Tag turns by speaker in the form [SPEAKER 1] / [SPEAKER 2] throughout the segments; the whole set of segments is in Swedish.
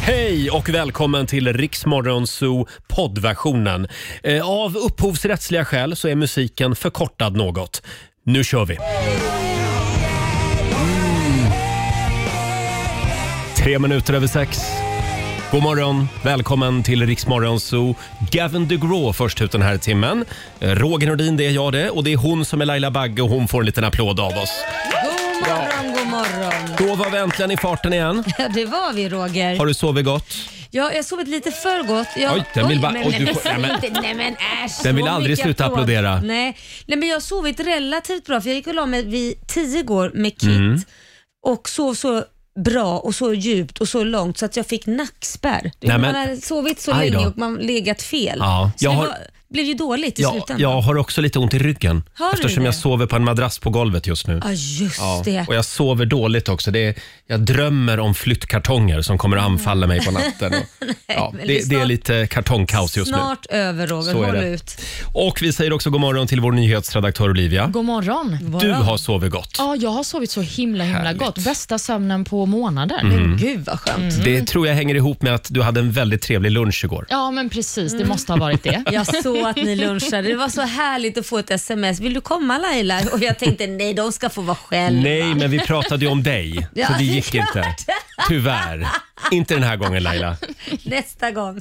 [SPEAKER 1] Hej och välkommen till Riksmorgon Zoo poddversionen. Eh, Av upphovsrättsliga skäl så är musiken förkortad något. Nu kör vi! Mm. Tre minuter över sex. God morgon, välkommen till Riksmorgon Zoo. Gavin DeGraw först ut den här timmen. Eh, Roger Nordin, det är jag det. Och det är hon som är Laila Bagge och hon får en liten applåd av oss.
[SPEAKER 2] God morgon, god morgon.
[SPEAKER 1] Då var vi äntligen i farten igen.
[SPEAKER 2] Ja, det var vi Roger.
[SPEAKER 1] Har du sovit gott?
[SPEAKER 2] Ja, jag har sovit lite för gott. Jag,
[SPEAKER 1] Oj, den vill bara-
[SPEAKER 2] men,
[SPEAKER 1] oj,
[SPEAKER 2] men,
[SPEAKER 1] du får-
[SPEAKER 2] säg
[SPEAKER 1] nej, men-
[SPEAKER 2] inte- nej, men äsch,
[SPEAKER 1] Den vill
[SPEAKER 2] så
[SPEAKER 1] aldrig
[SPEAKER 2] mycket
[SPEAKER 1] sluta
[SPEAKER 2] applåd.
[SPEAKER 1] applådera.
[SPEAKER 2] Nej. nej, men jag har sovit relativt bra för jag gick och la mig vid tio igår med Kit
[SPEAKER 1] Mm.
[SPEAKER 2] och sov så bra och så djupt och så långt så att jag fick nackspärr. Du,
[SPEAKER 1] Nej, men-
[SPEAKER 2] man har sovit så
[SPEAKER 1] Aj då.
[SPEAKER 2] länge och man legat fel.
[SPEAKER 1] Ja,
[SPEAKER 2] så
[SPEAKER 1] jag
[SPEAKER 2] det
[SPEAKER 1] har-
[SPEAKER 2] var, blev ju dåligt i
[SPEAKER 1] Ja,
[SPEAKER 2] slutändan.
[SPEAKER 1] jag har också lite ont i ryggen
[SPEAKER 2] Har du
[SPEAKER 1] eftersom
[SPEAKER 2] det?
[SPEAKER 1] jag sover på en madrass på golvet just nu.
[SPEAKER 2] Ja, just
[SPEAKER 1] Ja,
[SPEAKER 2] det.
[SPEAKER 1] och jag sover dåligt också. Det är, jag drömmer om flyttkartonger som kommer att anfalla mig på natten. Och, ja,
[SPEAKER 2] Mm. men
[SPEAKER 1] det,
[SPEAKER 2] det är
[SPEAKER 1] det är
[SPEAKER 2] snart-
[SPEAKER 1] lite kartongkaos just nu.
[SPEAKER 2] Snart över Roger,
[SPEAKER 1] Så är
[SPEAKER 2] håll
[SPEAKER 1] det.
[SPEAKER 2] ut.
[SPEAKER 1] Och vi säger också god morgon till vår nyhetsredaktör Olivia.
[SPEAKER 3] God morgon.
[SPEAKER 1] Du har sovit gott.
[SPEAKER 3] Ja, jag har sovit så himla himla
[SPEAKER 1] Mm. Härligt. Mm.
[SPEAKER 3] gott. Bästa sömnen på månader.
[SPEAKER 2] Gud vad skönt.
[SPEAKER 1] Det tror jag hänger ihop med att du hade en väldigt trevlig lunch igår.
[SPEAKER 3] Ja, men precis.
[SPEAKER 1] Mm.
[SPEAKER 3] Det måste ha varit det.
[SPEAKER 2] Jag såg att ni lunchade. Det var så härligt att få ett sms. Vill du komma Laila? Och jag tänkte nej, de ska få vara själva.
[SPEAKER 1] Nej, men vi pratade ju om dig,
[SPEAKER 2] Ja,
[SPEAKER 1] så det
[SPEAKER 2] det är
[SPEAKER 1] gick inte. Tyvärr. Inte den här gången Laila.
[SPEAKER 2] Nästa gång.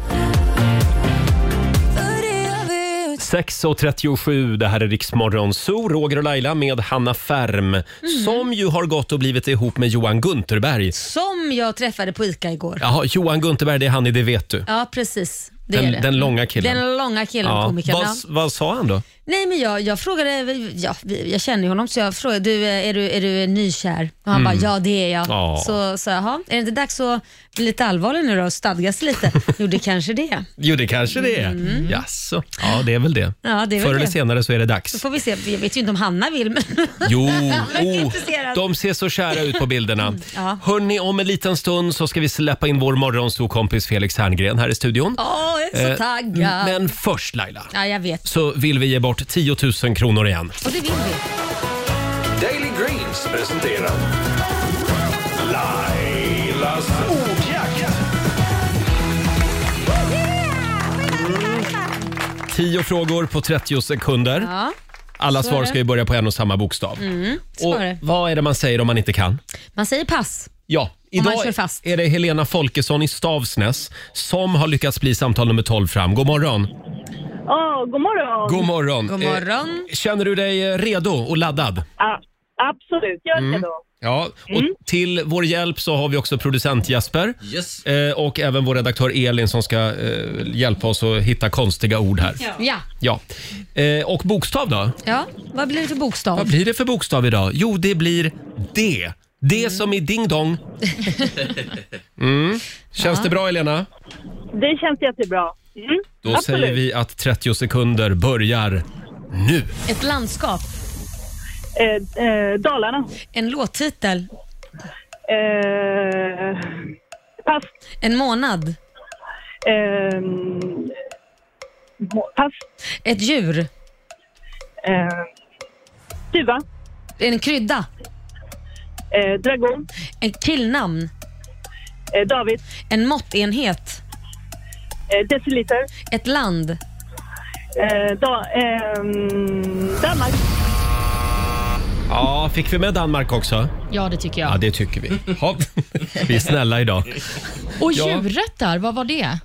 [SPEAKER 1] 6.37, det här är Riksmorgon Zoo, Roger och Laila med Hanna Färm
[SPEAKER 2] Mhm.
[SPEAKER 1] som ju har gått och blivit ihop med Johan Gunterberg.
[SPEAKER 2] Som jag träffade på ICA igår. Ja,
[SPEAKER 1] Jaha, Johan Gunterberg, det är han i Det vet du.
[SPEAKER 2] precis. Det är
[SPEAKER 1] Den,
[SPEAKER 2] det.
[SPEAKER 1] den långa killen.
[SPEAKER 2] Den långa killen,
[SPEAKER 1] ja.
[SPEAKER 2] komikern.
[SPEAKER 1] vad,
[SPEAKER 2] Ja.
[SPEAKER 1] vad sa han då?
[SPEAKER 2] Nej men jag, jag frågade, ja, vi- jag känner ju honom så jag frågade, du, eh, är, du, är du nykär? Och han bara, ja det är jag.
[SPEAKER 1] Mm. Ja.
[SPEAKER 2] Så sa jag, "Jaha, är det inte dags att bli lite allvarlig nu då och stadgas lite? jo det kanske det är.
[SPEAKER 1] Jo, det kanske det är. Jaså? Ja, det är väl det.
[SPEAKER 2] Mm. Ja, det är väl
[SPEAKER 1] Förr eller
[SPEAKER 2] det.
[SPEAKER 1] senare så är det
[SPEAKER 2] Så
[SPEAKER 1] dags.
[SPEAKER 2] får vi se, jag vet ju inte om Hanna vill men
[SPEAKER 1] Jo,
[SPEAKER 2] är
[SPEAKER 1] oh,
[SPEAKER 2] intresserad. Mm,
[SPEAKER 1] de ser så kära ut på bilderna.
[SPEAKER 2] ja.
[SPEAKER 1] Hörni, om en liten stund så ska vi släppa in vår morgonsokompis Felix Herngren här i studion.
[SPEAKER 2] Åh, jag är så
[SPEAKER 1] Eh,
[SPEAKER 2] taggad.
[SPEAKER 1] Men först Laila.
[SPEAKER 2] Ja, jag vet.
[SPEAKER 1] så vill vi ge bort 10 000 kronor igen.
[SPEAKER 2] Och det vill vi.
[SPEAKER 4] Daily Greens presenterar Lailas ordjakt.
[SPEAKER 1] 10 frågor på 30 sekunder.
[SPEAKER 2] Ja,
[SPEAKER 1] Alla
[SPEAKER 2] så är
[SPEAKER 1] svar
[SPEAKER 2] det. Mm,
[SPEAKER 1] ska ju börja på en och samma bokstav.
[SPEAKER 2] så
[SPEAKER 1] Och
[SPEAKER 2] är det.
[SPEAKER 1] vad är det man säger om man inte kan?
[SPEAKER 2] Man säger pass.
[SPEAKER 1] Ja,
[SPEAKER 2] man
[SPEAKER 1] idag
[SPEAKER 2] kör fast.
[SPEAKER 1] är det Helena Folkesson i Stavsnäs som har lyckats bli samtal nummer 12 fram. God morgon!
[SPEAKER 5] Åh, god morgon.
[SPEAKER 1] God morgon!
[SPEAKER 2] God morgon.
[SPEAKER 1] Eh, känner du dig eh, redo och laddad?
[SPEAKER 5] A- absolut, gör
[SPEAKER 1] Mm.
[SPEAKER 5] det då.
[SPEAKER 1] Ja, och
[SPEAKER 3] Mm.
[SPEAKER 1] till vår hjälp så har vi också producent Jesper
[SPEAKER 6] Yes.
[SPEAKER 1] eh, och även vår redaktör Elin som ska eh, hjälpa oss att hitta konstiga ord här.
[SPEAKER 2] Ja.
[SPEAKER 1] Ja. Eh, och bokstav då?
[SPEAKER 2] ja. Vad blir det för
[SPEAKER 1] Vad
[SPEAKER 2] bokstav?
[SPEAKER 1] blir det för bokstav idag? Jo, det blir D. D som i ding dong. Mm. Känns det bra Elena?
[SPEAKER 5] Det känns jättebra. Mm,
[SPEAKER 1] Då
[SPEAKER 5] absolut.
[SPEAKER 1] säger vi att 30 sekunder börjar nu.
[SPEAKER 2] Ett landskap.
[SPEAKER 5] Eh, eh, Dalarna.
[SPEAKER 2] En låttitel.
[SPEAKER 5] Eh, pass.
[SPEAKER 2] En månad.
[SPEAKER 5] Eh, pass.
[SPEAKER 2] Ett djur.
[SPEAKER 5] Eh, duva.
[SPEAKER 2] En krydda.
[SPEAKER 5] Eh, dragon.
[SPEAKER 2] En killnamn.
[SPEAKER 5] Eh, David.
[SPEAKER 2] En måttenhet.
[SPEAKER 5] Eh, deciliter.
[SPEAKER 2] Ett land.
[SPEAKER 5] Eh, da, eh, Danmark.
[SPEAKER 1] Ja, fick vi med Danmark också?
[SPEAKER 3] Ja, det tycker
[SPEAKER 1] Ja,
[SPEAKER 3] jag.
[SPEAKER 1] det tycker vi. Ja. Vi är snälla idag.
[SPEAKER 3] Och
[SPEAKER 1] Ja.
[SPEAKER 3] djuret där, vad var det?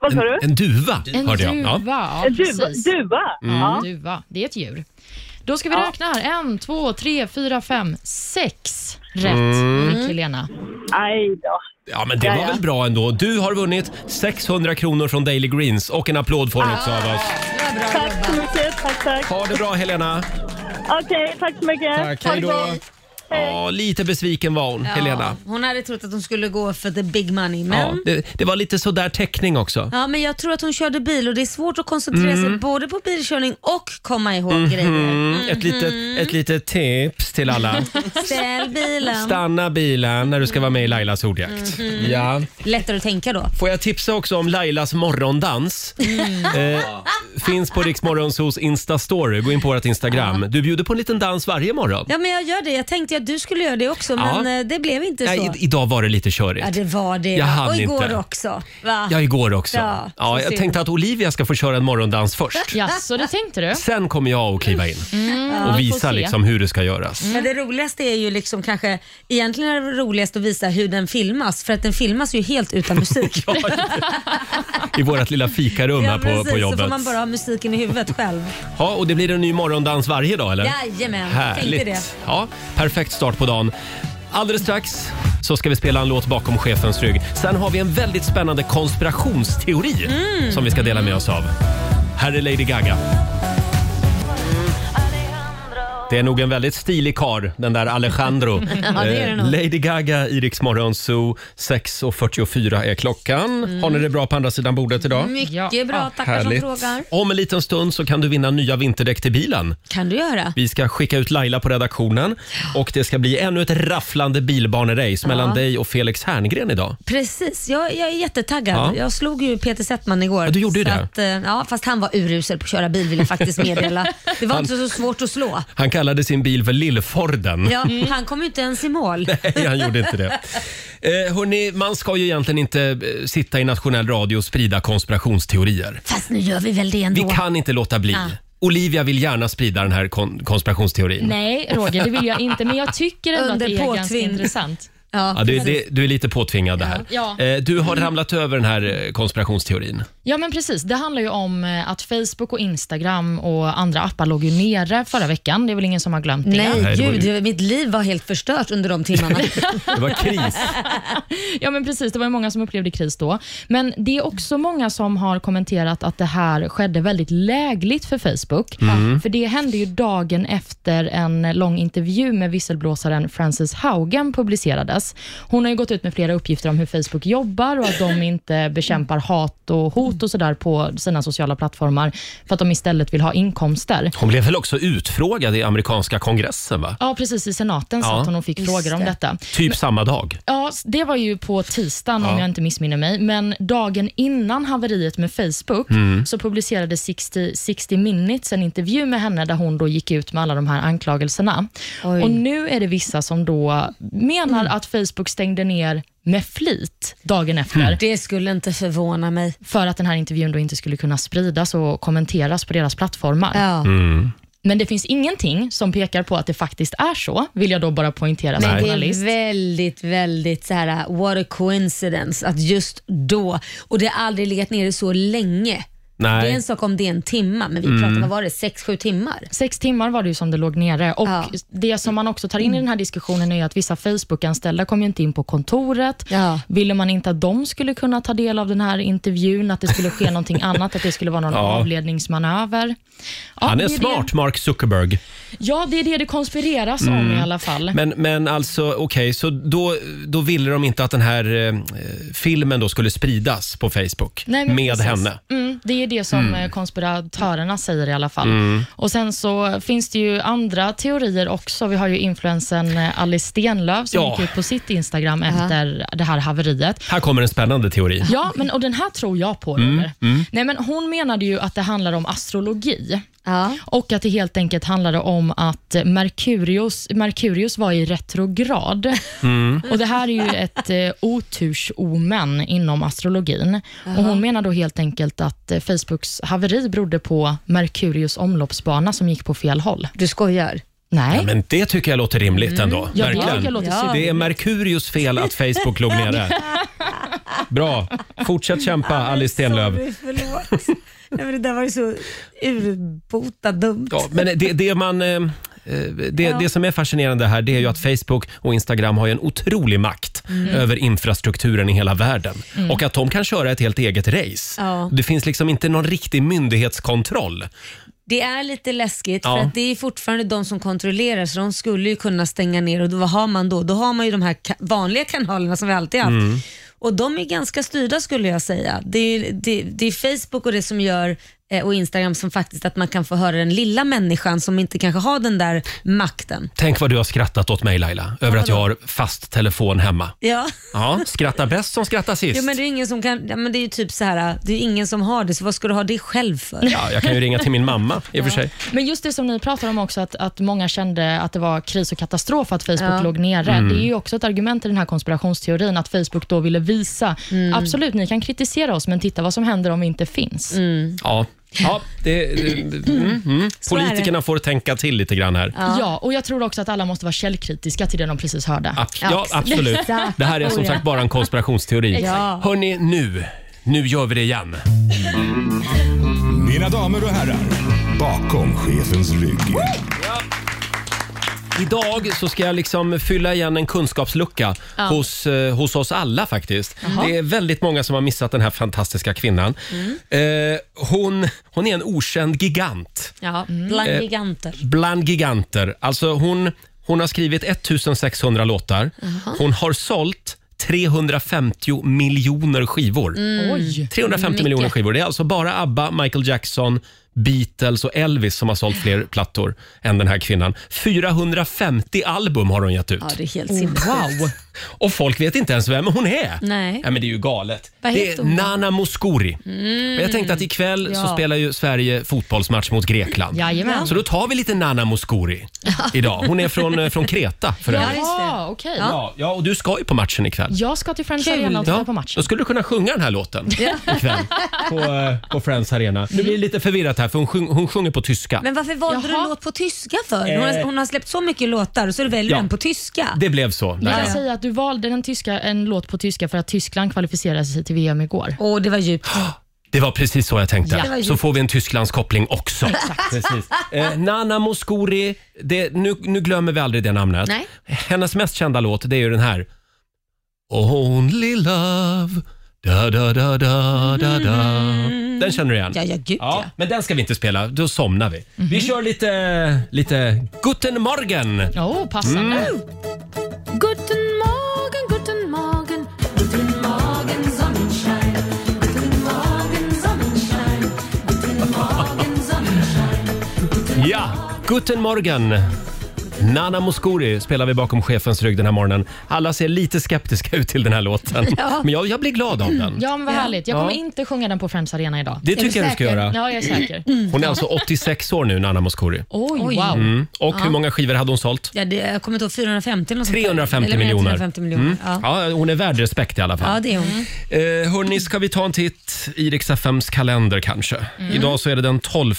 [SPEAKER 5] Vad sa du?
[SPEAKER 1] En, en duva
[SPEAKER 3] En
[SPEAKER 1] hörde jag.
[SPEAKER 3] duva.
[SPEAKER 1] Ja.
[SPEAKER 3] Ja,
[SPEAKER 5] En duva.
[SPEAKER 3] precis.
[SPEAKER 5] duva.
[SPEAKER 1] Mm.
[SPEAKER 3] Ja,
[SPEAKER 5] Ja.
[SPEAKER 3] duva. Det är ett djur. Då ska vi räkna här. En, två, tre, fyra, fem, sex rätt
[SPEAKER 1] Mm.
[SPEAKER 3] fick Helena.
[SPEAKER 5] Aj då.
[SPEAKER 1] ja, men det var väl bra ändå. Du har vunnit 600 kronor från Daily Greens och en applåd får du också av oss.
[SPEAKER 5] Tack så mycket. Tack, tack.
[SPEAKER 1] Ha det bra Helena!
[SPEAKER 5] Okej, tack så mycket.
[SPEAKER 1] Tack, hej då! Ja, lite besviken var hon, Helena.
[SPEAKER 2] Hon hade trott att hon skulle gå för the big money, men...
[SPEAKER 1] Ja,
[SPEAKER 2] Ja.
[SPEAKER 1] det, det var lite sådär teckning också.
[SPEAKER 2] men jag tror att hon körde bil och det är svårt att koncentrera sig både på bilkörning och komma ihåg grejer.
[SPEAKER 1] Mm, ett, litet, ett litet tips till alla.
[SPEAKER 2] Ställ bilen.
[SPEAKER 1] Stanna bilen när du ska vara med i Lailas ordjakt. Ja.
[SPEAKER 2] Lättare att tänka då.
[SPEAKER 1] Får jag tipsa också om Lailas morgondans? Eh, finns på Riksmorgonsos Insta-story. Gå in på vårt Instagram. Du bjuder på en liten dans varje morgon.
[SPEAKER 2] Ja men jag gör det. Jag tänkte att du skulle göra det också,
[SPEAKER 1] Ja.
[SPEAKER 2] men eh, det blev inte så.
[SPEAKER 1] Nej, i- idag var det lite körigt.
[SPEAKER 2] Ja, det var det.
[SPEAKER 1] Jag hann
[SPEAKER 2] och igår
[SPEAKER 1] inte.
[SPEAKER 2] också. Va?
[SPEAKER 1] Ja, igår också. Ja,
[SPEAKER 2] Ja, så
[SPEAKER 1] jag
[SPEAKER 2] synd.
[SPEAKER 1] tänkte att Olivia ska få köra en morgondans först.
[SPEAKER 3] Ja, så det tänkte du?
[SPEAKER 1] Sen kommer jag att kliva in
[SPEAKER 2] Mm.
[SPEAKER 3] vi
[SPEAKER 1] och
[SPEAKER 3] får
[SPEAKER 1] visa
[SPEAKER 3] se.
[SPEAKER 1] liksom hur det ska göras.
[SPEAKER 2] Men det roligaste är ju liksom kanske, egentligen är det roligast att visa hur den filmas, för att den filmas ju helt utan musik.
[SPEAKER 1] Ja, I vårt lilla fikarum här på, på
[SPEAKER 2] så får
[SPEAKER 1] jobbet.
[SPEAKER 2] man bara ha musiken i huvudet själv.
[SPEAKER 1] Ja, och det blir en ny morgondans varje dag eller?
[SPEAKER 2] Jajamän,
[SPEAKER 1] Härligt.
[SPEAKER 2] tänkte det.
[SPEAKER 1] Ja, perfekt start på dagen. Alldeles strax så ska vi spela en låt bakom chefens rygg. Sen har vi en väldigt spännande konspirationsteori
[SPEAKER 2] Mm.
[SPEAKER 1] som vi ska dela med oss av. Här är Lady Gaga. Det är nog en väldigt stilig kar, den där Alejandro.
[SPEAKER 3] det är det
[SPEAKER 1] Eh,
[SPEAKER 3] nog.
[SPEAKER 1] Lady Gaga, i Rix Morgon Zoo. 6.44 är klockan. Har ni det bra på andra sidan bordet idag?
[SPEAKER 2] Mycket
[SPEAKER 3] Ja,
[SPEAKER 2] bra, Mm, tackar
[SPEAKER 1] Härligt.
[SPEAKER 2] som frågar.
[SPEAKER 1] Om en liten stund så kan du vinna nya vinterdäck till bilen.
[SPEAKER 2] Kan du göra?
[SPEAKER 1] Vi ska skicka ut Laila på redaktionen och det ska bli ännu ett rafflande bilbanerace mellan dig och Felix Herngren idag.
[SPEAKER 2] Precis, jag, jag är jättetaggad.
[SPEAKER 1] Ja.
[SPEAKER 2] Jag slog ju Peter Settman igår.
[SPEAKER 1] Ja, du gjorde ju
[SPEAKER 2] så
[SPEAKER 1] det.
[SPEAKER 2] Att, eh, ja, fast han var urusel på att köra bil vill jag faktiskt meddela. Det var inte så svårt att slå.
[SPEAKER 1] Han kallade sin bil för Lillforden.
[SPEAKER 2] Ja, Han kom ju inte ens i mål.
[SPEAKER 1] Nej, han gjorde inte det. Eh, hörni, man ska ju egentligen inte eh, sitta i nationell radio och sprida konspirationsteorier.
[SPEAKER 2] Fast nu gör vi väl det ändå.
[SPEAKER 1] Vi kan inte låta bli.
[SPEAKER 2] Ja.
[SPEAKER 1] Olivia vill gärna sprida den här kon- konspirationsteorin.
[SPEAKER 3] Nej, Roger, det vill jag inte, men jag tycker ändå att
[SPEAKER 2] Under
[SPEAKER 3] det är ganska
[SPEAKER 2] påtving.
[SPEAKER 3] intressant.
[SPEAKER 2] Ja,
[SPEAKER 1] Ja, du, det, du är lite påtvingad det här.
[SPEAKER 3] Ja.
[SPEAKER 1] Eh, du har ramlat över den här eh, konspirationsteorin.
[SPEAKER 3] Ja, men precis. Det handlar ju om eh, att Facebook och Instagram och andra appar låg ju nere förra veckan. Det är väl ingen som har glömt det?
[SPEAKER 2] Nej,
[SPEAKER 1] Nej, det var
[SPEAKER 2] gud.
[SPEAKER 1] ju-
[SPEAKER 2] Mitt liv var helt förstört under de timmarna.
[SPEAKER 1] Det var kris.
[SPEAKER 3] Ja, men precis. Det var ju många som upplevde kris då. Men det är också många som har kommenterat att det här skedde väldigt lägligt för Facebook. För det hände ju dagen efter en lång intervju med visselblåsaren Frances Haugen publicerades. Hon har ju gått ut med flera uppgifter om hur Facebook jobbar och att de inte bekämpar hat och hot och sådär på sina sociala plattformar för att de istället vill ha inkomster.
[SPEAKER 1] Hon blev väl också utfrågad i amerikanska kongressen, va?
[SPEAKER 3] Ja, precis. I senaten
[SPEAKER 1] Ja.
[SPEAKER 3] satt hon och fick
[SPEAKER 2] Just
[SPEAKER 3] frågor om
[SPEAKER 2] det.
[SPEAKER 3] detta.
[SPEAKER 1] Typ samma dag.
[SPEAKER 3] Ja, det var ju på tisdagen om
[SPEAKER 1] Ja.
[SPEAKER 3] jag inte missminner mig. Men dagen innan haveriet med Facebook
[SPEAKER 1] Mm.
[SPEAKER 3] så publicerade 60, 60 Minutes en intervju med henne där hon då gick ut med alla de här anklagelserna.
[SPEAKER 2] Oj. Mm.
[SPEAKER 3] Och nu är det vissa som då menar att Facebook stängde ner med flit dagen efter
[SPEAKER 1] Mm.
[SPEAKER 2] Det skulle inte förvåna mig.
[SPEAKER 3] för att den här intervjun då inte skulle kunna spridas och kommenteras på deras plattformar.
[SPEAKER 2] Ja.
[SPEAKER 1] Mm,
[SPEAKER 3] Men det finns ingenting som pekar på att det faktiskt är så, vill jag då bara poängtera som
[SPEAKER 2] Men det
[SPEAKER 3] journalist.
[SPEAKER 2] är väldigt, väldigt så här, uh, what a coincidence att just då, och det har aldrig legat nere så länge.
[SPEAKER 1] Nej. Mm.
[SPEAKER 2] Det är en sak om det är en timma, men vi pratar, vad var det, sex, sju timmar?
[SPEAKER 3] Sex timmar var det ju som det låg nere. Och
[SPEAKER 2] Ja.
[SPEAKER 3] Det som man också tar in i den här diskussionen är ju att vissa Facebook-anställda kom ju inte in på kontoret.
[SPEAKER 2] Ja.
[SPEAKER 3] Ville man inte att de skulle kunna ta del av den här intervjun, att det skulle ske någonting annat, att det skulle vara någon
[SPEAKER 1] Ja.
[SPEAKER 3] avledningsmanöver. Ja,
[SPEAKER 1] Han
[SPEAKER 3] det
[SPEAKER 1] är
[SPEAKER 3] det.
[SPEAKER 1] smart, Mark Zuckerberg.
[SPEAKER 3] Ja, det är det det konspireras om
[SPEAKER 1] Mm.
[SPEAKER 3] i alla fall.
[SPEAKER 1] Men, men alltså, okej, så då, då ville de inte att den här eh, filmen då skulle spridas på Facebook
[SPEAKER 3] Nej, men
[SPEAKER 1] med
[SPEAKER 3] precis.
[SPEAKER 1] henne.
[SPEAKER 3] Mm, det är det som eh, konspiratörerna säger i alla fall.
[SPEAKER 1] Mm.
[SPEAKER 3] Och Sen så finns det ju andra teorier också. Vi har ju influensen eh, Alice Stenlöf som
[SPEAKER 1] Ja.
[SPEAKER 3] gick ut på sitt Instagram efter det här haveriet.
[SPEAKER 1] Här kommer en spännande teori.
[SPEAKER 3] Ja, men, och den här tror jag på.
[SPEAKER 1] Mm,
[SPEAKER 3] Roger. Nej, men hon menade ju att det handlar om astrologi
[SPEAKER 2] Ja.
[SPEAKER 3] och att det helt enkelt handlade om att Merkurius, Merkurius var i retrograd.
[SPEAKER 1] Mm.
[SPEAKER 3] Och Det här är ju ett eh, otursomen inom astrologin. Och Hon menar då helt enkelt att eh, Facebooks haveri berodde på Merkurius omloppsbana som gick på fel håll.
[SPEAKER 2] Du skojar?
[SPEAKER 3] Nej,
[SPEAKER 1] Ja, men det tycker jag låter rimligt ändå.
[SPEAKER 3] Mm. ja, det tycker jag
[SPEAKER 1] Verkligen.
[SPEAKER 3] låter
[SPEAKER 2] Ja.
[SPEAKER 3] ja.
[SPEAKER 1] Det är Merkurius fel att Facebook låg nere. Bra. Fortsätt kämpa, Alice Stenlöf.
[SPEAKER 2] Sorry, förlåt. Nej, men det där var ju så urbota dumt.
[SPEAKER 1] Ja, men det, det, man, eh, eh, det, det som är fascinerande här det är ju att Facebook och Instagram har ju en otrolig makt
[SPEAKER 2] Mm.
[SPEAKER 1] över infrastrukturen i hela världen. Och att de kan köra ett helt eget race.
[SPEAKER 2] Ja.
[SPEAKER 1] Det finns liksom inte någon riktig myndighetskontroll.
[SPEAKER 2] Det är lite läskigt
[SPEAKER 1] Ja.
[SPEAKER 2] för att det är fortfarande de som kontrollerar så de skulle ju kunna stänga ner och då, vad har man då? Då har man ju de här ka- vanliga kanalerna som vi alltid haft. Och de är ganska styrda skulle jag säga. Det är, det, det är Facebook och det som gör eh, och Instagram som faktiskt att man kan få höra den lilla människan som inte kanske har den där makten.
[SPEAKER 1] Tänk vad du har skrattat åt mig Laila, över att jag har fast telefon hemma.
[SPEAKER 2] Ja.
[SPEAKER 1] Ja, skratta bäst som skrattar sist.
[SPEAKER 2] Jo, men det är ju ingen som kan, ja, men det är ju typ så här, det är ju ingen som har det, så vad ska du ha det själv för?
[SPEAKER 1] Ja, jag kan ju ringa till min mamma i och för sig.
[SPEAKER 3] Men just det som ni pratar om också, att, att många kände att det var kris och katastrof att Facebook låg nere.
[SPEAKER 1] Mm.
[SPEAKER 3] Det är ju också ett argument i den här konspirationsteorin, att Facebook då ville visa, absolut, ni kan kritisera oss, men titta vad som händer om vi inte finns.
[SPEAKER 1] Ja. Ja, det, mm, mm.
[SPEAKER 2] Så är det.
[SPEAKER 1] Politikerna får tänka till lite grann här.
[SPEAKER 3] Ja. och jag tror också att alla måste vara källkritiska till det de precis hörde.
[SPEAKER 1] Ab- ja,
[SPEAKER 2] Exakt.
[SPEAKER 1] absolut. Det här är som sagt bara en konspirationsteori.
[SPEAKER 2] Ja.
[SPEAKER 1] Hörni, nu. Nu gör vi det igen.
[SPEAKER 6] Mina damer och herrar, bakom chefens rygg.
[SPEAKER 1] Idag så ska jag liksom fylla igen en kunskapslucka hos, eh, hos oss alla faktiskt. Det är väldigt många som har missat den här fantastiska kvinnan. Eh, hon, hon är en okänd gigant
[SPEAKER 2] Ja, mm. bland giganter.
[SPEAKER 1] bland giganter. Alltså hon, hon har skrivit 1600 låtar. Hon har sålt 350 miljoner skivor.
[SPEAKER 3] Oj.
[SPEAKER 1] 350 miljoner skivor. Det är alltså bara ABBA, Michael Jackson, Beatles och Elvis som har sålt fler plattor än den här kvinnan. 450 album har hon gett ut.
[SPEAKER 2] Ja, det är helt sinnessjukt.
[SPEAKER 3] Wow.
[SPEAKER 1] Och folk vet inte ens vem hon är.
[SPEAKER 2] Nej.
[SPEAKER 1] Ja, men det är ju galet.
[SPEAKER 2] Vad
[SPEAKER 1] det
[SPEAKER 2] heter
[SPEAKER 1] är
[SPEAKER 2] hon då? Mm.
[SPEAKER 1] Nana Mouskouri. Och Jag tänkte att ikväll så
[SPEAKER 2] Ja.
[SPEAKER 1] spelar ju Sverige fotbollsmatch mot Grekland.
[SPEAKER 3] Jajamän.
[SPEAKER 1] Så då tar vi lite Nana Mouskouri idag. Hon är från, eh, från Kreta för
[SPEAKER 2] Ja,
[SPEAKER 1] övrigt.
[SPEAKER 2] just det.
[SPEAKER 3] Ja, okej.
[SPEAKER 1] Ja, ja, och du ska ju på matchen ikväll.
[SPEAKER 3] Jag ska till Friends
[SPEAKER 2] Kul.
[SPEAKER 3] Arena och titta
[SPEAKER 1] Ja,
[SPEAKER 3] på matchen.
[SPEAKER 1] Då skulle du kunna sjunga den här låten ikväll på, eh, på Friends Arena. Nu blir det lite förvirrat här för hon, sjung, hon sjunger på tyska.
[SPEAKER 2] Men varför valde
[SPEAKER 3] Jaha.
[SPEAKER 2] du låt på tyska för? Hon har,
[SPEAKER 1] Eh.
[SPEAKER 2] hon har släppt så mycket låtar och så väljer du
[SPEAKER 1] Ja.
[SPEAKER 2] en på tyska.
[SPEAKER 1] Det blev så.
[SPEAKER 3] Jag
[SPEAKER 1] Laila.
[SPEAKER 3] kan säga att du valde en, tyska, en låt på tyska för att Tyskland kvalificerade sig till VM igår.
[SPEAKER 2] Åh, det var djupt.
[SPEAKER 1] Det var precis så jag tänkte.
[SPEAKER 3] Ja.
[SPEAKER 2] Det var ju-
[SPEAKER 1] Så får vi en Tysklandskoppling också. Precis. Eh, Nana Mouskouri, det, nu, nu glömmer vi aldrig det namnet.
[SPEAKER 2] Nej.
[SPEAKER 1] Hennes mest kända låt det är ju den här. Only love da da da da da da Den känner du igen?
[SPEAKER 2] Ja, ja gud
[SPEAKER 1] Ja,
[SPEAKER 2] ja. Mhm.
[SPEAKER 1] men den ska vi inte spela, då somnar vi. Vi kör lite, lite Guten Morgen.
[SPEAKER 3] Åh, Oh, passande.
[SPEAKER 1] Mm.
[SPEAKER 7] Guten Morgen, guten Morgen, guten Morgen Sonnenschein, guten Morgen Sonnenschein, guten Morgen Sonnenschein.
[SPEAKER 1] Ja, Guten Morgen. Nana Mouskouri spelar vi bakom chefens rygg den här morgonen. Alla ser lite skeptiska ut till den här låten, men jag, jag blir glad av den.
[SPEAKER 3] Ja, men vad härligt. Jag
[SPEAKER 1] Ja.
[SPEAKER 3] kommer inte sjunga den på Friends Arena idag.
[SPEAKER 1] Det tycker jag du ska göra.
[SPEAKER 3] Ja, jag är säker.
[SPEAKER 2] Mm.
[SPEAKER 1] Hon är alltså 86 år nu, Nana Mouskouri.
[SPEAKER 3] Oj, wow.
[SPEAKER 1] Mm. Och hur många skivor hade hon såålt?
[SPEAKER 2] det, jag kommer inte ihåg, 450 eller något sånt där.
[SPEAKER 1] 350
[SPEAKER 2] Eller menar jag
[SPEAKER 1] miljoner. Mm.
[SPEAKER 2] 350 miljoner. Ja.
[SPEAKER 1] Ja, hon är värd respekt i alla fall.
[SPEAKER 2] ja, det är hon.
[SPEAKER 1] Eh, hörni, ska vi ta en titt i Rix FMs kalender kanske? Idag så är det den 12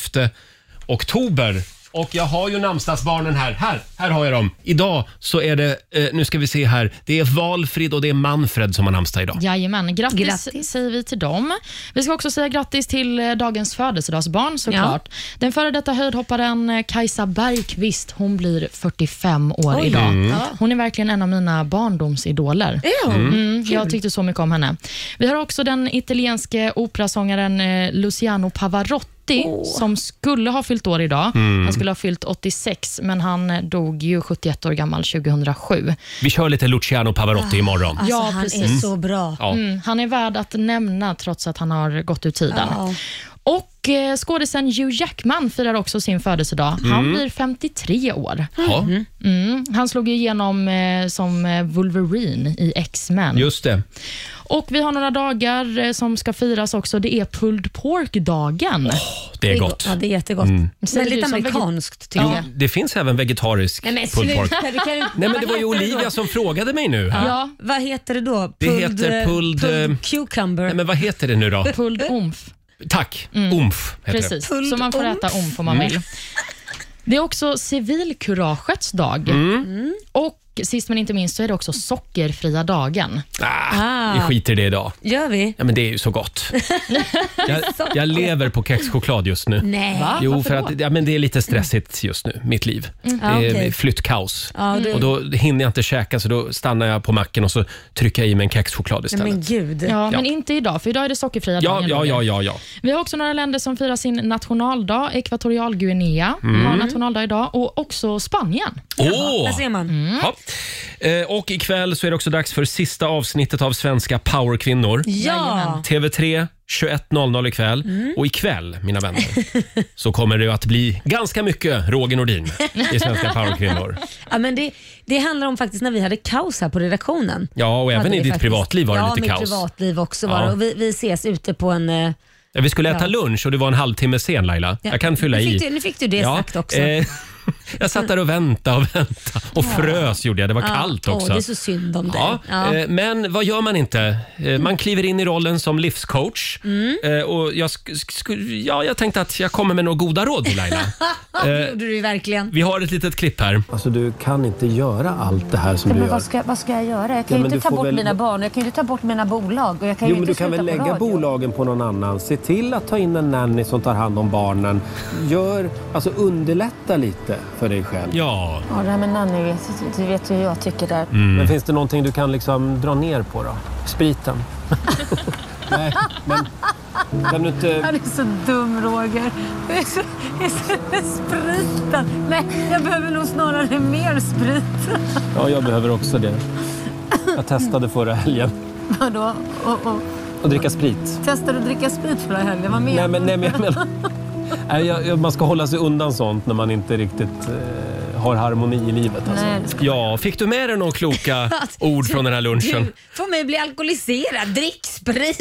[SPEAKER 1] oktober. Och jag har ju namnsdagsbarnen här. Här, här har jag dem. Idag så är det, eh, nu ska vi se här, det är Valfrid och det är Manfred som har namnsdag idag.
[SPEAKER 3] Jajamän, grattis,
[SPEAKER 2] Grattis.
[SPEAKER 3] säger vi till dem. Vi ska också säga grattis till eh, dagens födelsedagsbarn såklart. Den före detta höjdhopparen eh, Kajsa Bergqvist, hon blir 45 år idag. Hon är verkligen en av mina barndomsidoler. Mm, jag tyckte så mycket om henne. Vi har också den italienske operasångaren eh, Luciano Pavarotti som skulle ha fyllt år idag. Han skulle ha fyllt 86, men han eh, dog ju 71 år gammal 2007.
[SPEAKER 1] Vi kör lite Luciano Pavarotti imorgon.
[SPEAKER 2] Alltså,
[SPEAKER 3] Ja,
[SPEAKER 2] han är
[SPEAKER 3] precis.
[SPEAKER 2] så bra.
[SPEAKER 1] Ja.
[SPEAKER 3] Mm, han är värd att nämna trots att han har gått ur tiden. Och eh, skådisen Hugh Jackman firar också sin födelsedag.
[SPEAKER 1] Mm.
[SPEAKER 3] Han blir 53 år.
[SPEAKER 1] Ja,
[SPEAKER 3] Mm. Han slog ju igenom eh, som eh, Wolverine i X-Men.
[SPEAKER 1] just det.
[SPEAKER 3] Och vi har några dagar eh, som ska firas också. Det är pulled pork-dagen.
[SPEAKER 1] Det är gott. Mm.
[SPEAKER 2] Ja, det är jättegott. Men
[SPEAKER 3] Säger du
[SPEAKER 2] lite
[SPEAKER 3] som
[SPEAKER 2] amerikanskt tycker jag.
[SPEAKER 1] Det finns även vegetarisk
[SPEAKER 2] Nej men
[SPEAKER 1] pulled pork.
[SPEAKER 2] sluta, du kan ju
[SPEAKER 1] Nej men
[SPEAKER 2] Vad
[SPEAKER 1] det var ju
[SPEAKER 2] heter då?
[SPEAKER 1] Olivia som frågade mig nu. här.
[SPEAKER 3] Ja,
[SPEAKER 2] Vad heter det då?
[SPEAKER 1] Det heter pulled, eh,
[SPEAKER 2] cucumber.
[SPEAKER 1] Nej men vad heter det nu då?
[SPEAKER 3] pulled omf.
[SPEAKER 1] Tack! Omf heter det. Mm.
[SPEAKER 3] Precis,
[SPEAKER 2] Pulled
[SPEAKER 3] så man får
[SPEAKER 2] omf.
[SPEAKER 3] äta omf om man vill. Det är också civilkuragets dag.
[SPEAKER 1] Mm.
[SPEAKER 3] Mm. Och sist men inte minst så är det också sockerfria dagen.
[SPEAKER 1] Ah, vi
[SPEAKER 2] Ah.
[SPEAKER 1] skiter i det idag.
[SPEAKER 2] Gör vi?
[SPEAKER 1] Ja, men det är ju så gott. Jag, jag lever på kexchoklad just nu.
[SPEAKER 2] Nej.
[SPEAKER 3] Va?
[SPEAKER 1] Jo,
[SPEAKER 3] Varför
[SPEAKER 1] för
[SPEAKER 3] då?
[SPEAKER 1] att ja, men det är lite stressigt just nu, mitt liv.
[SPEAKER 2] Ah,
[SPEAKER 1] Det är
[SPEAKER 2] okej.
[SPEAKER 1] flyttkaos.
[SPEAKER 2] Ja, det-
[SPEAKER 1] Mm. Och då hinner jag inte käka så då stannar jag på macken och så trycker jag i mig en kexchoklad
[SPEAKER 2] Nej, men
[SPEAKER 1] istället.
[SPEAKER 2] gud.
[SPEAKER 3] Ja, men inte idag, för idag är det sockerfria
[SPEAKER 1] Ja,
[SPEAKER 3] dagen.
[SPEAKER 1] ja,
[SPEAKER 3] Roger.
[SPEAKER 1] ja, ja, ja.
[SPEAKER 3] Vi har också några länder som firar sin nationaldag.
[SPEAKER 1] Mm.
[SPEAKER 3] Ekvatorialguinea har nationaldag idag och också Spanien.
[SPEAKER 1] Åh!
[SPEAKER 2] Där ser man.
[SPEAKER 1] Ja, Eh, Och ikväll så är det också dags för sista avsnittet av Svenska powerkvinnor.
[SPEAKER 2] Ja,
[SPEAKER 1] TV3 21.00 ikväll.
[SPEAKER 2] Mm.
[SPEAKER 1] Och ikväll, mina vänner, så kommer det att bli ganska mycket Roger Nordin i Svenska powerkvinnor.
[SPEAKER 2] ja men det, det handlar om faktiskt när vi hade kaos här på redaktionen.
[SPEAKER 1] Ja, och även
[SPEAKER 2] Hade
[SPEAKER 1] i
[SPEAKER 2] vi
[SPEAKER 1] ditt
[SPEAKER 2] faktiskt.
[SPEAKER 1] privatliv var det
[SPEAKER 2] ja,
[SPEAKER 1] lite
[SPEAKER 2] mitt
[SPEAKER 1] kaos.
[SPEAKER 2] privatliv också var
[SPEAKER 1] Ja.
[SPEAKER 2] det. Och vi, vi ses ute på en... eh,
[SPEAKER 1] Ja, Vi skulle äta
[SPEAKER 2] Ja.
[SPEAKER 1] lunch och du var en halvtimme sen Laila. Jag kan fylla
[SPEAKER 2] nu
[SPEAKER 1] i.
[SPEAKER 2] fick Du, nu fick du det sagt också.
[SPEAKER 1] eh, jag satt där och väntade och väntade och frös gjorde jag. Det var kallt
[SPEAKER 2] Ja,
[SPEAKER 1] också.
[SPEAKER 2] Åh, det är så synd om dig.
[SPEAKER 1] Ja,
[SPEAKER 2] Ja. Mm.
[SPEAKER 1] eh, Men vad gör man inte? Eh, Man kliver in i rollen som livscoach. Eh, Och jag, sk- sk- ja, jag tänkte att jag kommer med några goda råd till Laila.
[SPEAKER 2] det gjorde du ju verkligen.
[SPEAKER 1] Vi har ett litet klipp här.
[SPEAKER 8] Alltså du kan inte göra allt det här som du
[SPEAKER 9] Men
[SPEAKER 8] gör.
[SPEAKER 9] vad ska, vad ska jag göra? Jag
[SPEAKER 8] Ja,
[SPEAKER 9] kan
[SPEAKER 8] men
[SPEAKER 9] ju
[SPEAKER 8] du
[SPEAKER 9] inte ta
[SPEAKER 8] får
[SPEAKER 9] bort
[SPEAKER 8] väl-
[SPEAKER 9] mina barn, jag kan ju inte ta bort mina bolag och jag kan
[SPEAKER 8] Jo,
[SPEAKER 9] ju
[SPEAKER 8] men
[SPEAKER 9] inte
[SPEAKER 8] du kan
[SPEAKER 9] sluta
[SPEAKER 8] väl
[SPEAKER 9] på
[SPEAKER 8] lägga
[SPEAKER 9] radio.
[SPEAKER 8] bolagen på någon annan. Se till att ta in en nanny som tar hand om barnen. Gör, alltså underlätta lite för dig själv.
[SPEAKER 1] Ja,
[SPEAKER 9] Ja, det här med Nanny, vet- du vet ju hur jag tycker där.
[SPEAKER 8] Men finns det någonting du kan liksom dra ner på då? Spriten? Nej, men kan du inte...
[SPEAKER 9] Han är så dum Roger. Jag är så, jag är så spriten. Nej, jag behöver nog snarare mer sprit.
[SPEAKER 8] Ja, jag behöver också det. Jag testade förra helgen
[SPEAKER 9] Vadå? Och, och,
[SPEAKER 8] att dricka sprit.
[SPEAKER 9] testar du att dricka sprit förra helgen? Vad menar
[SPEAKER 8] Nej,
[SPEAKER 9] du?
[SPEAKER 8] men, nej, men jag menar... Nej, jag, jag, man ska hålla sig undan sånt när man inte riktigt eh, har harmoni i livet. Alltså.
[SPEAKER 9] Nej, det ska-
[SPEAKER 1] ja, fick du med dig några kloka ord från den här lunchen?
[SPEAKER 2] Du får mig bli alkoholiserad. Drick sprit.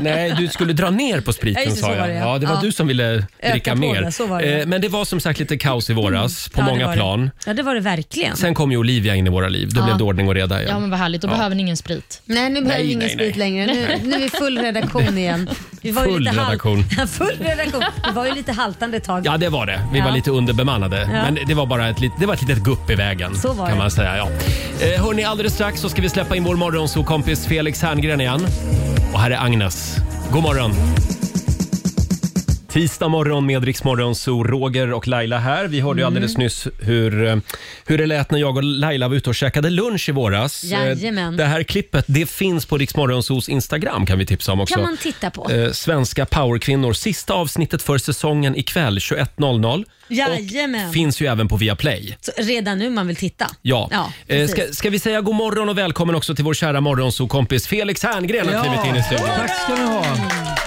[SPEAKER 1] Nej, du skulle dra ner på
[SPEAKER 2] Ja,
[SPEAKER 1] spriten
[SPEAKER 2] just det,
[SPEAKER 1] sa
[SPEAKER 2] så var
[SPEAKER 1] jag.
[SPEAKER 2] det,
[SPEAKER 1] ja.
[SPEAKER 2] ja.
[SPEAKER 1] det var
[SPEAKER 2] Ja.
[SPEAKER 1] du som ville dricka
[SPEAKER 2] på
[SPEAKER 1] mer.
[SPEAKER 2] det, så var det.
[SPEAKER 1] Eh, Men det var som sagt lite kaos i våras på
[SPEAKER 2] Ja, det
[SPEAKER 1] många
[SPEAKER 2] var det.
[SPEAKER 1] plan.
[SPEAKER 2] Ja, det var det verkligen.
[SPEAKER 1] Sen kom ju Olivia in i våra liv. Då blev det ordning och reda igen.
[SPEAKER 3] Ja, men vad härligt. Då behöver ni ingen sprit.
[SPEAKER 2] Nej, nu behöver
[SPEAKER 1] Nej,
[SPEAKER 2] vi ingen
[SPEAKER 1] nej,
[SPEAKER 2] sprit
[SPEAKER 1] nej.
[SPEAKER 2] längre. Nu, nu är vi full redaktion igen. Vi var
[SPEAKER 1] Full
[SPEAKER 2] halv-
[SPEAKER 1] redaktion.
[SPEAKER 2] Ja, full redaktion. Vi var ju lite haltande ett tag.
[SPEAKER 1] Ja, det var det. Vi
[SPEAKER 2] Ja.
[SPEAKER 1] var lite underbemannade. Men det var bara ett, lit- det var ett litet gupp i vägen.
[SPEAKER 2] Så var
[SPEAKER 1] kan
[SPEAKER 2] det.
[SPEAKER 1] man säga. Ja. Eh, hörni, alldeles strax så ska vi släppa in vår morgonsokompis Felix Herngren igen. Och här är Agnes. God morgon! Tisdag morgon med Rix Morgon, så Roger och Laila här. Vi hörde ju
[SPEAKER 2] Mm.
[SPEAKER 1] alldeles nyss hur, eh, hur det lät när jag och Laila var ute och käkade lunch i våras. Eh,
[SPEAKER 2] Jajamän.
[SPEAKER 1] Det här klippet det finns på Rix Morgonzos Instagram kan vi tipsa om också.
[SPEAKER 2] kan man titta på.
[SPEAKER 1] Eh, Svenska powerkvinnor. Sista avsnittet för säsongen ikväll 21.00.
[SPEAKER 2] Jajamän.
[SPEAKER 1] Finns ju även på Viaplay.
[SPEAKER 2] Så redan nu man vill titta.
[SPEAKER 1] Ja. Eh,
[SPEAKER 2] precis.
[SPEAKER 1] ska, ska vi säga god morgon och välkommen också till vår kära morgonsokompis Felix Herngren har klivit in i studion.
[SPEAKER 10] Tack ska ni ha.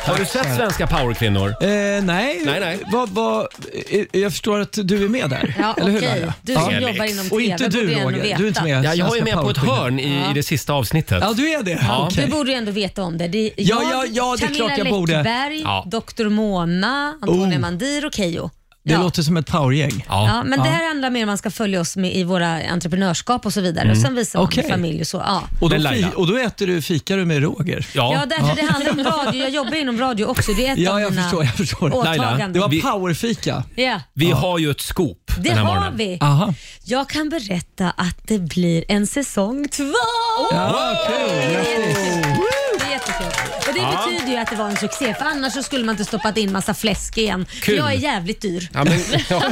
[SPEAKER 1] Har du sett Svenska powerkvinnor?
[SPEAKER 10] Eh, nej,
[SPEAKER 1] Nej, nej.
[SPEAKER 10] Vad- vad- eh, jag förstår att du är med där.
[SPEAKER 2] Ja,
[SPEAKER 10] eller hur
[SPEAKER 2] okej.
[SPEAKER 10] Laila?
[SPEAKER 2] Du
[SPEAKER 10] Ja.
[SPEAKER 2] som jobbar inom TV
[SPEAKER 10] Och inte
[SPEAKER 2] borde ju
[SPEAKER 10] du
[SPEAKER 2] ändå
[SPEAKER 10] Roger,
[SPEAKER 2] veta.
[SPEAKER 10] du är inte med.
[SPEAKER 1] Ja, jag är
[SPEAKER 10] Svenska
[SPEAKER 1] med på ett
[SPEAKER 10] Powerkvinnor.
[SPEAKER 1] hörn i, i det sista avsnittet.
[SPEAKER 10] Ja, du är det?
[SPEAKER 1] Ja.
[SPEAKER 10] Okej.
[SPEAKER 2] Du borde ju ändå veta om det. det är
[SPEAKER 10] Ja, ja, ja, det är
[SPEAKER 2] Camilla
[SPEAKER 10] klart jag borde.
[SPEAKER 2] Läckberg,
[SPEAKER 1] Ja.
[SPEAKER 2] Dr Mona, Antonija
[SPEAKER 10] Oh.
[SPEAKER 2] Mandir och Keyyo.
[SPEAKER 10] Det
[SPEAKER 2] Ja.
[SPEAKER 10] låter som ett powergäng.
[SPEAKER 1] Ja.
[SPEAKER 2] Ja, men det här handlar mer om att man ska följa oss med i våra entreprenörskap och så vidare. Och sen visar man
[SPEAKER 10] Mm. Okej.
[SPEAKER 2] familj och så. Ja.
[SPEAKER 10] Och då,
[SPEAKER 1] Men Laila.
[SPEAKER 10] fi, och då äter du, fikar du med Roger?
[SPEAKER 1] Ja.
[SPEAKER 2] Ja, därför det handlar om radio. Jag jobbar inom radio också. Det är ett
[SPEAKER 10] Ja,
[SPEAKER 2] av
[SPEAKER 10] jag
[SPEAKER 2] mina
[SPEAKER 10] förstår, jag förstår.
[SPEAKER 1] Laila,
[SPEAKER 2] åtaganden.
[SPEAKER 10] Det var
[SPEAKER 1] Vi-
[SPEAKER 10] powerfika.
[SPEAKER 2] ja,
[SPEAKER 1] Vi har ju ett scoop
[SPEAKER 2] det
[SPEAKER 1] den här
[SPEAKER 2] har
[SPEAKER 1] morgonen.
[SPEAKER 2] vi.
[SPEAKER 10] Aha.
[SPEAKER 2] Jag kan berätta att det blir en säsong två.
[SPEAKER 10] Ja,
[SPEAKER 2] Det är
[SPEAKER 10] kul.
[SPEAKER 2] jättekul. Det är jättekul. Och det betyder ju att det var en succé, för annars så skulle man inte stoppat in massa fläsk igen. För
[SPEAKER 1] Kul.
[SPEAKER 2] jag är jävligt dyr.
[SPEAKER 1] Ja, men, ja.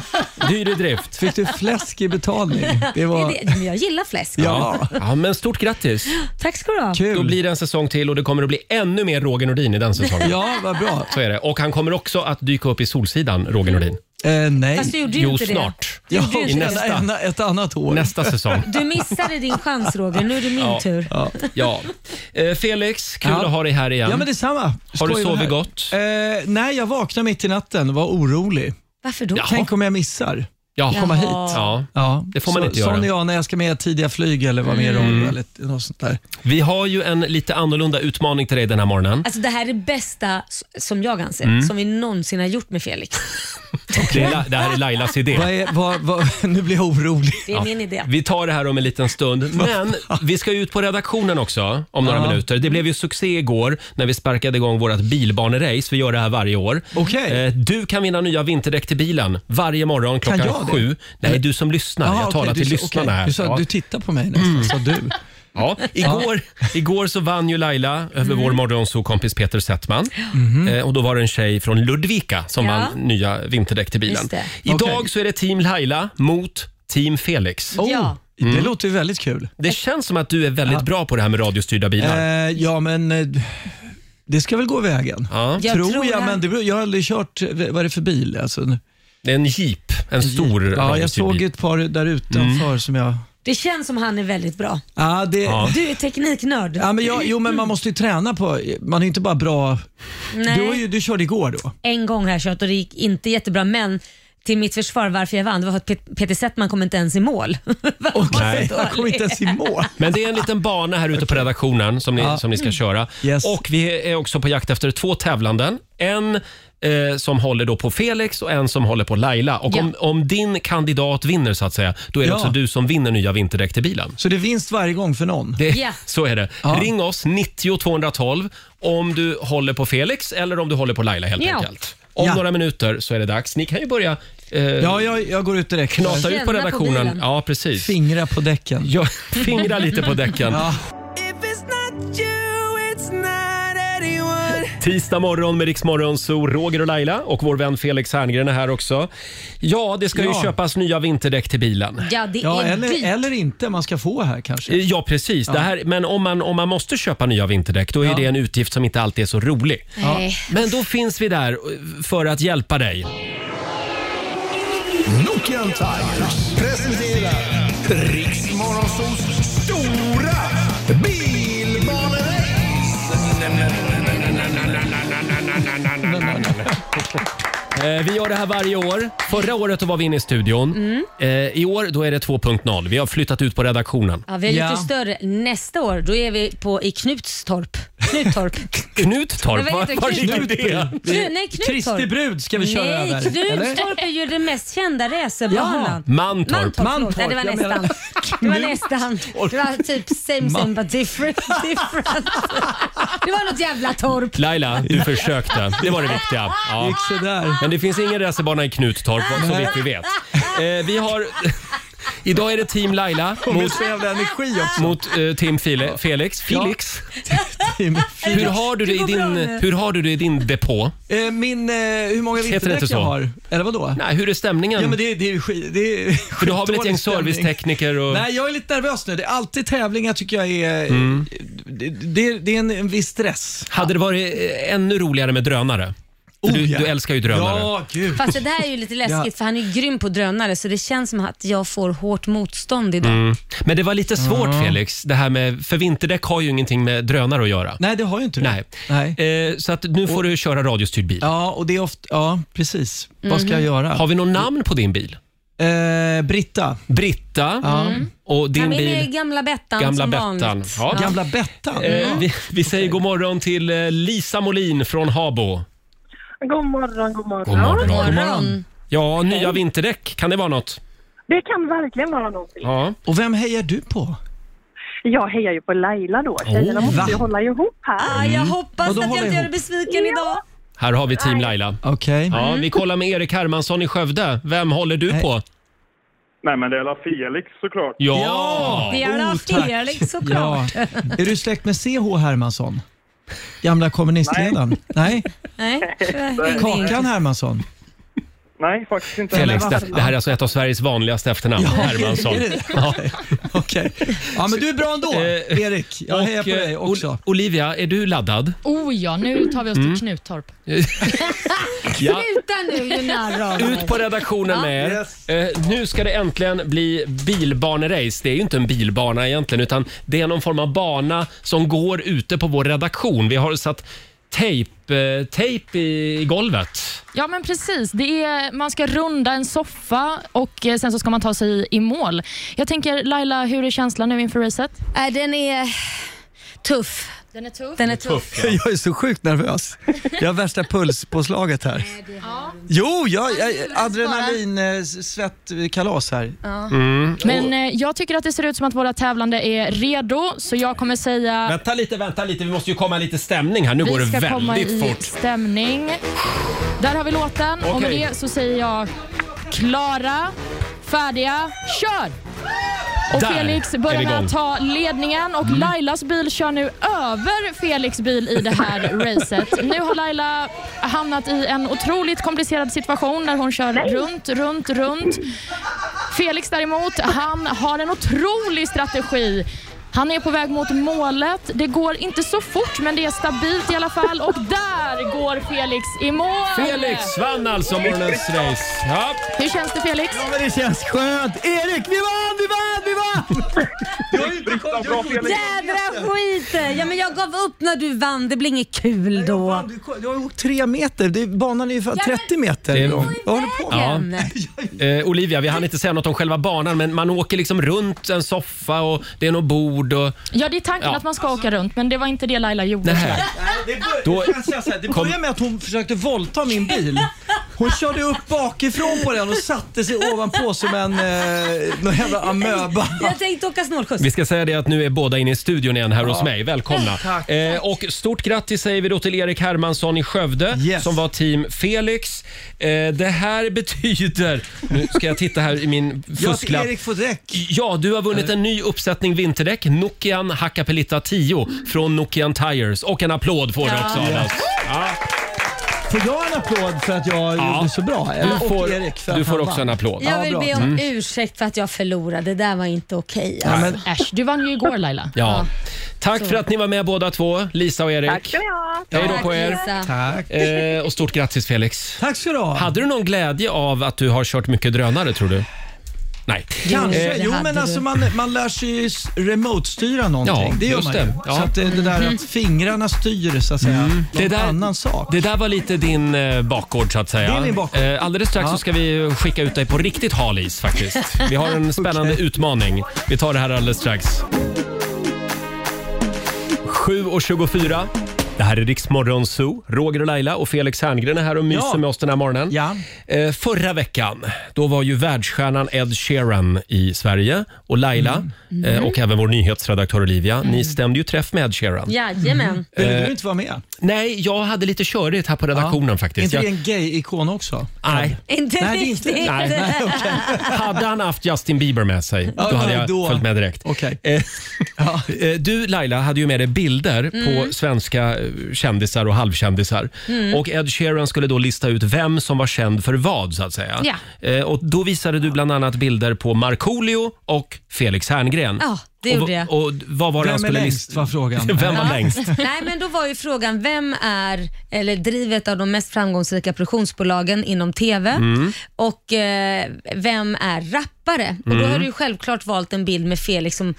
[SPEAKER 1] Dyr i drift.
[SPEAKER 10] Fick du fläsk i betalning? Det
[SPEAKER 2] Det är
[SPEAKER 10] var
[SPEAKER 2] det- Men jag gillar fläsk.
[SPEAKER 10] ja,
[SPEAKER 1] Ja, men stort grattis.
[SPEAKER 2] Tack ska du ha.
[SPEAKER 1] Då
[SPEAKER 10] kul.
[SPEAKER 1] blir det en säsong till och det kommer att bli ännu mer Roger Nordin i den säsongen.
[SPEAKER 10] Ja, vad bra.
[SPEAKER 1] Så är det. Och han kommer också att dyka upp i Solsidan, Roger Nordin.
[SPEAKER 10] Eh, nej.
[SPEAKER 2] Fast du gjorde ju
[SPEAKER 1] Jo,
[SPEAKER 2] inte
[SPEAKER 1] snart.
[SPEAKER 2] det.
[SPEAKER 10] Ja,
[SPEAKER 2] Du, gjorde
[SPEAKER 1] i
[SPEAKER 2] ju inte
[SPEAKER 1] nästa.
[SPEAKER 2] det.
[SPEAKER 10] en, ett annat år.
[SPEAKER 1] Nästa säsong.
[SPEAKER 2] du missade din chans Roger, nu är det min
[SPEAKER 1] Ja.
[SPEAKER 2] tur.
[SPEAKER 10] Ja.
[SPEAKER 1] Ja. Eh, Felix, kul
[SPEAKER 10] Ja.
[SPEAKER 1] att ha dig här igen.
[SPEAKER 10] Ja, men detsamma.
[SPEAKER 1] Har du
[SPEAKER 10] Skoj att vara
[SPEAKER 1] sovit
[SPEAKER 10] här.
[SPEAKER 1] gott?
[SPEAKER 10] Eh, nej, jag vaknade mitt i natten och var orolig.
[SPEAKER 2] Varför då?
[SPEAKER 10] Tänk om jag missar.
[SPEAKER 1] ja.
[SPEAKER 10] komma hit.
[SPEAKER 1] Ja.
[SPEAKER 10] Ja,
[SPEAKER 1] Det får man
[SPEAKER 10] så,
[SPEAKER 1] inte göra. Mm.
[SPEAKER 10] Sån är jag när jag ska med tidiga flyg eller vara med i radio eller något sånt där.
[SPEAKER 1] Vi har ju en lite annorlunda utmaning till dig den här morgonen.
[SPEAKER 2] Alltså det här är det bästa, s- som jag anser,
[SPEAKER 10] Mm.
[SPEAKER 2] som vi någonsin har gjort med Felix.
[SPEAKER 1] Det, är, La- det här är Lailas idé.
[SPEAKER 10] Vad är, vad, vad, nu blir jag orolig.
[SPEAKER 2] Det är min idé.
[SPEAKER 1] Vi tar det här om en liten stund. Men vi ska ju ut på redaktionen också om några
[SPEAKER 10] Ja.
[SPEAKER 1] minuter. Det blev ju succé igår när vi sparkade igång vårt bilbanerace. Vi gör det här varje år.
[SPEAKER 10] Okej.
[SPEAKER 1] Eh, Du kan vinna nya vinterdäck till bilen varje morgon
[SPEAKER 10] Kan
[SPEAKER 1] klockan
[SPEAKER 10] jag det?
[SPEAKER 1] sju. Nej, du som lyssnar.
[SPEAKER 10] Jaha,
[SPEAKER 1] jag
[SPEAKER 10] okej,
[SPEAKER 1] talar till
[SPEAKER 10] du, sa-
[SPEAKER 1] lyssnarna
[SPEAKER 10] okej.
[SPEAKER 1] här.
[SPEAKER 10] Du, sa,
[SPEAKER 1] Ja. Mm.
[SPEAKER 10] du tittar på mig nästan, sa du.
[SPEAKER 1] Ja, igår, igår så vann ju Laila över
[SPEAKER 10] Mm.
[SPEAKER 1] vår morgonsokompis Peter Settman.
[SPEAKER 10] Mhm.
[SPEAKER 1] Eh, och då var det en tjej från Ludvika som
[SPEAKER 2] Ja.
[SPEAKER 1] vann nya vinterdäck till bilen.
[SPEAKER 2] Just det.
[SPEAKER 1] Idag
[SPEAKER 10] Okej.
[SPEAKER 1] så är det team Laila mot team Felix.
[SPEAKER 10] Oh,
[SPEAKER 2] Ja.
[SPEAKER 10] Det
[SPEAKER 1] Mm.
[SPEAKER 10] låter ju väldigt kul.
[SPEAKER 1] Det känns som att du är väldigt bra på det här med radiostyrda
[SPEAKER 10] Eh,
[SPEAKER 1] bilar.
[SPEAKER 10] ja, men eh, det ska väl gå vägen.
[SPEAKER 1] Ja.
[SPEAKER 2] Jag
[SPEAKER 10] tror,
[SPEAKER 2] tror
[SPEAKER 10] jag,
[SPEAKER 2] det.
[SPEAKER 10] men det, beror- jag har aldrig kört, vad är det för bil? Alltså,
[SPEAKER 1] Det är en jeep, en stor Mm.
[SPEAKER 10] ja, jag
[SPEAKER 1] radiostyrd
[SPEAKER 10] såg
[SPEAKER 1] bil.
[SPEAKER 10] ett par där utanför som jag
[SPEAKER 2] Det känns som han är väldigt bra.
[SPEAKER 10] Ja, det,
[SPEAKER 2] Du är tekniknörd.
[SPEAKER 10] Ja, men jag, jo, men man måste ju träna på... Man är ju inte bara bra...
[SPEAKER 2] Nej.
[SPEAKER 10] Du, har ju, du körde igår då.
[SPEAKER 2] en gång har jag kört och det gick inte jättebra men till mitt försvar varför jag vann det var för att Pet- Peter Settman kom inte ens i mål.
[SPEAKER 1] Nej.
[SPEAKER 10] Jag kom inte ens i mål.
[SPEAKER 1] Men det är en liten bana här ute på redaktionen som ni,
[SPEAKER 10] Ja.
[SPEAKER 1] som ni ska
[SPEAKER 10] Mm.
[SPEAKER 1] köra. Och vi är också på jakt efter två tävlanden. En eh, som håller då på Felix och en som håller på Laila. Och om, om din kandidat vinner så att säga, då är det
[SPEAKER 10] Ja.
[SPEAKER 1] också du som vinner nya vinterdäck till bilen.
[SPEAKER 10] Så det är vinst varje gång för någon.
[SPEAKER 1] Det, Så är det. Ring oss, 90 212, om du håller på Felix eller om du håller på Laila helt
[SPEAKER 10] Ja.
[SPEAKER 1] enkelt. Om
[SPEAKER 10] Ja.
[SPEAKER 1] några minuter så är det dags. Ni kan ju börja eh,
[SPEAKER 10] Ja, jag, jag går ut direkt.
[SPEAKER 1] knata ut på redaktionen. ja, precis.
[SPEAKER 10] Fingra på däcken.
[SPEAKER 1] Ja, fingra lite på däcken.
[SPEAKER 10] Ja.
[SPEAKER 1] Tisdag morgon med Riksmorgon, så Roger och Laila och vår vän Felix Herngren är här också. Ja, det ska ju
[SPEAKER 10] Ja.
[SPEAKER 1] köpas nya vinterdäck till bilen.
[SPEAKER 2] Ja, det
[SPEAKER 10] Ja,
[SPEAKER 2] är dyrt.
[SPEAKER 10] eller, eller inte. Man ska få här kanske.
[SPEAKER 1] Ja, precis. Det här, men om man, om man måste köpa nya vinterdäck, då är
[SPEAKER 10] Ja.
[SPEAKER 1] det en utgift som inte alltid är så rolig.
[SPEAKER 2] Nej.
[SPEAKER 1] Men då finns vi där eh, för att hjälpa dig.
[SPEAKER 6] Nokian Tigers presenterar Riksmorgonsols stora bilbanerace.
[SPEAKER 1] Eh, Vi gör det här varje år. Förra året då var vi inne i studion. Eh, I år då är det 2.0. Vi har flyttat ut på redaktionen.
[SPEAKER 2] Ja, vi har gjort det större. Nästa år då är vi på, i Knutstorp. Knuttorp.
[SPEAKER 1] Knuttorp,
[SPEAKER 2] Men vad
[SPEAKER 1] var,
[SPEAKER 2] heter
[SPEAKER 1] var
[SPEAKER 2] det?
[SPEAKER 1] ligger
[SPEAKER 2] Knutby?
[SPEAKER 1] det?
[SPEAKER 2] Knu, nej, Knutstorp.
[SPEAKER 10] Kristi brud ska vi köra
[SPEAKER 2] nej,
[SPEAKER 10] över,
[SPEAKER 2] Knutstorp är ju den mest kända racerbanan.
[SPEAKER 1] Mantorp.
[SPEAKER 2] Mantorp. förlåt. Nej, det var
[SPEAKER 10] Mantorp, jag
[SPEAKER 2] nästan. Det var nästan. Det var typ same same
[SPEAKER 1] Man-
[SPEAKER 2] but different. different. Det var något jävla torp.
[SPEAKER 1] Laila, du försökte. Det var det viktiga.
[SPEAKER 10] Det
[SPEAKER 1] Ja.
[SPEAKER 10] gick sådär.
[SPEAKER 1] Men det finns ingen racerbana i Knuttorp, så vitt vi vet. Eh, vi har... Idag är det team Laila
[SPEAKER 10] Med
[SPEAKER 1] mot,
[SPEAKER 10] så jävla energi också.
[SPEAKER 1] mot eh, team File, Felix. Felix. Hur, har du det i
[SPEAKER 2] går bra
[SPEAKER 1] din,
[SPEAKER 2] nu.
[SPEAKER 1] hur har du det i din depå?
[SPEAKER 10] Eh, Min, eh, hur många
[SPEAKER 1] Heter det
[SPEAKER 10] vinterdäck
[SPEAKER 1] inte
[SPEAKER 10] jag
[SPEAKER 1] så?
[SPEAKER 10] har? Eller vadå?
[SPEAKER 1] Nej, hur är stämningen?
[SPEAKER 10] Ja, men det, det är ju skit... Det är
[SPEAKER 1] För du har väl ett gäng
[SPEAKER 10] skitdålig stämning.
[SPEAKER 1] servicetekniker och...
[SPEAKER 10] Nej, jag är lite nervös nu. Det är alltid tävlingar tycker jag är...
[SPEAKER 1] Mm.
[SPEAKER 10] Det, det, det är en, en viss stress.
[SPEAKER 1] Hade det varit eh, ännu roligare med drönare? För
[SPEAKER 10] Oh,
[SPEAKER 1] du,
[SPEAKER 10] ja.
[SPEAKER 1] du älskar ju drönare.
[SPEAKER 10] Ja, gud.
[SPEAKER 2] Fast det där är ju lite läskigt
[SPEAKER 10] Ja.
[SPEAKER 2] för han är ju grym på drönare så det känns som att jag får hårt motstånd idag.
[SPEAKER 1] Mm. Men det var lite svårt Felix, det här med, för vinterdäck har ju ingenting med drönare att göra.
[SPEAKER 10] Nej, det har ju inte det.
[SPEAKER 1] Nej.
[SPEAKER 10] Nej.
[SPEAKER 1] Eh, så att nu får du köra radiostyrd bil.
[SPEAKER 10] Ja, och det är ofta... Ja, precis. Vad ska jag göra?
[SPEAKER 1] Har vi något namn på din bil?
[SPEAKER 10] Eh, Britta.
[SPEAKER 1] Britta och din
[SPEAKER 2] Han är med i
[SPEAKER 1] bil
[SPEAKER 2] gamla Bettan
[SPEAKER 1] Gamla
[SPEAKER 2] som
[SPEAKER 1] Bettan.
[SPEAKER 2] vanligt.
[SPEAKER 1] Ja.
[SPEAKER 10] Gamla Bettan.
[SPEAKER 1] Eh, vi, vi säger god morgon till eh, Lisa Molin från Habo.
[SPEAKER 5] God morgon, god morgon.
[SPEAKER 1] God morgon.
[SPEAKER 2] God morgon.
[SPEAKER 10] morgon.
[SPEAKER 1] Ja, nya vinterdäck. Kan det vara något?
[SPEAKER 5] Det kan verkligen vara någonting.
[SPEAKER 1] Ja.
[SPEAKER 10] Och vem hejar du på?
[SPEAKER 5] Jag hejar ju på Laila då. Tjejerna måste ju
[SPEAKER 10] Va?
[SPEAKER 5] hålla ihop här.
[SPEAKER 2] Ah, jag hoppas
[SPEAKER 10] Vadå
[SPEAKER 2] att jag
[SPEAKER 10] hålla
[SPEAKER 2] inte gör dig
[SPEAKER 10] ihop?
[SPEAKER 2] besviken idag.
[SPEAKER 1] Här har vi team Laila.
[SPEAKER 10] Okej.
[SPEAKER 1] Ja, vi kollar med Erik Hermansson i Skövde. Vem håller du
[SPEAKER 10] Nej.
[SPEAKER 1] på?
[SPEAKER 4] Nej, men det är la Felix såklart.
[SPEAKER 1] Ja!
[SPEAKER 2] Det är alla
[SPEAKER 10] Oh, tack.
[SPEAKER 2] Felix liksom, såklart.
[SPEAKER 10] Ja. Är du släkt med CH Hermansson? Gamla kommunistledaren? Nej.
[SPEAKER 2] Nej,
[SPEAKER 10] Kakan Hermansson?
[SPEAKER 4] Nej, faktiskt inte.
[SPEAKER 1] Felix, det, det här är alltså ett av Sveriges vanligaste efternamn. Hermansson.
[SPEAKER 10] Är det det? Okej. Okej. Ja, men du är bra ändå,
[SPEAKER 1] Eh,
[SPEAKER 10] Erik. Jag hejar på
[SPEAKER 1] eh,
[SPEAKER 10] dig
[SPEAKER 1] Ol-
[SPEAKER 10] också.
[SPEAKER 1] Olivia, är du laddad?
[SPEAKER 3] Oh ja, nu tar vi oss
[SPEAKER 1] Mm.
[SPEAKER 3] till Knutorp.
[SPEAKER 1] Ja.
[SPEAKER 2] Sluta nu ju narr av
[SPEAKER 1] Ut
[SPEAKER 2] mig.
[SPEAKER 1] på redaktionen med er. Eh, nu ska det äntligen bli bilbanerace. Det är ju inte en bilbana egentligen, utan det är någon form av bana som går ute på vår redaktion. Vi har satt tejp, eh, tejp i, i golvet.
[SPEAKER 3] Ja, men precis. Det är, man ska runda en soffa och eh, sen så ska man ta sig i, i mål. Jag tänker, Laila, hur är känslan nu inför racet?
[SPEAKER 2] Nej, den är tuff.
[SPEAKER 3] Den är tuff.
[SPEAKER 2] Den är tuff.
[SPEAKER 10] Jag är så sjukt nervös. Jag har värsta pulspåslaget här. Jo, jag, jag, adrenalin, eh, s- svettkalas här.
[SPEAKER 3] Men eh, jag tycker att det ser ut som att våra tävlande är redo, så jag kommer säga...
[SPEAKER 1] Vänta lite, vänta lite. Vi måste ju komma lite stämning här. Nu går
[SPEAKER 3] Vi
[SPEAKER 1] det
[SPEAKER 3] ska komma
[SPEAKER 1] väldigt
[SPEAKER 3] i
[SPEAKER 1] fort.
[SPEAKER 3] stämning. Där har vi låten och med
[SPEAKER 1] Okej.
[SPEAKER 3] det så säger jag klara, färdiga, kör! Och
[SPEAKER 1] Där
[SPEAKER 3] Felix
[SPEAKER 1] är vi
[SPEAKER 3] börjar med
[SPEAKER 1] igång. Mm.
[SPEAKER 3] att ta ledningen och Lailas bil kör nu över Felix bil i det här racet. Nu har Laila hamnat i en otroligt komplicerad situation där hon kör runt, runt, runt. Felix däremot, han har en otrolig strategi. Han är på väg mot målet. Det går inte så fort, men det är stabilt i alla fall. Och där går Felix i mål!
[SPEAKER 1] Felix vann alltså morgonens race. Ja.
[SPEAKER 3] Hur känns det Felix?
[SPEAKER 10] Ja, men det känns skönt. Erik, vi vann, vi vann, vi vann! Du har ju inte koll. Du har ju
[SPEAKER 2] Jädra skit! Ja men jag gav upp när du vann, det blir inget kul då.
[SPEAKER 10] Du har åkt tre meter. Det är, banan är ju fan 30 meter
[SPEAKER 1] Det är-
[SPEAKER 10] lång. Vad håller du på med?
[SPEAKER 1] Ja. Eh, Olivia, vi hann inte säga något om själva banan, men man åker liksom runt en soffa och det är något bord och...
[SPEAKER 3] Ja, det är tanken
[SPEAKER 1] Ja.
[SPEAKER 3] att man ska åka runt, men det var inte det Laila gjorde.
[SPEAKER 1] Nej.
[SPEAKER 10] Alltså, Det, bör,
[SPEAKER 1] Då-
[SPEAKER 10] det, kan jag säga så här, det började med att hon försökte våldta min bil. Hon körde upp bakifrån på den och satte sig ovanpå som en eh, någon jävla amöba.
[SPEAKER 2] Jag tänkte åka snålskjuts.
[SPEAKER 1] Vi ska säga det att nu är båda inne i studion igen här hos mig. Välkomna!
[SPEAKER 10] Tack.
[SPEAKER 1] Eh, och stort grattis säger vi då till Erik Hermansson i Skövde
[SPEAKER 10] Yes.
[SPEAKER 1] som var team Felix. Eh, det här betyder... Nu ska jag titta här i min
[SPEAKER 10] Jag till
[SPEAKER 1] fusklapp.
[SPEAKER 10] Erik får däck.
[SPEAKER 1] Ja, du har vunnit en ny uppsättning vinterdäck, Nokian Hakkapeliitta 10 från Nokian Tires. Och en applåd får du också av oss.
[SPEAKER 10] Får jag en applåd för att jag gjorde så bra? Eller,
[SPEAKER 1] Du
[SPEAKER 10] och Erik
[SPEAKER 1] får,
[SPEAKER 10] för att
[SPEAKER 1] du
[SPEAKER 10] han
[SPEAKER 1] får också en
[SPEAKER 10] vann.
[SPEAKER 1] applåd.
[SPEAKER 2] Jag vill
[SPEAKER 10] bra.
[SPEAKER 2] be om
[SPEAKER 1] Mm.
[SPEAKER 2] ursäkt för att jag förlorade, det där var inte okej.
[SPEAKER 10] Ja,
[SPEAKER 2] alltså.
[SPEAKER 10] men,
[SPEAKER 3] Äsch, du vann ju igår Laila.
[SPEAKER 1] Ja. Tack för att ni var med båda två, Lisa och
[SPEAKER 5] Tack
[SPEAKER 1] Erik.
[SPEAKER 5] ska ni ha.
[SPEAKER 1] Hej då på
[SPEAKER 2] Tack,
[SPEAKER 1] er.
[SPEAKER 2] Lisa.
[SPEAKER 10] tack.
[SPEAKER 1] Eh, och stort grattis Felix.
[SPEAKER 10] Tack ska du ha.
[SPEAKER 1] Hade du någon glädje av att du har kört mycket drönare tror du? Nej.
[SPEAKER 10] Kanske.
[SPEAKER 2] det
[SPEAKER 1] Eh,
[SPEAKER 10] Jo,
[SPEAKER 2] hade
[SPEAKER 10] men
[SPEAKER 2] du.
[SPEAKER 10] alltså man, man lär sig ju s- remote-styra någonting.
[SPEAKER 1] Ja,
[SPEAKER 10] det gör
[SPEAKER 1] just
[SPEAKER 10] man ju.
[SPEAKER 1] det. Ja. Mm.
[SPEAKER 10] Så att det, det
[SPEAKER 2] Mm.
[SPEAKER 10] där att fingrarna styr så att säga,
[SPEAKER 1] Det
[SPEAKER 10] någon
[SPEAKER 1] där-
[SPEAKER 10] annan sak.
[SPEAKER 1] Det där var lite din eh, bakgård så att säga.
[SPEAKER 10] Det är min bakgård.
[SPEAKER 1] Eh, alldeles strax så ska vi skicka ut dig på riktigt hal is faktiskt. Vi har en spännande utmaning. Vi tar det här alldeles strax. 7.24. Det här är Riksmorgon Zoo. Roger och Laila och Felix Herngren är här och myser
[SPEAKER 10] Ja.
[SPEAKER 1] med oss den här morgonen.
[SPEAKER 10] Ja.
[SPEAKER 1] Eh, förra veckan då var ju världsstjärnan Ed Sheeran i Sverige och Laila
[SPEAKER 10] Mm.
[SPEAKER 1] Eh, och även vår nyhetsredaktör Olivia. Ni stämde ju träff med Ed Sheeran.
[SPEAKER 2] Jajamän.
[SPEAKER 10] Vill du inte vara med?
[SPEAKER 1] Nej, jag hade lite körigt här på redaktionen
[SPEAKER 10] Är
[SPEAKER 1] faktiskt.
[SPEAKER 10] inte det
[SPEAKER 1] Jag,
[SPEAKER 10] en gay-ikon också?
[SPEAKER 1] nej,
[SPEAKER 2] Inte
[SPEAKER 10] Nej, det är inte-
[SPEAKER 2] riktigt.
[SPEAKER 1] nej, nej, Hade han haft Justin Bieber med sig,
[SPEAKER 10] Ja,
[SPEAKER 1] då hade jag
[SPEAKER 10] då.
[SPEAKER 1] följt med direkt.
[SPEAKER 10] Okej.
[SPEAKER 1] Eh, eh, Du Laila hade ju med dig bilder på
[SPEAKER 10] Mm.
[SPEAKER 1] svenska eh, kändisar och halvkändisar. Och Ed Sheeran skulle då lista ut vem som var känd för vad så att säga.
[SPEAKER 3] Ja.
[SPEAKER 1] Eh, Och då visade du bland annat bilder på Markoolio och Felix Herngren.
[SPEAKER 2] Ja, det gjorde jag.
[SPEAKER 1] och, och vad var det han
[SPEAKER 10] Vem är
[SPEAKER 1] skulle
[SPEAKER 10] längst
[SPEAKER 1] lista?
[SPEAKER 10] var alltså frågan.
[SPEAKER 1] Vem var längst?
[SPEAKER 2] Nej men då var ju frågan, vem är eller drivet av de mest framgångsrika produktionsbolagen inom TV
[SPEAKER 1] Mm.
[SPEAKER 2] och eh, vem är rappare? Och
[SPEAKER 1] Mm.
[SPEAKER 2] då har du ju självklart valt en bild med Felix som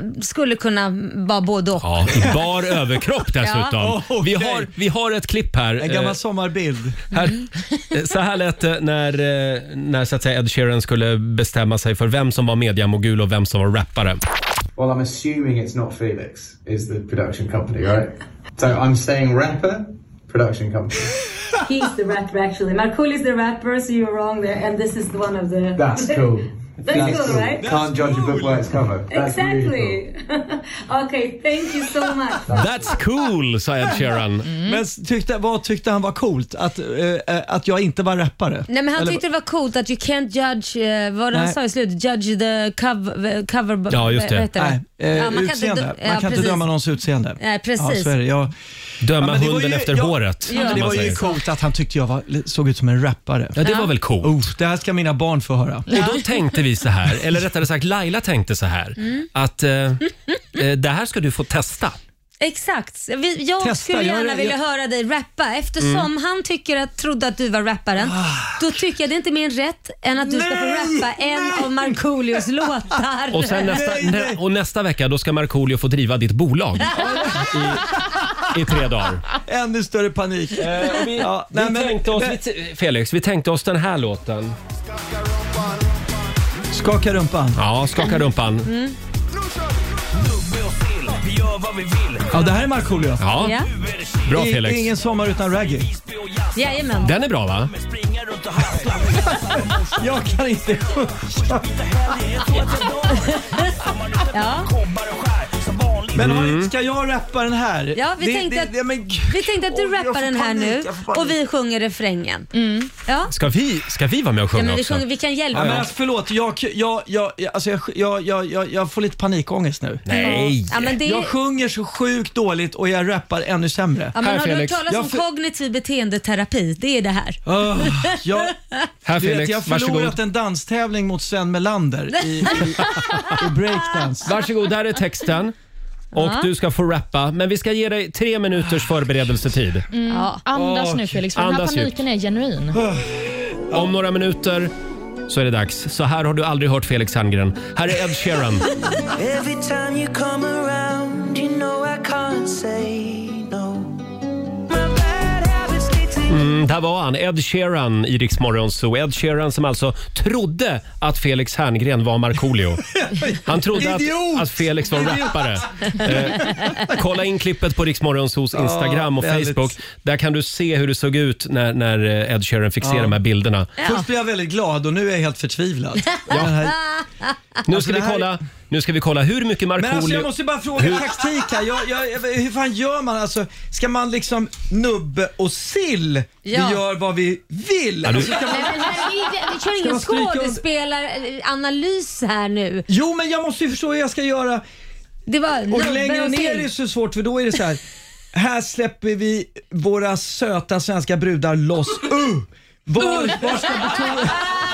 [SPEAKER 2] mm, skulle kunna vara både och.
[SPEAKER 1] Ja, i bar överkropp dessutom.
[SPEAKER 10] Ja. Oh,
[SPEAKER 1] vi,
[SPEAKER 10] okej.
[SPEAKER 1] har, vi har ett klipp här.
[SPEAKER 10] En
[SPEAKER 1] Eh,
[SPEAKER 10] gammal sommarbild.
[SPEAKER 1] här eh, så här lät det när, eh, när så att säga Ed Sheeran skulle bestämma sig för vem som var mediamogul och vem som var rappare.
[SPEAKER 11] Well, I'm assuming it's not Felix, is the production company, right? So I'm saying rapper, production company.
[SPEAKER 9] He's the rapper actually. Markoolio is the rapper, so you're wrong there. And this is one of the...
[SPEAKER 11] That's cool.
[SPEAKER 9] That's cool, right?
[SPEAKER 11] Can't judge a book by its cover. That's really cool.
[SPEAKER 9] Exactly. okay, thank you so much.
[SPEAKER 1] That's cool, sa Ed Sheeran.
[SPEAKER 10] Mm. Men s- tyckte, vad tyckte han var coolt? Att, eh, eh, att jag inte var rappare?
[SPEAKER 2] Nej men han
[SPEAKER 10] Eller-
[SPEAKER 2] tyckte det var coolt att you can't judge, eh, vad var det han
[SPEAKER 10] Nej.
[SPEAKER 2] sa i slutet, judge the cover, eh, cover
[SPEAKER 1] Ja, just det.
[SPEAKER 2] vad heter
[SPEAKER 10] Nej, eh,
[SPEAKER 2] Ja, man kan inte
[SPEAKER 10] utseende.
[SPEAKER 2] dö- ja,
[SPEAKER 10] man kan
[SPEAKER 2] precis.
[SPEAKER 10] inte döma någons utseende.
[SPEAKER 2] Nej, precis.
[SPEAKER 10] Ja, så är det. Jag,
[SPEAKER 1] Döma
[SPEAKER 10] Ja, men det var
[SPEAKER 1] hunden
[SPEAKER 10] ju-
[SPEAKER 1] efter
[SPEAKER 10] ja,
[SPEAKER 1] håret,
[SPEAKER 2] ja,
[SPEAKER 1] som
[SPEAKER 10] det
[SPEAKER 2] man
[SPEAKER 10] var ju
[SPEAKER 1] säger.
[SPEAKER 10] coolt att han tyckte jag var, såg ut som en rappare.
[SPEAKER 1] Ja, det var väl coolt.
[SPEAKER 10] Oh, det här ska mina barn få höra.
[SPEAKER 1] Och då tänkte vi så här, eller rättare sagt Laila tänkte så här,
[SPEAKER 10] Mm.
[SPEAKER 1] att eh, eh, det här ska du få testa.
[SPEAKER 2] Exakt. Vi, jag
[SPEAKER 10] Testa,
[SPEAKER 2] skulle
[SPEAKER 10] jag-
[SPEAKER 2] gärna
[SPEAKER 10] jag- Mm.
[SPEAKER 2] vilja höra dig rappa eftersom han tycker att, trodde att du var rapparen.
[SPEAKER 10] Ah.
[SPEAKER 2] Då tycker jag det är inte mer rätt än att du ska få rappa en av Markoolios låtar.
[SPEAKER 1] Och, sen nästa,
[SPEAKER 10] Nej, nej.
[SPEAKER 1] nä- och nästa vecka då ska Markoolio få driva ditt bolag i, i tre dagar.
[SPEAKER 10] Ännu större panik. Ja,
[SPEAKER 1] Vi
[SPEAKER 10] Eh, nej, men-
[SPEAKER 1] tänkte oss,
[SPEAKER 10] men-
[SPEAKER 1] vi t- Felix, vi tänkte oss den här låten.
[SPEAKER 10] Skaka rumpan.
[SPEAKER 1] Ja, skaka rumpan.
[SPEAKER 2] Mm.
[SPEAKER 10] Ja, det här är Markoolio.
[SPEAKER 1] Ja,
[SPEAKER 2] Ja.
[SPEAKER 1] bra
[SPEAKER 10] I-
[SPEAKER 1] Felix.
[SPEAKER 10] Ingen sommar utan reggae.
[SPEAKER 2] Jajamän.
[SPEAKER 1] Den är bra va?
[SPEAKER 10] Jag kan inte
[SPEAKER 2] Ja.
[SPEAKER 10] Men har,
[SPEAKER 1] Mm.
[SPEAKER 10] ska jag rappa den här?
[SPEAKER 2] Ja, vi tänkte att-
[SPEAKER 10] men, gud.
[SPEAKER 2] Vi tänkte att du
[SPEAKER 10] Åh, jag
[SPEAKER 2] rappar
[SPEAKER 10] får
[SPEAKER 2] den här
[SPEAKER 10] panik,
[SPEAKER 2] nu
[SPEAKER 10] jag får panik.
[SPEAKER 2] och vi sjunger refrängen. Ja.
[SPEAKER 1] Ska vi, ska vi vara med och
[SPEAKER 2] Ja,
[SPEAKER 1] sjunga
[SPEAKER 2] men vi,
[SPEAKER 1] också?
[SPEAKER 2] sjunger, vi kan hjälpa
[SPEAKER 10] Ja, men
[SPEAKER 2] dig.
[SPEAKER 10] alltså, förlåt, jag, jag, jag, jag- alltså, jag, jag, jag, jag, jag får lite panikångest nu.
[SPEAKER 1] Nej!
[SPEAKER 2] Ja, men det,
[SPEAKER 10] Jag sjunger så sjukt dåligt och jag rappar ännu sämre.
[SPEAKER 2] ja, men
[SPEAKER 1] Här,
[SPEAKER 2] har du hört
[SPEAKER 1] Felix.
[SPEAKER 2] talas
[SPEAKER 10] Jag
[SPEAKER 2] om
[SPEAKER 10] för-
[SPEAKER 2] kognitiv beteendeterapi? Det är det här.
[SPEAKER 10] Öh, jag,
[SPEAKER 1] Här
[SPEAKER 10] du vet,
[SPEAKER 1] Felix,
[SPEAKER 10] jag har
[SPEAKER 1] varsågod.
[SPEAKER 10] förlorat en danstävling mot Sven Melander i, i, i breakdance.
[SPEAKER 1] Varsågod, där är texten. Och
[SPEAKER 2] Ja.
[SPEAKER 1] du ska få rappa, men vi ska ge dig tre minuters förberedelsetid.
[SPEAKER 2] Ja.
[SPEAKER 3] Andas
[SPEAKER 10] Åh,
[SPEAKER 3] nu Felix, för den här
[SPEAKER 1] andas
[SPEAKER 3] paniken är genuin.
[SPEAKER 1] Om några minuter så är det dags. Så här har du aldrig hört Felix Herngren. Här är Ed Sheeran.
[SPEAKER 7] Every time you come around you know I can't say
[SPEAKER 1] Mm, där var han, Ed Sheeran i Rix Morgon Zoo. Ed Sheeran som alltså trodde att Felix Herngren var Markoolio. Han trodde att,
[SPEAKER 7] Idiot!
[SPEAKER 1] att Felix var
[SPEAKER 7] Idiot!
[SPEAKER 1] rappare. Eh, kolla in klippet på Rix Morgon Zoos
[SPEAKER 7] Ja,
[SPEAKER 1] Instagram och
[SPEAKER 10] väldigt.
[SPEAKER 1] Facebook. Där kan du se hur det såg ut när, när eh, Ed Sheeran fick se
[SPEAKER 10] Ja.
[SPEAKER 1] de här bilderna.
[SPEAKER 10] Först blev jag väldigt glad och nu är jag helt förtvivlad.
[SPEAKER 1] Nu ska,
[SPEAKER 10] Alltså, det
[SPEAKER 1] vi
[SPEAKER 10] här-
[SPEAKER 1] kolla, nu ska vi kolla hur mycket
[SPEAKER 10] Men alltså jag
[SPEAKER 1] Markoolio...
[SPEAKER 10] måste bara fråga taktik här. Jag, jag, jag- hur fan gör man? Alltså, ska man liksom nubbe och sill?
[SPEAKER 2] Ja.
[SPEAKER 10] Vi gör vad vi vill.
[SPEAKER 1] Ja, du-
[SPEAKER 10] Alltså, ska man...
[SPEAKER 2] Nej, men här, vi, vi kör
[SPEAKER 10] Ska
[SPEAKER 2] ingen
[SPEAKER 10] man stryka under?
[SPEAKER 2] skådespelaranalys här nu.
[SPEAKER 10] Jo, men jag måste ju förstå hur jag ska göra.
[SPEAKER 2] Det var
[SPEAKER 10] Och
[SPEAKER 2] nubbe
[SPEAKER 10] längre
[SPEAKER 2] och
[SPEAKER 10] ner
[SPEAKER 2] sill.
[SPEAKER 10] är det så svårt för då är det så här. Här släpper vi våra söta svenska brudar loss. Uh! Var, var ska betoningen...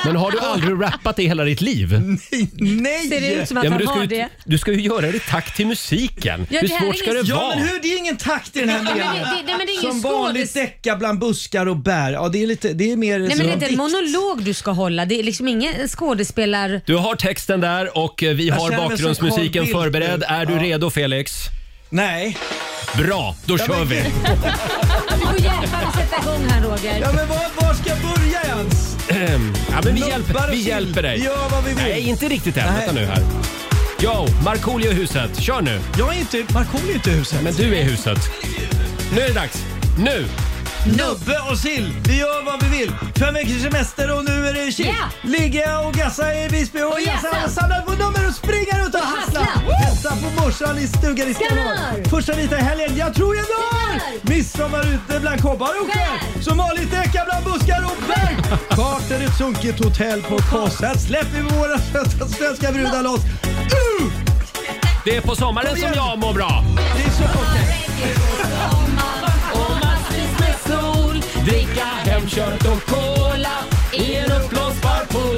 [SPEAKER 1] Men har du aldrig rappat i hela ditt liv? Nej!
[SPEAKER 10] Nej!
[SPEAKER 2] Ser det ut som att han
[SPEAKER 1] du, ska
[SPEAKER 2] har
[SPEAKER 1] ju,
[SPEAKER 2] det?
[SPEAKER 1] du ska ju göra det i takt till musiken.
[SPEAKER 2] Ja,
[SPEAKER 1] hur
[SPEAKER 2] det här är
[SPEAKER 1] svårt ska det
[SPEAKER 2] ingen-
[SPEAKER 10] Ja
[SPEAKER 1] vara?
[SPEAKER 10] men hur, det är ingen takt i den här
[SPEAKER 2] Nej, men
[SPEAKER 10] meningen.
[SPEAKER 2] det- det- nej, men det är ingen
[SPEAKER 10] Som vanligt
[SPEAKER 2] skådis-
[SPEAKER 10] däcka bland buskar och bär. Ja det är lite, det är mer
[SPEAKER 2] Nej,
[SPEAKER 10] som
[SPEAKER 2] men det är inte en
[SPEAKER 10] dikt.
[SPEAKER 2] monolog du ska hålla. Det är liksom ingen skådespelar...
[SPEAKER 1] Du har texten där och eh, vi
[SPEAKER 10] Jag
[SPEAKER 1] har
[SPEAKER 10] känner mig
[SPEAKER 1] bakgrundsmusiken
[SPEAKER 10] som Carl Bildt
[SPEAKER 1] förberedd.
[SPEAKER 10] nu.
[SPEAKER 1] Är du
[SPEAKER 10] Ja.
[SPEAKER 1] redo Felix?
[SPEAKER 10] Nej.
[SPEAKER 1] Bra, då kör vi!
[SPEAKER 2] Du får hjälpa mig sätta igång här Roger.
[SPEAKER 10] Ja men var, var ska jag börja ens?
[SPEAKER 1] ja, men vi,
[SPEAKER 10] Nubbar
[SPEAKER 1] hjälper,
[SPEAKER 10] och
[SPEAKER 1] vi
[SPEAKER 10] sill.
[SPEAKER 1] hjälper dig.
[SPEAKER 10] Vi gör vad vi vill.
[SPEAKER 1] Nej, inte riktigt än.
[SPEAKER 10] Nej.
[SPEAKER 1] Vänta nu här. Yo, Markoolio i huset. Kör nu!
[SPEAKER 10] Jag är inte, Markoolio är inte i huset.
[SPEAKER 1] Men du är i huset. Nu är det dags. Nu!
[SPEAKER 10] Nubbe och sill, vi gör vad vi vill. Fem veckors semester och nu är det chill.
[SPEAKER 7] Ja.
[SPEAKER 10] Ligga och gassa i Visby och,
[SPEAKER 7] Och
[SPEAKER 10] jassa.
[SPEAKER 7] jassa.
[SPEAKER 10] Samla på nummer och springa runt och hassla. Hälsa på morsan i stugan i Skanör. Första vita i helgen, jag tror jag dör. Midsommar ute bland kobbar och skär. Som vanligt däckar bland buskar och berg. Kartan ett sunkigt hotell på Kos. Här släpper vi våra söta svenska brudar loss. Uh!
[SPEAKER 1] Det är på sommaren
[SPEAKER 10] Kom
[SPEAKER 1] som
[SPEAKER 10] igen.
[SPEAKER 1] jag mår bra.
[SPEAKER 10] Det är så okej.
[SPEAKER 1] Dricka hemkört och cola i en uppblåsbar pool.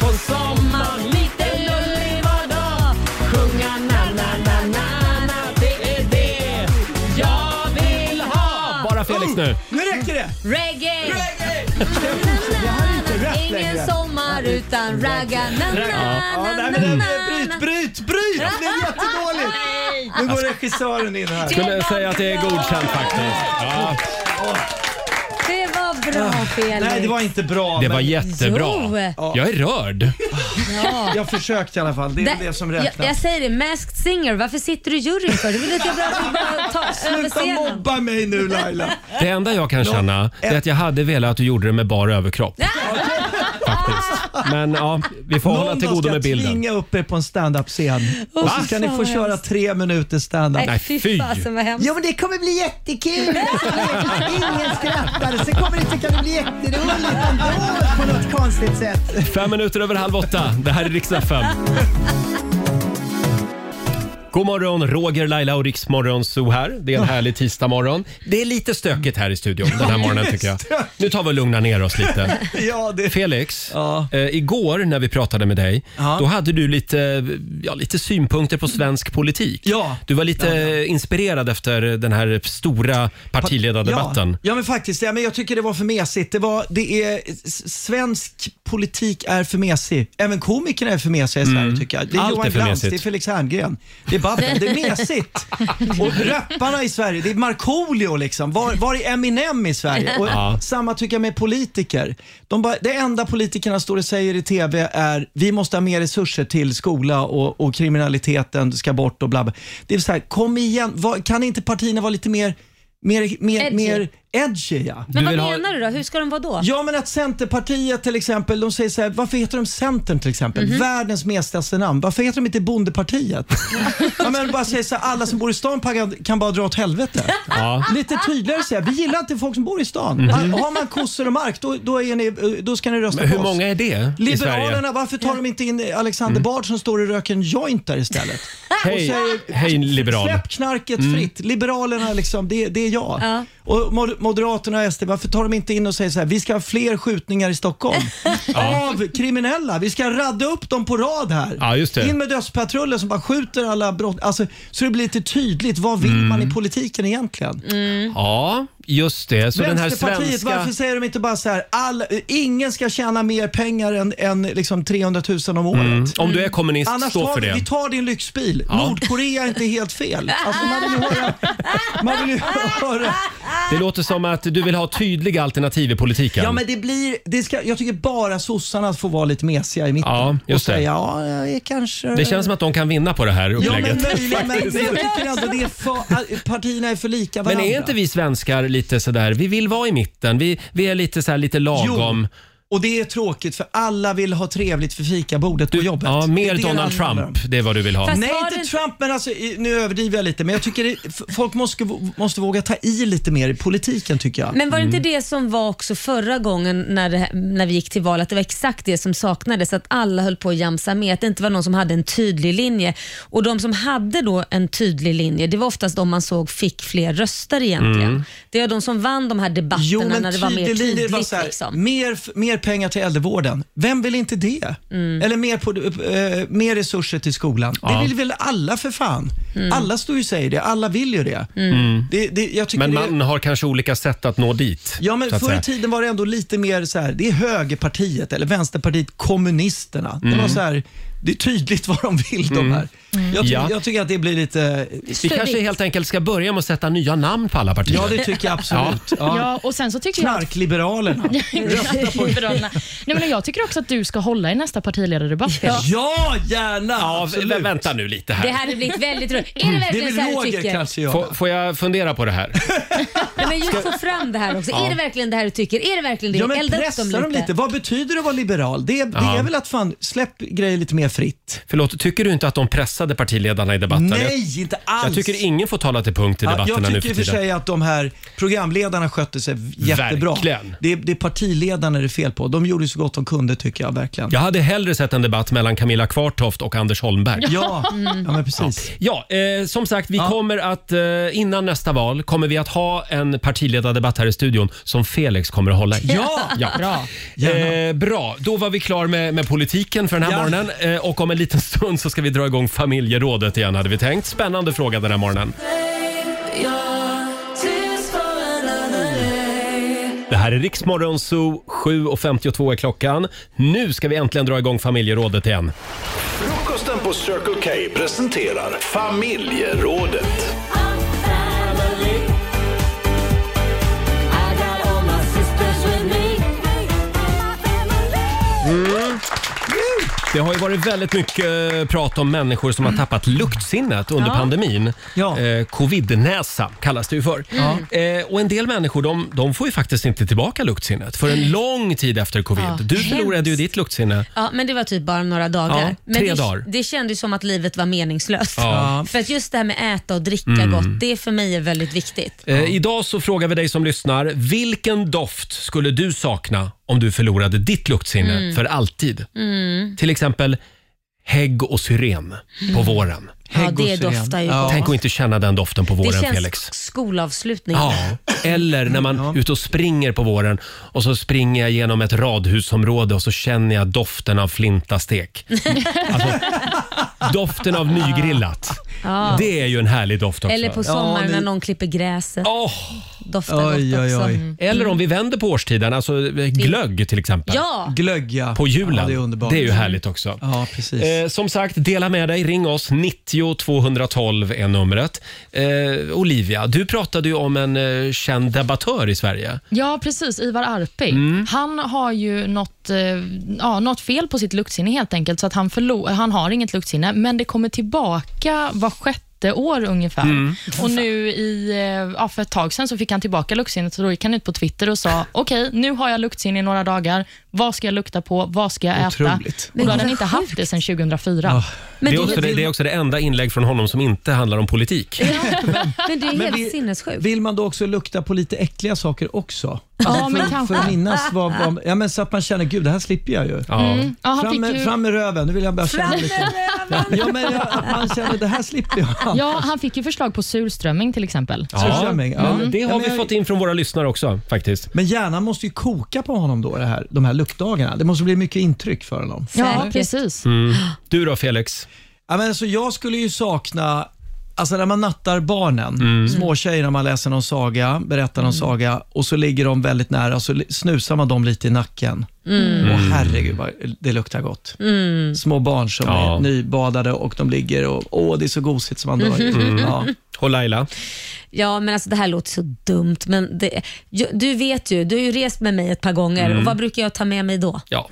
[SPEAKER 7] på sommaren lite lullig var dag Sjunga na na na na na Det är det jag vill ha
[SPEAKER 1] Bara Felix nu.
[SPEAKER 10] Nu räcker det.
[SPEAKER 2] Reggae!
[SPEAKER 10] Det här är inte rätt längre.
[SPEAKER 2] Ingen sommar utan ragga na na
[SPEAKER 10] Ja,
[SPEAKER 2] na
[SPEAKER 10] nej,
[SPEAKER 2] na
[SPEAKER 10] men, eh,
[SPEAKER 2] na
[SPEAKER 10] bryt, bryt, bryt! Det blev jättedåligt. Nu går regissören in här.
[SPEAKER 1] Skulle säga att det är godkänt faktiskt. Ja,
[SPEAKER 2] Det var bra Felix.
[SPEAKER 10] Nej, det var inte bra.
[SPEAKER 1] det var
[SPEAKER 10] men
[SPEAKER 1] jättebra.
[SPEAKER 10] Jo.
[SPEAKER 1] Jag är rörd.
[SPEAKER 2] Ja.
[SPEAKER 10] Jag försökte i alla fall. Det är
[SPEAKER 2] Där-
[SPEAKER 10] det som
[SPEAKER 2] jag, jag
[SPEAKER 10] räknas.
[SPEAKER 2] säger det, Masked Singer, varför sitter du i juryn för? Det är väl lika bra att du bara tar över
[SPEAKER 10] Sluta
[SPEAKER 2] scenen.
[SPEAKER 10] mobba mig nu Laila.
[SPEAKER 1] Det enda jag kan känna är att jag hade velat att du gjorde det med bara överkropp. Faktiskt. Men ja, vi får hålla till godo med
[SPEAKER 10] ska jag
[SPEAKER 1] bilden.
[SPEAKER 10] tvinga upp er på en stand-up-scen. Och så
[SPEAKER 1] Va?
[SPEAKER 10] ska ni
[SPEAKER 2] Fan,
[SPEAKER 10] få
[SPEAKER 2] vad
[SPEAKER 10] köra
[SPEAKER 2] hemskt.
[SPEAKER 10] tre minuter stand-up.
[SPEAKER 1] Nej,
[SPEAKER 2] Nej, fy
[SPEAKER 1] fy.
[SPEAKER 2] fasen vad hemskt.
[SPEAKER 10] Ja men det kommer bli jättekul. Ingen skrattar. Sen kommer det så kan det bli jätteroligt ändå på något konstigt sätt.
[SPEAKER 1] Fem minuter över halv åtta. Det här är riksdag 5. God morgon, Roger, Laila och Riksmorgon Zoo här. Det är en härlig tisdagmorgon. Det är lite stökigt här i studion den här morgonen tycker jag. Nu tar vi och lugnar ner oss lite.
[SPEAKER 10] Ja, det...
[SPEAKER 1] Felix,
[SPEAKER 10] Ja.
[SPEAKER 1] eh, igår när vi pratade med dig,
[SPEAKER 10] Ja.
[SPEAKER 1] då hade du lite, ja, lite synpunkter på svensk politik.
[SPEAKER 10] Ja.
[SPEAKER 1] Du var lite eh, inspirerad efter den här stora partiledardebatten.
[SPEAKER 10] Ja, ja men faktiskt. Ja, men jag tycker det var för mesigt. Det var, det är, s- svensk politik är för mesig. Även komikerna är för mesiga i Sverige tycker jag. Det är
[SPEAKER 1] Mm. Allt
[SPEAKER 10] Johan
[SPEAKER 1] är för
[SPEAKER 10] Glans,
[SPEAKER 1] mesigt.
[SPEAKER 10] det är Felix Herngren, det är Babben. Det är mesigt. Och rapparna i Sverige, det är Markoolio liksom. Var, var är Eminem i Sverige? Och
[SPEAKER 1] Ja.
[SPEAKER 10] Samma tycker jag med politiker. De bara, det enda politikerna står och säger i TV är vi måste ha mer resurser till skola och, och kriminaliteten ska bort och bla bla. Det är så här, kom igen, vad, kan inte partierna vara lite mer Mer, mer,
[SPEAKER 2] Edgy.
[SPEAKER 10] mer edgy ja.
[SPEAKER 2] Men
[SPEAKER 1] Du
[SPEAKER 2] vad
[SPEAKER 1] vill ha-
[SPEAKER 2] menar du då? Hur ska de vara då?
[SPEAKER 10] Ja men att Centerpartiet till exempel, de säger så här, varför heter de Centern till exempel? Världens mesigaste namn. Varför heter de inte Bondepartiet? ja, men bara säger så här, alla som bor i stan pagga- kan bara dra åt helvete.
[SPEAKER 1] Ja.
[SPEAKER 10] Lite tydligare säga, vi gillar inte folk som bor i stan. Har man kossor och mark, då, då, är ni, då ska ni rösta
[SPEAKER 1] Mhm. Men
[SPEAKER 10] på
[SPEAKER 1] hur
[SPEAKER 10] oss.
[SPEAKER 1] många är det i Sverige? Mm.
[SPEAKER 10] Liberalerna, varför tar de inte in Alexander Bard som står och röker en joint där istället?
[SPEAKER 1] Hej,
[SPEAKER 10] säger-
[SPEAKER 1] hej liberal.
[SPEAKER 10] Släpp knarket
[SPEAKER 1] Mm.
[SPEAKER 10] fritt. Liberalerna, liksom, det, det är jag.
[SPEAKER 2] Ja.
[SPEAKER 10] Och Mo- Moderaterna och SD, varför tar de inte in och säger så här, vi ska ha fler skjutningar i Stockholm av kriminella. Vi ska radda upp dem på rad här.
[SPEAKER 1] Ja, just det.
[SPEAKER 10] In med dödspatrullen som bara skjuter
[SPEAKER 1] Mm.
[SPEAKER 10] alla brott. Alltså, så det blir lite tydligt, vad vill man i politiken egentligen?
[SPEAKER 1] Ja, Just det, Mm. så den här
[SPEAKER 10] Vänsterpartiet,
[SPEAKER 1] svenska...
[SPEAKER 10] varför säger de inte bara så här, all, ingen ska tjäna mer pengar än, än liksom 300 000 om året?
[SPEAKER 1] Mm. Om du är kommunist,
[SPEAKER 10] Annars
[SPEAKER 1] stå
[SPEAKER 10] tar
[SPEAKER 1] för
[SPEAKER 10] vi,
[SPEAKER 1] det.
[SPEAKER 10] Vi tar din lyxbil.
[SPEAKER 1] Ja.
[SPEAKER 10] Nordkorea är inte helt fel. Alltså man, vill ju höra, man vill ju höra...
[SPEAKER 1] Det låter som att du vill ha tydliga alternativ i politiken.
[SPEAKER 10] Ja men det blir, det ska, jag tycker bara sossarna får vara lite mesiga i mitten.
[SPEAKER 1] Ja,
[SPEAKER 10] och
[SPEAKER 1] just det.
[SPEAKER 10] säga, ja, jag är kanske...
[SPEAKER 1] Det känns som att de kan vinna på det här
[SPEAKER 10] Ja men
[SPEAKER 1] upplägget.
[SPEAKER 10] möjligen, men, men jag tycker ändå det är för, partierna är för lika
[SPEAKER 1] Men
[SPEAKER 10] varandra.
[SPEAKER 1] är inte vi svenskar lite sådär, vi vill vara i mitten, vi, vi är lite, så här, lite lagom.
[SPEAKER 10] Och det är tråkigt för alla vill ha trevligt för fikabordet på jobbet.
[SPEAKER 1] Ja,
[SPEAKER 10] Det
[SPEAKER 1] mer
[SPEAKER 10] är det det
[SPEAKER 1] Donald
[SPEAKER 10] handlar om.
[SPEAKER 1] Trump, det är vad du vill ha.
[SPEAKER 10] Nej, inte Trump, men alltså, i- nu överdriver jag lite. Men jag tycker det, f- folk måste, måste våga ta i lite mer i politiken tycker jag.
[SPEAKER 2] Men var det inte det som var också förra gången när, det, här- när vi gick till val, att det var exakt det som saknades, att alla höll på att jamsa med, att det inte var någon som hade en tydlig linje. Och de som hade då en tydlig linje, det var oftast de man såg fick fler röster egentligen.
[SPEAKER 10] Mm.
[SPEAKER 2] Det var de som vann de här debatterna
[SPEAKER 10] Jo, men
[SPEAKER 2] när det var mer
[SPEAKER 10] tydlig linje,
[SPEAKER 2] tydligt.
[SPEAKER 10] det var så här,
[SPEAKER 2] liksom.
[SPEAKER 10] mer, f- mer pengar till äldrevården. Vem vill inte det?
[SPEAKER 2] Mm.
[SPEAKER 10] Eller mer, på, eh, mer resurser till skolan.
[SPEAKER 1] Ja.
[SPEAKER 10] Det vill väl alla för fan?
[SPEAKER 1] Mm.
[SPEAKER 10] Alla står ju och säger det. Alla vill ju det.
[SPEAKER 1] Mm.
[SPEAKER 10] det, det jag tycker
[SPEAKER 1] Men
[SPEAKER 10] det-
[SPEAKER 1] man har kanske olika sätt att nå dit.
[SPEAKER 10] Ja, men
[SPEAKER 1] så att
[SPEAKER 10] förr i
[SPEAKER 1] säga.
[SPEAKER 10] tiden var det ändå lite mer så här, det är högerpartiet eller vänsterpartiet kommunisterna.
[SPEAKER 1] Mm.
[SPEAKER 10] Det var så här, det är tydligt vad de vill de här. Jag, ty-
[SPEAKER 1] Ja.
[SPEAKER 10] jag tycker att det blir lite...
[SPEAKER 1] Vi kanske helt enkelt ska börja med att sätta nya namn på alla partier.
[SPEAKER 10] Ja, det tycker jag absolut.
[SPEAKER 1] Ja.
[SPEAKER 3] Ja, och sen så tycker jag...
[SPEAKER 10] Knarkliberalerna.
[SPEAKER 3] Liberalerna. Nej, men jag tycker också att du ska hålla i nästa partiledardebatt. Peter.
[SPEAKER 10] Ja, gärna!
[SPEAKER 1] Ja, vä- vänta nu lite här.
[SPEAKER 2] Det här hade blivit väldigt roligt.
[SPEAKER 10] Mm.
[SPEAKER 2] Är det verkligen så här du tycker?
[SPEAKER 1] Får, får jag fundera på det här?
[SPEAKER 2] Nej, men just få fram det här också.
[SPEAKER 1] Ja.
[SPEAKER 2] Är det verkligen det här du tycker? Är det verkligen det?
[SPEAKER 10] Ja, men
[SPEAKER 2] Elda upp
[SPEAKER 10] pressa
[SPEAKER 2] dem
[SPEAKER 10] dem
[SPEAKER 2] lite.
[SPEAKER 10] lite. Vad betyder det att vara liberal? Det, det
[SPEAKER 1] Ja.
[SPEAKER 10] är väl att fan, släpp grejer lite mer fritt.
[SPEAKER 1] Förlåt, tycker du inte att de pressade partiledarna i debatten?
[SPEAKER 10] Nej, inte alls.
[SPEAKER 1] Jag, jag tycker ingen får tala till punkt i
[SPEAKER 10] Ja,
[SPEAKER 1] debatterna
[SPEAKER 10] Jag
[SPEAKER 1] nu
[SPEAKER 10] tycker i
[SPEAKER 1] för
[SPEAKER 10] och för
[SPEAKER 1] tiden.
[SPEAKER 10] sig att de här programledarna skötte sig jättebra.
[SPEAKER 1] Verkligen.
[SPEAKER 10] Det, är- det är partiledarna det är fel på. De gjorde så gott de kunde tycker jag verkligen.
[SPEAKER 1] Jag hade hellre sett en debatt mellan Camilla Kvartoft och Anders Holmberg.
[SPEAKER 10] Ja, ja men precis.
[SPEAKER 1] Ja, eh, som sagt, vi kommer att eh, innan nästa val kommer vi att ha en partiledardebatt här i studion som Felix kommer att hålla i.
[SPEAKER 7] Ja! Bra.
[SPEAKER 1] Bra. Eh, bra, då var vi klar med, med politiken för den
[SPEAKER 7] Ja.
[SPEAKER 1] här morgonen eh, och om en liten stund så ska vi dra igång familjerådet igen hade vi tänkt. Spännande fråga den här morgonen. Det här är Riksmorgon Zoo, 7.52 är klockan. Nu ska vi äntligen dra igång familjerådet igen.
[SPEAKER 6] Frukosten på Circle K presenterar familjerådet.
[SPEAKER 1] Mm. Det har ju varit väldigt mycket eh, prat om människor
[SPEAKER 2] Mm.
[SPEAKER 1] som har tappat luktsinnet under
[SPEAKER 7] Ja.
[SPEAKER 1] pandemin. Eh, Covidnäsa kallas det ju för.
[SPEAKER 7] Ja.
[SPEAKER 1] Eh, och en del människor de, de får ju faktiskt inte tillbaka luktsinnet för en lång tid efter covid.
[SPEAKER 2] Ja,
[SPEAKER 1] Du förlorade ju ditt luktsinne.
[SPEAKER 2] Ja, men det var typ bara några dagar.
[SPEAKER 1] Ja,
[SPEAKER 2] men
[SPEAKER 1] tre
[SPEAKER 2] det,
[SPEAKER 1] dagar.
[SPEAKER 2] det kändes som att livet var meningslöst.
[SPEAKER 1] Ja.
[SPEAKER 2] För att just det här med äta och dricka
[SPEAKER 1] Mm.
[SPEAKER 2] gott, det för mig är väldigt viktigt.
[SPEAKER 1] Eh, Idag så frågar vi dig som lyssnar, vilken doft skulle du sakna om du förlorade ditt luktsinne
[SPEAKER 2] Mm.
[SPEAKER 1] för alltid?
[SPEAKER 2] Mm.
[SPEAKER 1] Till exempel hägg och syren på
[SPEAKER 2] Mm.
[SPEAKER 1] våren.
[SPEAKER 2] Ja, det doftar ju gott.
[SPEAKER 1] Tänk att inte känna den doften på våren,
[SPEAKER 2] det känns
[SPEAKER 1] Felix.
[SPEAKER 2] skolavslutning.
[SPEAKER 1] Ja, eller när man är ute och springer på våren och så springer jag genom ett radhusområde och så känner jag doften av flintastek. alltså, doften av nygrillat.
[SPEAKER 2] Ja.
[SPEAKER 1] Det är ju en härlig doft också.
[SPEAKER 2] Eller på sommaren när någon klipper gräset. Doftar gott också. Mm.
[SPEAKER 1] Eller om vi vänder på årstiden, alltså glögg till exempel.
[SPEAKER 2] Ja.
[SPEAKER 10] Glögg ja.
[SPEAKER 1] På julen.
[SPEAKER 10] Ja, det
[SPEAKER 1] det,
[SPEAKER 10] är
[SPEAKER 1] är
[SPEAKER 10] underbart.
[SPEAKER 1] ju härligt också.
[SPEAKER 10] Ja, precis.
[SPEAKER 1] Eh, som sagt, dela med dig. Ring oss. 90 212 är numret. Eh, Olivia, du pratade ju om en eh, känd debattör i Sverige.
[SPEAKER 3] Ja, precis. Ivar Arpi.
[SPEAKER 1] Mm.
[SPEAKER 3] Han har ju något, eh, ja, något fel på sitt luktsinne helt enkelt, så att han, förlo- han har inget luktsinne, men det kommer tillbaka var sjätte år ungefär.
[SPEAKER 7] Mm.
[SPEAKER 3] Och nu i, eh, ja, för ett tag sedan så fick han tillbaka luktsinnet, så då gick han ut på Twitter och sa, okej, nu har jag luktsinne i några dagar. Vad ska jag lukta på? Vad ska jag
[SPEAKER 1] Otroligt.
[SPEAKER 3] äta? Och då hade han inte haft det sedan 2004.
[SPEAKER 1] det, är också det, det är också det enda inlägg från honom som inte handlar om politik.
[SPEAKER 2] Men det är
[SPEAKER 10] Men
[SPEAKER 2] helt
[SPEAKER 10] vi-
[SPEAKER 2] sinnessjukt.
[SPEAKER 10] Vill man då också lukta på lite äckliga saker också?
[SPEAKER 2] Ja,
[SPEAKER 10] Alltså,
[SPEAKER 2] men
[SPEAKER 10] för,
[SPEAKER 2] kanske.
[SPEAKER 10] för att minnas vad, vad, ja, men så att man känner, gud det här slipper jag ju.
[SPEAKER 1] Ja. Mm.
[SPEAKER 3] Ja, han
[SPEAKER 10] fram,
[SPEAKER 3] fick
[SPEAKER 10] med,
[SPEAKER 3] ju-
[SPEAKER 10] fram med röven, nu vill jag bara
[SPEAKER 3] Fram
[SPEAKER 10] känna
[SPEAKER 3] med
[SPEAKER 10] lite. Ja, men jag, att man känner, det här slipper jag.
[SPEAKER 3] Ja, han fick ju förslag på surströmming till exempel.
[SPEAKER 1] Ja,
[SPEAKER 10] Surströmming, ja.
[SPEAKER 1] men det
[SPEAKER 10] Ja,
[SPEAKER 1] har
[SPEAKER 10] men
[SPEAKER 1] vi
[SPEAKER 10] jag-
[SPEAKER 1] fått in från våra lyssnare också faktiskt.
[SPEAKER 10] Men hjärnan måste ju koka på honom då, det här, de här luktdagarna. Det måste bli mycket intryck för honom.
[SPEAKER 3] Ja, precis.
[SPEAKER 1] Mm. Du då Felix?
[SPEAKER 10] Ja, men alltså, jag skulle ju sakna alltså när man nattar barnen,
[SPEAKER 7] Mm.
[SPEAKER 10] småtjejer när man läser någon saga, berättar någon saga och så ligger de väldigt nära så li- snusar man dem lite i nacken.
[SPEAKER 7] Mm.
[SPEAKER 10] Och herregud, vad det luktar gott.
[SPEAKER 7] Mm.
[SPEAKER 10] Små barn som
[SPEAKER 1] Ja.
[SPEAKER 10] är nybadade och de ligger och åh, det är så gosigt som man dör.
[SPEAKER 2] Mm.
[SPEAKER 10] Ja.
[SPEAKER 1] Och Laila?
[SPEAKER 2] Ja, men alltså det här låter så dumt. Men det, ju- du vet ju, du har ju rest med mig ett par gånger.
[SPEAKER 1] Mm.
[SPEAKER 2] Och vad brukar jag ta med mig då?
[SPEAKER 1] Ja.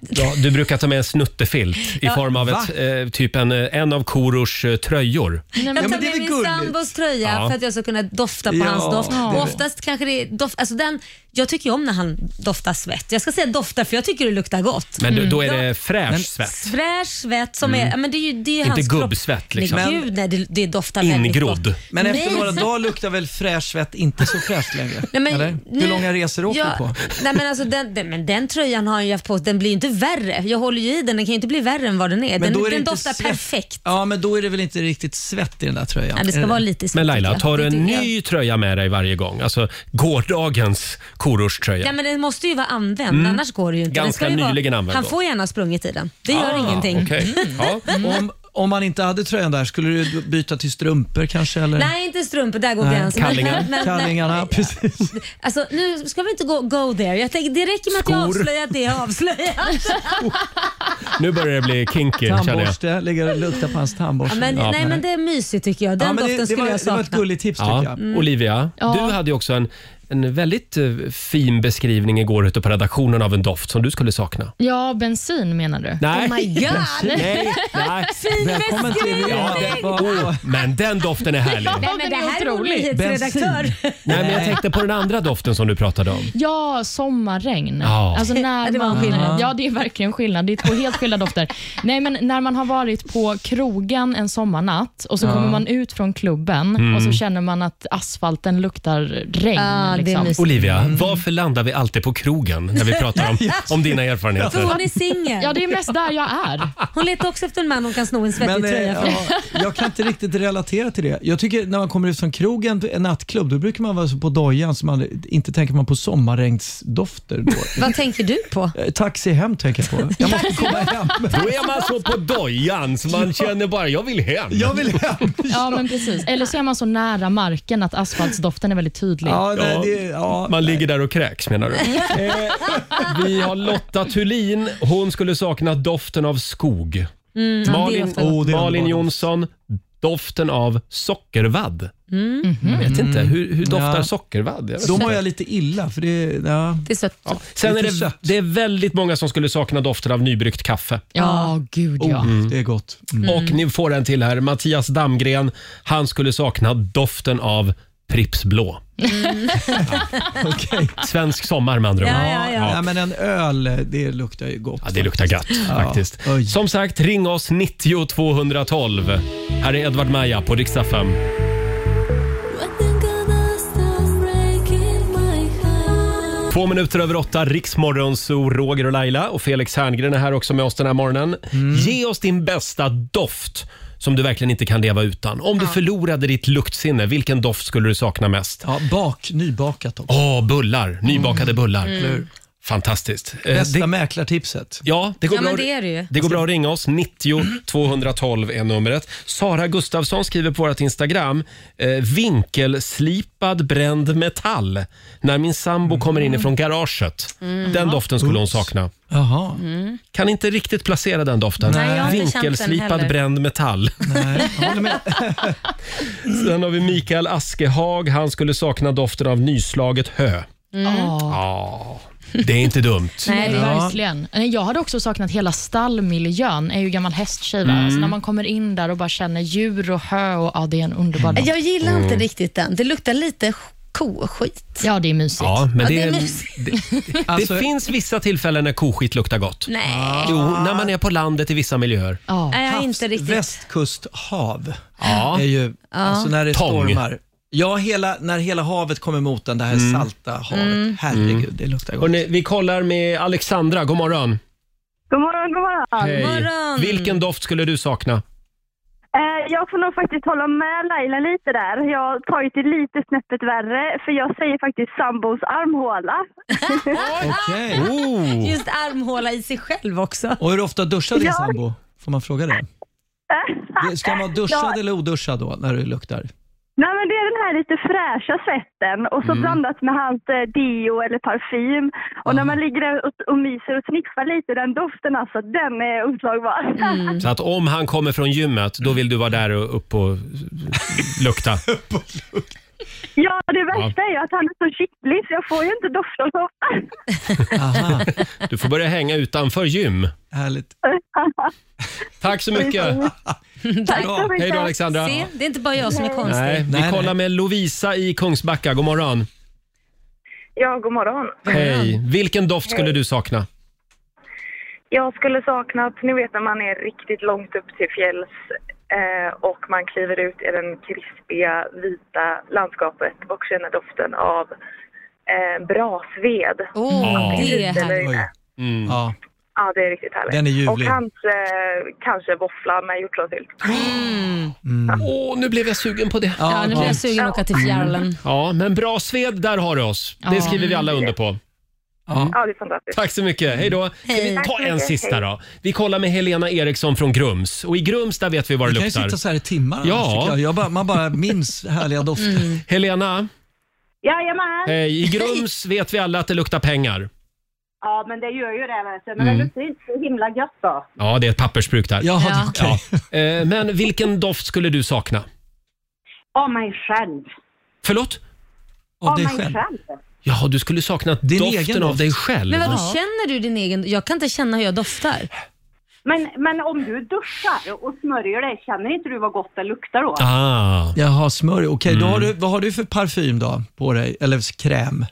[SPEAKER 1] Ja, du brukar ta med en snuttefilt i
[SPEAKER 2] Ja.
[SPEAKER 1] form av
[SPEAKER 2] Va?
[SPEAKER 1] ett, eh, typ en, eh, en av Korosh eh, tröjor.
[SPEAKER 2] jag tar med min sambos tröja
[SPEAKER 1] Ja.
[SPEAKER 2] för att jag ska kunna dofta på
[SPEAKER 1] Ja,
[SPEAKER 2] hans doft.
[SPEAKER 1] det är
[SPEAKER 2] Och
[SPEAKER 1] det.
[SPEAKER 2] oftast kanske det är doft, alltså den, Jag tycker ju om när han doftar svett. Jag ska säga doftar för jag tycker det luktar gott.
[SPEAKER 1] Men då- då är
[SPEAKER 2] Mm. Ja,
[SPEAKER 1] det fräsch svett.
[SPEAKER 2] Fräsch svett som
[SPEAKER 1] Mm.
[SPEAKER 2] är, ja, men det är ju, det är ju
[SPEAKER 1] Inte
[SPEAKER 2] hans
[SPEAKER 1] gubbsvett,
[SPEAKER 2] kropp.
[SPEAKER 1] liksom.
[SPEAKER 2] Nej,
[SPEAKER 1] Men-
[SPEAKER 2] gud nej, det, det doftar väldigt
[SPEAKER 1] Ingrodd.
[SPEAKER 2] gott.
[SPEAKER 10] Men efter
[SPEAKER 2] Nej.
[SPEAKER 10] några dagar luktar väl fräsch svett inte så fräscht längre?
[SPEAKER 2] Nej, men
[SPEAKER 10] Eller?
[SPEAKER 2] nu-
[SPEAKER 10] Hur långa resor åker
[SPEAKER 2] Ja,
[SPEAKER 10] du på?
[SPEAKER 2] Nej, men alltså den, den, men den tröjan har han ju haft på sig. Den blir ju inte värre. Jag håller ju i den. Den kan ju inte bli värre än vad den är.
[SPEAKER 10] Men
[SPEAKER 2] den
[SPEAKER 10] då är det
[SPEAKER 2] den
[SPEAKER 10] inte
[SPEAKER 2] doftar
[SPEAKER 10] svett.
[SPEAKER 2] perfekt.
[SPEAKER 10] Ja, men då är det väl inte riktigt svett i den där tröjan?
[SPEAKER 2] Nej, det ska
[SPEAKER 10] Är
[SPEAKER 2] vara lite
[SPEAKER 1] Men Laila, tar du en
[SPEAKER 2] Det tycker
[SPEAKER 1] ny tröja med dig varje gång? Alltså gårdagens Korosh tröja.
[SPEAKER 2] Nej, men den måste ju vara använd,
[SPEAKER 1] Mm.
[SPEAKER 2] annars går det ju inte. Den
[SPEAKER 1] Ganska
[SPEAKER 2] ska ju
[SPEAKER 1] nyligen
[SPEAKER 2] vara,
[SPEAKER 1] använd
[SPEAKER 2] Han
[SPEAKER 1] då.
[SPEAKER 2] får gärna ha sprungit i den. Det gör
[SPEAKER 1] Ah,
[SPEAKER 2] ingenting.
[SPEAKER 1] okej. Ja.
[SPEAKER 10] Om, om man inte hade tröjan där, skulle du byta till strumpor kanske? Eller?
[SPEAKER 2] Nej, inte strumpor. Där går gränsen. Men- men-
[SPEAKER 10] Kallingarna, precis.
[SPEAKER 2] Alltså, nu ska vi inte gå go there. Jag tänker, det räcker med att jag
[SPEAKER 1] Skor.
[SPEAKER 2] avslöjar att det är avslöjat.
[SPEAKER 1] Nu börjar det bli kinky känner jag.
[SPEAKER 10] Tandborste, ligger och luktar på hans
[SPEAKER 2] ja,
[SPEAKER 10] tandborste.
[SPEAKER 2] men,
[SPEAKER 1] Ja.
[SPEAKER 2] Nej, men det är mysigt tycker jag. Den
[SPEAKER 10] Ja, men det-
[SPEAKER 2] doften
[SPEAKER 10] det
[SPEAKER 2] skulle
[SPEAKER 10] var-
[SPEAKER 2] jag
[SPEAKER 10] det
[SPEAKER 2] sakna.
[SPEAKER 10] var ett gulligt tips, tycker jag. Mm.
[SPEAKER 1] Olivia,
[SPEAKER 2] Ja.
[SPEAKER 1] du hade ju också en, en väldigt eh, fin beskrivning igår ute på redaktionen av en doft som du skulle sakna.
[SPEAKER 3] Ja, bensin menar du?
[SPEAKER 1] Nej.
[SPEAKER 3] Oh my god!
[SPEAKER 1] Nej, nej.
[SPEAKER 3] Fin
[SPEAKER 1] Välkommen till-
[SPEAKER 3] beskrivning!
[SPEAKER 1] Ja, det var- Åh, men den doften är härlig.
[SPEAKER 3] Ja,
[SPEAKER 2] Nej, men det
[SPEAKER 3] den är
[SPEAKER 2] här är vår
[SPEAKER 3] otrolig.
[SPEAKER 2] nyhetsredaktör.
[SPEAKER 1] Nej, men jag tänkte på den andra doften som du pratade om.
[SPEAKER 3] Ja, sommarregn.
[SPEAKER 1] Ja.
[SPEAKER 3] Alltså när
[SPEAKER 2] det var en
[SPEAKER 3] man,
[SPEAKER 2] skillnad.
[SPEAKER 3] Ja, det är verkligen skillnad. Det är två helt skilda dofter. Nej, men när man har varit på krogen en sommarnatt och så
[SPEAKER 2] Ja.
[SPEAKER 3] kommer man ut från klubben
[SPEAKER 1] Mm.
[SPEAKER 3] och så känner man att asfalten luktar regn.
[SPEAKER 2] Ah, det är
[SPEAKER 3] liksom.
[SPEAKER 2] mysigt.
[SPEAKER 1] Olivia,
[SPEAKER 10] Mm.
[SPEAKER 1] varför landar vi alltid på krogen när vi pratar om, om dina
[SPEAKER 2] För hon
[SPEAKER 1] erfarenheter?
[SPEAKER 2] är singel.
[SPEAKER 3] Ja, det är mest där jag är.
[SPEAKER 2] Hon letar också efter en man hon kan sno en svettig
[SPEAKER 10] Men, eh,
[SPEAKER 2] tröja från.
[SPEAKER 10] ja, jag kan inte riktigt relatera till det. Jag tycker när man kommer ut från krogen, en nattklubb, då brukar man vara så på dojan så man inte tänker man på sommarregnsdofter. Då.
[SPEAKER 2] Vad tänker du på?
[SPEAKER 10] Eh, Taxi hem tänker jag på. Jag måste komma hem.
[SPEAKER 1] Då är man så på dojan så man känner bara, jag vill hem.
[SPEAKER 10] Jag vill hem.
[SPEAKER 3] Ja, men precis. Eller så är man så nära marken att asfaltsdoften är väldigt tydlig.
[SPEAKER 1] Ja, man ligger där och kräks menar du? Eh, Vi har Lotta Thulin. Hon skulle sakna doften av skog.
[SPEAKER 2] Mm, ja, det är
[SPEAKER 1] Malin,
[SPEAKER 2] ofta gott. Oh, det är
[SPEAKER 1] Malin
[SPEAKER 2] underbart.
[SPEAKER 1] Jonsson, doften av sockervadd.
[SPEAKER 2] Mm.
[SPEAKER 1] Jag vet inte, hur, hur doftar
[SPEAKER 10] Ja.
[SPEAKER 1] sockervadd? vet
[SPEAKER 10] Då
[SPEAKER 1] inte.
[SPEAKER 10] mår jag lite illa för det, ja.
[SPEAKER 2] Det är sött.
[SPEAKER 1] Ja. Sen är
[SPEAKER 10] Lite
[SPEAKER 1] det, det är väldigt många som skulle sakna doften av nybryggt kaffe.
[SPEAKER 3] Ja, gud ja.
[SPEAKER 1] Mm.
[SPEAKER 10] Det är gott.
[SPEAKER 1] Och ni får en till här. Mattias Damgren, han skulle sakna doften av Pripps blå. Svensk sommar med andra ord.
[SPEAKER 10] Ja, men en öl, det luktar ju gott.
[SPEAKER 1] Ja, det luktar gött faktiskt. Som sagt, ring oss 90 212. Här är Edvard Maja på riksdag 5. Två minuter över åtta, Riksmorgon, så Roger och Laila och Felix Herngren är här också med oss den här morgonen. Ge oss din bästa doft som du verkligen inte kan leva utan. Om du förlorade ditt luktsinne, vilken doft skulle du sakna mest?
[SPEAKER 10] Ja, bak, nybakat också.
[SPEAKER 1] Åh, bullar. Nybakade bullar.
[SPEAKER 2] Mm.
[SPEAKER 1] Fantastiskt. Eh,
[SPEAKER 10] Bästa
[SPEAKER 1] det-
[SPEAKER 10] mäklartipset.
[SPEAKER 1] Ja, det går
[SPEAKER 2] Ja,
[SPEAKER 1] bra.
[SPEAKER 2] men det är det ju.
[SPEAKER 1] går bra att ringa oss. 90 212 är numret. Sara Gustafsson skriver på vårt Instagram. Eh, vinkelslipad bränd metall. När min sambo kommer in ifrån garaget.
[SPEAKER 2] Mm.
[SPEAKER 1] Den
[SPEAKER 2] Ja.
[SPEAKER 1] doften skulle hon sakna.
[SPEAKER 10] Jaha.
[SPEAKER 2] Mm.
[SPEAKER 1] Kan inte riktigt placera den doften.
[SPEAKER 2] Nej, jag har inte känt den
[SPEAKER 1] Vinkelslipad
[SPEAKER 2] heller.
[SPEAKER 1] bränd metall.
[SPEAKER 10] Nej,
[SPEAKER 1] Sen har vi Mikael Askehag. Han skulle sakna doften av nyslaget hö.
[SPEAKER 2] Mm.
[SPEAKER 1] Ja, det är inte dumt.
[SPEAKER 3] Nej,
[SPEAKER 1] Ja.
[SPEAKER 3] verkligen. Nej, Jag hade också saknat hela stallmiljön. Jag är ju gammal hästtjej. va?
[SPEAKER 1] Mm.
[SPEAKER 3] Alltså när man kommer in där och bara känner djur och hö. Och, ja, det är en underbar dag.
[SPEAKER 2] Jag gillar inte
[SPEAKER 1] Mm.
[SPEAKER 2] riktigt den. Det luktar lite sk- koskit.
[SPEAKER 3] Ja, det är mysigt.
[SPEAKER 1] Ja, men det, är-
[SPEAKER 2] mysigt.
[SPEAKER 1] det,
[SPEAKER 10] alltså-
[SPEAKER 1] alltså- finns vissa tillfällen när koskit luktar gott.
[SPEAKER 2] Nej.
[SPEAKER 1] Jo, när man är på landet i vissa miljöer.
[SPEAKER 2] Nej, jag är inte riktigt.
[SPEAKER 10] Västkusthav
[SPEAKER 1] Ja.
[SPEAKER 10] är ju,
[SPEAKER 2] Ja.
[SPEAKER 10] alltså när det
[SPEAKER 1] Tång.
[SPEAKER 10] stormar. Ja, hela, när hela havet kommer mot den, det här salta havet.
[SPEAKER 1] Mm.
[SPEAKER 10] Herregud, det luktar gott.
[SPEAKER 1] Hörrni, vi kollar med Alexandra. God morgon.
[SPEAKER 5] God morgon, god morgon.
[SPEAKER 1] Hej. Vilken doft skulle du sakna?
[SPEAKER 5] Eh, jag får nog faktiskt hålla med Laila lite där. Jag har tagit det lite snäppet värre, för jag säger faktiskt sambos armhåla.
[SPEAKER 10] Okej.
[SPEAKER 1] Oh.
[SPEAKER 2] Just armhåla i sig själv också.
[SPEAKER 10] Och hur ofta duschar din
[SPEAKER 5] Ja.
[SPEAKER 10] sambo? Får man fråga det? Det- Ska man vara
[SPEAKER 5] Ja.
[SPEAKER 10] duschad eller oduschad då när du luktar?
[SPEAKER 5] Nej, men det är den här lite fräscha svetten och så
[SPEAKER 10] Mm.
[SPEAKER 5] blandat med hans eh, dio eller parfym. Och
[SPEAKER 10] Ah.
[SPEAKER 5] när man ligger där och, och myser och sniffar lite, den doften alltså, den är oslagbar.
[SPEAKER 10] Mm.
[SPEAKER 1] Så att om han kommer från gymmet, då vill du vara där och upp och lukta.
[SPEAKER 5] ja, det värsta är ju att han är så kittlig så jag får ju inte dofta så ofta.
[SPEAKER 1] Du får börja hänga utanför gym.
[SPEAKER 10] Härligt.
[SPEAKER 1] Tack så mycket.
[SPEAKER 2] Tack så mycket.
[SPEAKER 1] Hej då Alexandra.
[SPEAKER 2] Se, det är inte bara jag som är konstig.
[SPEAKER 1] Nej, vi
[SPEAKER 10] Nej,
[SPEAKER 1] kollar med Lovisa i Kungsbacka. God morgon.
[SPEAKER 12] Ja, god morgon.
[SPEAKER 1] Hej. Vilken doft skulle
[SPEAKER 12] Hej.
[SPEAKER 1] du sakna?
[SPEAKER 12] Jag skulle sakna att ni vet när man är riktigt långt upp till fjälls eh, och man kliver ut i den krispiga vita landskapet och känner doften av eh, brasved.
[SPEAKER 2] Åh,
[SPEAKER 12] Att
[SPEAKER 2] det är
[SPEAKER 12] lite
[SPEAKER 2] härligt.
[SPEAKER 12] löjligt.
[SPEAKER 1] Mm.
[SPEAKER 10] Ja.
[SPEAKER 12] Ja, det är riktigt härligt.
[SPEAKER 10] Den är ljuvlig.
[SPEAKER 12] Och kanske, kanske våffla med hjortronsylt.
[SPEAKER 1] Åh, nu blev jag sugen på det.
[SPEAKER 2] Ja, nu blir jag sugen att åka till fjärlen.
[SPEAKER 1] Mm. Ja, men bra sved, där har du oss.
[SPEAKER 2] Ja.
[SPEAKER 1] Det skriver vi alla under på.
[SPEAKER 12] Ja, det är fantastiskt.
[SPEAKER 1] Tack så mycket. Hej
[SPEAKER 2] Mm.
[SPEAKER 1] då. Ska
[SPEAKER 12] Hej.
[SPEAKER 1] vi
[SPEAKER 12] Tack
[SPEAKER 1] ta
[SPEAKER 12] så
[SPEAKER 1] en
[SPEAKER 12] mycket.
[SPEAKER 1] sista
[SPEAKER 12] Hej.
[SPEAKER 1] då? Vi kollar med Helena Eriksson från Grums. Och i Grums, där vet vi var det
[SPEAKER 10] Vi kan ju
[SPEAKER 1] luktar.
[SPEAKER 10] sitta så här i timmar annars,
[SPEAKER 1] Ja.
[SPEAKER 10] tycker jag. Jag bara, Man bara minns härliga dofter.
[SPEAKER 2] Mm.
[SPEAKER 1] Helena,
[SPEAKER 13] Jajamän!
[SPEAKER 1] hej. i Grums vet vi alla att det luktar pengar.
[SPEAKER 13] Ja, men det gör ju det. Vet du. Men
[SPEAKER 1] Mm.
[SPEAKER 13] det luktar inte så himla gött då.
[SPEAKER 1] Ja, det är ett pappersbruk där.
[SPEAKER 13] Jaha, Ja. okej.
[SPEAKER 1] Ja. Eh, Men vilken doft skulle du sakna?
[SPEAKER 13] Av mig själv.
[SPEAKER 1] Förlåt?
[SPEAKER 5] Oh
[SPEAKER 13] mig själv.
[SPEAKER 1] Ja, du skulle sakna doften
[SPEAKER 13] egen
[SPEAKER 1] av
[SPEAKER 13] doft.
[SPEAKER 1] dig själv.
[SPEAKER 2] Men vadå, känner du din egen... Jag kan inte känna hur jag doftar.
[SPEAKER 13] Men, men om du duschar och smörjer dig, känner inte du vad gott det luktar då?
[SPEAKER 1] Ah.
[SPEAKER 10] Jaha, smörj. Okej, då
[SPEAKER 13] Mm.
[SPEAKER 10] har du, vad har du för parfym då på dig? Eller kräm?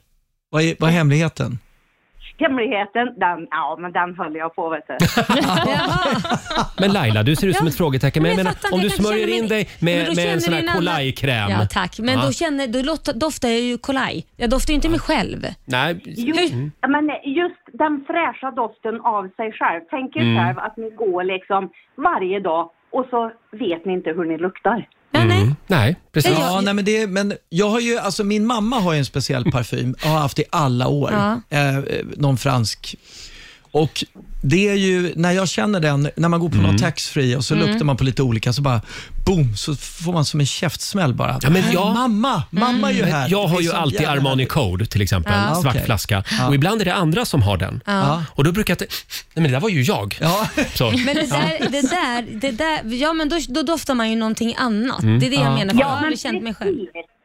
[SPEAKER 10] Vad är, vad är hemligheten?
[SPEAKER 13] Hemligheten, den, ja men den höll jag på vet du.
[SPEAKER 1] Men Laila, du ser ut som
[SPEAKER 2] Ja.
[SPEAKER 1] ett frågetecken. Men jag
[SPEAKER 2] Men
[SPEAKER 1] menar,
[SPEAKER 2] jag fattar,
[SPEAKER 1] om du
[SPEAKER 2] jag kan
[SPEAKER 1] smörjer
[SPEAKER 2] känna
[SPEAKER 1] in
[SPEAKER 2] mig-
[SPEAKER 1] dig
[SPEAKER 2] Men då
[SPEAKER 1] med, med en
[SPEAKER 2] känner
[SPEAKER 1] sån
[SPEAKER 2] min
[SPEAKER 1] här
[SPEAKER 2] alla-
[SPEAKER 1] kolajkräm.
[SPEAKER 2] Ja, tack. Men
[SPEAKER 1] Ja.
[SPEAKER 2] då, känner, då lot- doftar jag ju kolaj. Jag doftar ju inte mig själv.
[SPEAKER 1] Nej.
[SPEAKER 13] Just,
[SPEAKER 1] Mm.
[SPEAKER 13] men just den fräscha doften av sig själv. Tänk er
[SPEAKER 1] Mm.
[SPEAKER 13] själv att ni går liksom varje dag och så vet ni inte hur ni luktar.
[SPEAKER 1] Mm. Nej, precis.
[SPEAKER 10] Ja, nej, men det, är- men jag har ju, alltså, min mamma har ju en speciell parfym och har haft i alla år.
[SPEAKER 13] Ja.
[SPEAKER 10] Eh, eh, någon fransk. Och det är ju, när jag känner den, när man går på någon något taxfree och så
[SPEAKER 1] Mm.
[SPEAKER 10] luktar man på lite olika, så bara boom, så får man som en käftsmäll bara.
[SPEAKER 1] Ja, men
[SPEAKER 10] Här är
[SPEAKER 1] jag-
[SPEAKER 10] Mamma, mamma är ju
[SPEAKER 1] Men
[SPEAKER 10] här.
[SPEAKER 1] Jag har
[SPEAKER 10] Det är
[SPEAKER 1] ju
[SPEAKER 10] så
[SPEAKER 1] alltid
[SPEAKER 10] jävla-
[SPEAKER 1] Armani Code till exempel,
[SPEAKER 10] Ja.
[SPEAKER 1] svart
[SPEAKER 10] Okej.
[SPEAKER 1] flaska.
[SPEAKER 10] Ja.
[SPEAKER 1] Och ibland är det andra som har den.
[SPEAKER 2] Ja.
[SPEAKER 1] Och då brukar jag tänka, nej men det där var ju jag. Så.
[SPEAKER 2] Men det
[SPEAKER 1] Ja.
[SPEAKER 2] där, det där, det där ja men då, då doftar man ju någonting annat.
[SPEAKER 1] Mm.
[SPEAKER 2] Det är det jag
[SPEAKER 1] Ja.
[SPEAKER 2] menar, för jag
[SPEAKER 1] Ja,
[SPEAKER 2] har
[SPEAKER 1] men
[SPEAKER 2] aldrig känt mig själv.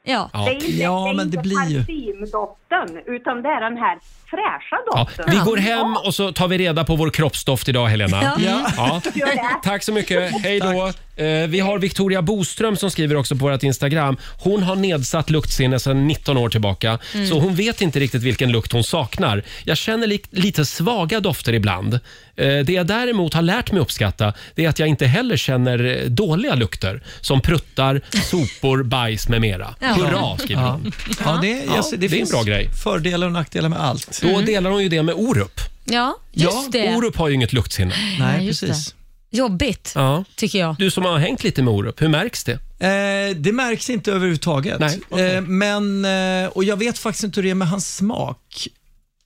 [SPEAKER 2] Ja.
[SPEAKER 1] Ja.
[SPEAKER 13] Det är inte,
[SPEAKER 10] Ja,
[SPEAKER 13] det är
[SPEAKER 10] men
[SPEAKER 13] inte
[SPEAKER 10] det blir ju-
[SPEAKER 13] parfymdoften, utan det är den här fräscha
[SPEAKER 1] Ja,
[SPEAKER 13] doften.
[SPEAKER 1] vi går hem och så tar vi reda på vår kroppsdoft idag Helena.
[SPEAKER 13] Ja.
[SPEAKER 1] Ja.
[SPEAKER 13] Gör det.
[SPEAKER 1] Tack så mycket. Hej då. Eh, Vi har Victoria Boström som skriver också på vårt Instagram. Hon har nedsatt luktsinne sedan 19 år tillbaka.
[SPEAKER 7] Mm.
[SPEAKER 1] Så hon vet inte riktigt vilken lukt hon saknar. Jag känner li- lite svaga dofter ibland. Eh, Det jag däremot har lärt mig uppskatta det är att jag inte heller känner eh, dåliga lukter som pruttar, sopor, bajs med mera.
[SPEAKER 10] Ja.
[SPEAKER 1] Hurra skriver
[SPEAKER 10] Ja.
[SPEAKER 1] hon.
[SPEAKER 10] Ja, det, är- jag ser-
[SPEAKER 1] det, är en
[SPEAKER 10] finns
[SPEAKER 1] bra grej.
[SPEAKER 10] Fördelar och nackdelar med allt.
[SPEAKER 1] Då delar hon ju det med Orup.
[SPEAKER 2] Ja, just det.
[SPEAKER 1] Orup har ju inget luktsinne.
[SPEAKER 10] Nej, just precis. det.
[SPEAKER 2] Jobbigt.
[SPEAKER 1] Ja.
[SPEAKER 2] Tycker jag.
[SPEAKER 1] Du som har hängt lite med Orup, hur märks det?
[SPEAKER 10] Eh, det märks inte överhuvudtaget.
[SPEAKER 1] Nej,
[SPEAKER 10] eh, men, eh, och jag vet faktiskt inte hur det är med hans smak.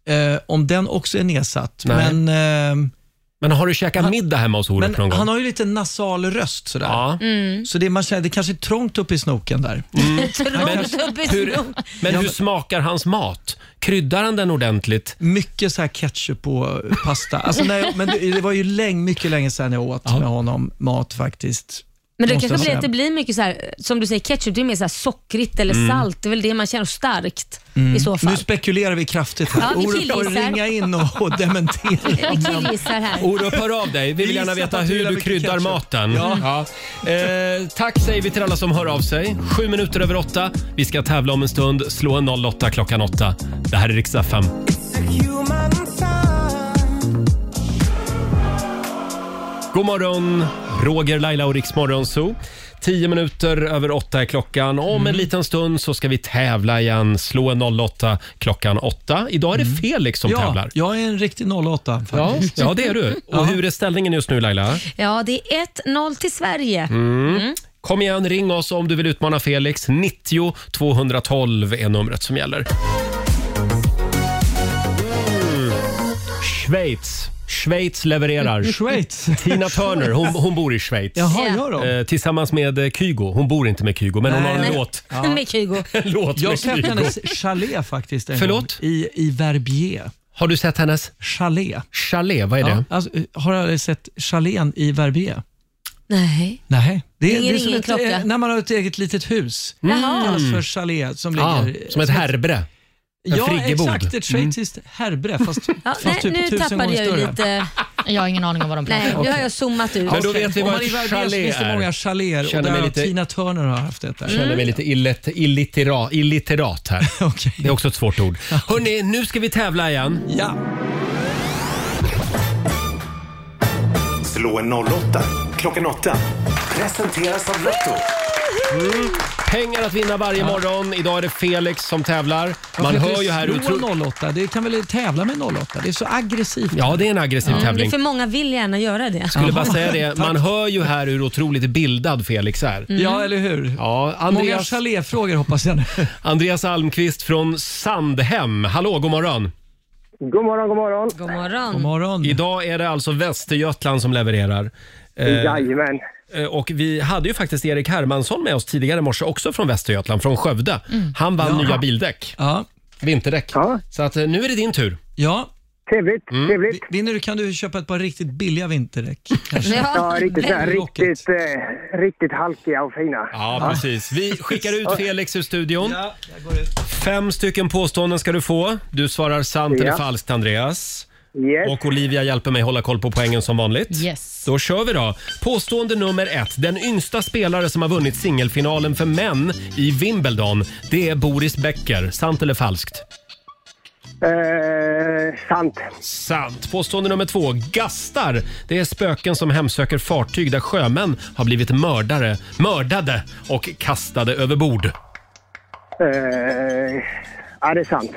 [SPEAKER 10] Eh, om den också är nedsatt.
[SPEAKER 1] Nej.
[SPEAKER 10] Men, eh,
[SPEAKER 1] men har du käkat middag hemma hos Orup
[SPEAKER 10] men
[SPEAKER 1] någon gång?
[SPEAKER 10] Han har ju lite nasal röst sådär.
[SPEAKER 2] Mm.
[SPEAKER 10] Så det, man känner, det kanske är trångt upp i snoken där.
[SPEAKER 2] Trångt upp i
[SPEAKER 1] Hur,
[SPEAKER 2] snoken.
[SPEAKER 1] men hur smakar hans mat? Kryddar han den ordentligt?
[SPEAKER 10] Mycket så här ketchup på pasta. Alltså, nej, men det, det var ju länge, mycket länge sedan jag åt med honom mat faktiskt.
[SPEAKER 2] Men det
[SPEAKER 10] Måste jag
[SPEAKER 2] kanske blir
[SPEAKER 10] säga.
[SPEAKER 2] att det blir mycket så här, som du säger, ketchup, det är mer så här sockrigt eller
[SPEAKER 10] Mm.
[SPEAKER 2] salt. Det är väl det man känner starkt
[SPEAKER 10] Mm.
[SPEAKER 2] i så fall.
[SPEAKER 10] Nu spekulerar vi kraftigt här.
[SPEAKER 2] Ja, vi
[SPEAKER 10] Orup får
[SPEAKER 2] killgissar.
[SPEAKER 10] ringa in och, och dementera.
[SPEAKER 2] Vi killgissar här.
[SPEAKER 10] Oh.
[SPEAKER 1] Orup, hör av dig. Vi vill gärna veta hur du kryddar maten. Ja. Eh, tack säger vi till alla som hör av sig. Sju minuter över åtta. Vi ska tävla om en stund. Slå en 08 klockan åtta. Det här är riksdag 5. God morgon, Roger, Laila och Riksmorgon Zoo. Tio minuter över åtta är klockan. Om
[SPEAKER 10] Mm.
[SPEAKER 1] en liten stund så ska vi tävla igen. Slå en 08 klockan åtta. Idag är det Felix som
[SPEAKER 10] Mm. ja,
[SPEAKER 1] tävlar.
[SPEAKER 10] jag är en riktig 08
[SPEAKER 1] Ja,
[SPEAKER 10] faktiskt.
[SPEAKER 1] ja, det är du.
[SPEAKER 10] Ja.
[SPEAKER 1] Och hur är ställningen just nu Laila?
[SPEAKER 2] Ja, det är 1-0 till Sverige.
[SPEAKER 1] Mm.
[SPEAKER 2] Mm.
[SPEAKER 1] Kom igen, ring oss om du vill utmana Felix. 90 212 är numret som gäller. Mm. Schweiz Schweiz levererar.
[SPEAKER 10] Schweiz.
[SPEAKER 1] Tina Turner, hon, hon bor i Schweiz.
[SPEAKER 10] Jaha, gör hon?
[SPEAKER 1] Eh, Tillsammans med eh, Kygo. Hon bor inte med Kygo, men hon har en
[SPEAKER 10] Nej.
[SPEAKER 1] låt.
[SPEAKER 2] Med Kygo.
[SPEAKER 1] En låt
[SPEAKER 10] Jag har
[SPEAKER 1] med
[SPEAKER 10] sett
[SPEAKER 1] Kygo.
[SPEAKER 10] hennes chalet faktiskt en
[SPEAKER 1] Förlåt?
[SPEAKER 10] gång, i, i Verbier.
[SPEAKER 1] Har du sett hennes?
[SPEAKER 10] Chalet.
[SPEAKER 1] Chalet, vad är det?
[SPEAKER 10] alltså, har du aldrig sett chalén i Verbier?
[SPEAKER 2] Nej.
[SPEAKER 10] Nej. Det är,
[SPEAKER 2] Ringer
[SPEAKER 10] det är som
[SPEAKER 2] ingen
[SPEAKER 10] ett,
[SPEAKER 2] klocka?
[SPEAKER 10] eh, när man har ett eget litet hus.
[SPEAKER 2] Mm.
[SPEAKER 10] kallas för chalet som
[SPEAKER 1] Ja,
[SPEAKER 10] ligger...
[SPEAKER 1] Ah, som ett härbre. En
[SPEAKER 10] ja,
[SPEAKER 1] friggebod. Mm.
[SPEAKER 10] exakt. Ett schweiziskt härbre fast,
[SPEAKER 2] Ja,
[SPEAKER 10] fast
[SPEAKER 2] nej,
[SPEAKER 10] typ
[SPEAKER 2] nu
[SPEAKER 10] tusen
[SPEAKER 2] tappade
[SPEAKER 10] gånger
[SPEAKER 2] jag ju
[SPEAKER 10] större.
[SPEAKER 2] lite...
[SPEAKER 3] Jag har ingen aning om vad de pratar
[SPEAKER 2] Nej,
[SPEAKER 3] om.
[SPEAKER 2] nu har jag zoomat ut.
[SPEAKER 1] Men då vet vi
[SPEAKER 10] Om
[SPEAKER 1] vad
[SPEAKER 10] man är i
[SPEAKER 1] ett
[SPEAKER 10] Verbier
[SPEAKER 1] chalet
[SPEAKER 10] så finns det
[SPEAKER 1] är.
[SPEAKER 10] många chaléer och
[SPEAKER 1] Känner mig
[SPEAKER 10] där
[SPEAKER 1] lite-
[SPEAKER 10] lite... Tina Turner har haft ett där.
[SPEAKER 1] Jag
[SPEAKER 2] Mm.
[SPEAKER 1] känner mig lite illet, illittera, illitterat här. Det är också ett svårt ord. Hörni, nu ska vi tävla igen.
[SPEAKER 10] Ja.
[SPEAKER 6] Slå en 08 klockan 8. Presenteras av Lotto.
[SPEAKER 1] Mm. Pengar att vinna varje morgon. Idag är det Felix som tävlar. Man
[SPEAKER 10] Varför
[SPEAKER 1] hör ju här
[SPEAKER 10] slå
[SPEAKER 1] utro...
[SPEAKER 10] 08, det kan väl tävla med 08? Det är så aggressivt.
[SPEAKER 1] Ja, det är en aggressiv
[SPEAKER 2] Ja, men det
[SPEAKER 1] tävling.
[SPEAKER 2] är
[SPEAKER 10] Liksom-
[SPEAKER 2] för många vill gärna göra det.
[SPEAKER 1] Skulle bara säga det, man hör ju här hur otroligt bildad Felix är.
[SPEAKER 2] Mm. Ja,
[SPEAKER 10] eller hur?
[SPEAKER 1] Ja,
[SPEAKER 10] Många
[SPEAKER 1] Andreas,
[SPEAKER 10] chaléfrågor hoppas jag nu.
[SPEAKER 1] Andreas Almqvist från Sandhem. Hallå, god morgon.
[SPEAKER 14] God morgon, god morgon.
[SPEAKER 2] God morgon.
[SPEAKER 1] Idag är det alltså Västergötland som levererar. Eh,
[SPEAKER 14] Jajamän.
[SPEAKER 1] eh, Och vi hade ju faktiskt Erik Hermansson med oss tidigare i morse, också från Västergötland, från Skövde.
[SPEAKER 14] Mm.
[SPEAKER 1] Han vann
[SPEAKER 14] Ja.
[SPEAKER 1] nya bildäck. Vinterdäck. Så att, eh, nu är det din tur.
[SPEAKER 10] Ja.
[SPEAKER 14] Trevligt,
[SPEAKER 1] Mm.
[SPEAKER 14] trevligt.
[SPEAKER 10] Vinner du kan du köpa ett par riktigt billiga vinterdäck.
[SPEAKER 14] Ja, riktigt, så här,
[SPEAKER 10] Väldigt
[SPEAKER 14] riktigt, eh, riktigt halkiga och fina.
[SPEAKER 1] Ja, precis. Vi skickar ut Felix ur studion.
[SPEAKER 10] Ja,
[SPEAKER 1] Fem stycken påståenden ska du få. Du svarar sant
[SPEAKER 14] Ja.
[SPEAKER 1] eller falskt, Andreas.
[SPEAKER 14] Yes.
[SPEAKER 1] Och Olivia hjälper mig hålla koll på poängen som vanligt.
[SPEAKER 3] Yes.
[SPEAKER 1] Då kör vi då. Påstående nummer ett. Den yngsta spelare som har vunnit singelfinalen för män i Wimbledon, det är Boris Becker. Sant eller falskt?
[SPEAKER 14] Eh, sant.
[SPEAKER 1] Sant. Påstående nummer två. Gastar, det är spöken som hemsöker fartyg där sjömän har blivit mördare, mördade och kastade över bord.
[SPEAKER 14] Eh, ja, det är sant.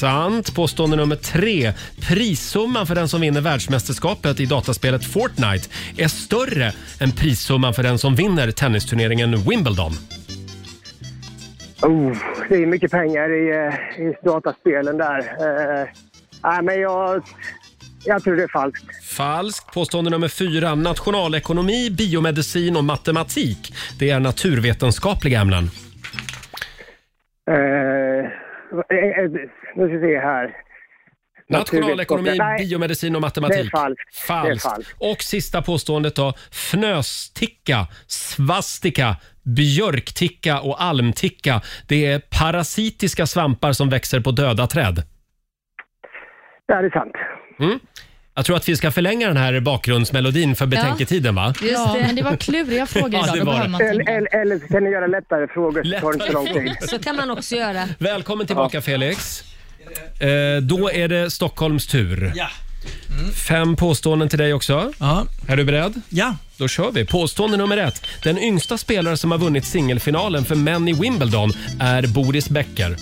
[SPEAKER 1] Sant. Påstående nummer tre. Prissumman för den som vinner världsmästerskapet i dataspelet Fortnite är större än prissumman för den som vinner tennisturneringen Wimbledon.
[SPEAKER 14] Oh, det är mycket pengar i, eh, i dataspelen där. Eh, nej, men jag, jag tror det är falskt.
[SPEAKER 1] Falskt. Påstående nummer fyra. Nationalekonomi, biomedicin och matematik. Det är naturvetenskapliga ämnen.
[SPEAKER 14] Eh, eh, eh, nu ska vi se här.
[SPEAKER 1] Nationalekonomi,
[SPEAKER 14] Nej,
[SPEAKER 1] biomedicin och matematik.
[SPEAKER 14] det är falskt. Det är
[SPEAKER 1] Falskt.
[SPEAKER 14] falskt.
[SPEAKER 1] Och sista påståendet då. Fnösticka, svastika, björkticka och almticka. Det är parasitiska svampar som växer på döda träd.
[SPEAKER 14] Ja, det är sant.
[SPEAKER 1] Mm. Jag tror att vi ska förlänga den här bakgrundsmelodin för betänketiden va?
[SPEAKER 3] ja,
[SPEAKER 14] det.
[SPEAKER 3] men det var kluriga frågor
[SPEAKER 1] Ja,
[SPEAKER 3] idag.
[SPEAKER 1] det
[SPEAKER 3] Då
[SPEAKER 1] var
[SPEAKER 3] behöver
[SPEAKER 1] det.
[SPEAKER 3] man tänka.
[SPEAKER 14] Eller, eller, eller så kan ni göra lättare frågor så tar det inte så lång tid.
[SPEAKER 2] Så kan man också göra.
[SPEAKER 1] Välkommen tillbaka Felix. Eh, då är det Stockholms tur.
[SPEAKER 10] Ja.
[SPEAKER 1] Fem påståenden till dig också. Är du beredd?
[SPEAKER 10] Ja.
[SPEAKER 1] Då kör vi. Påstående nummer ett. Den yngsta spelare som har vunnit singelfinalen för män i Wimbledon är Boris Becker.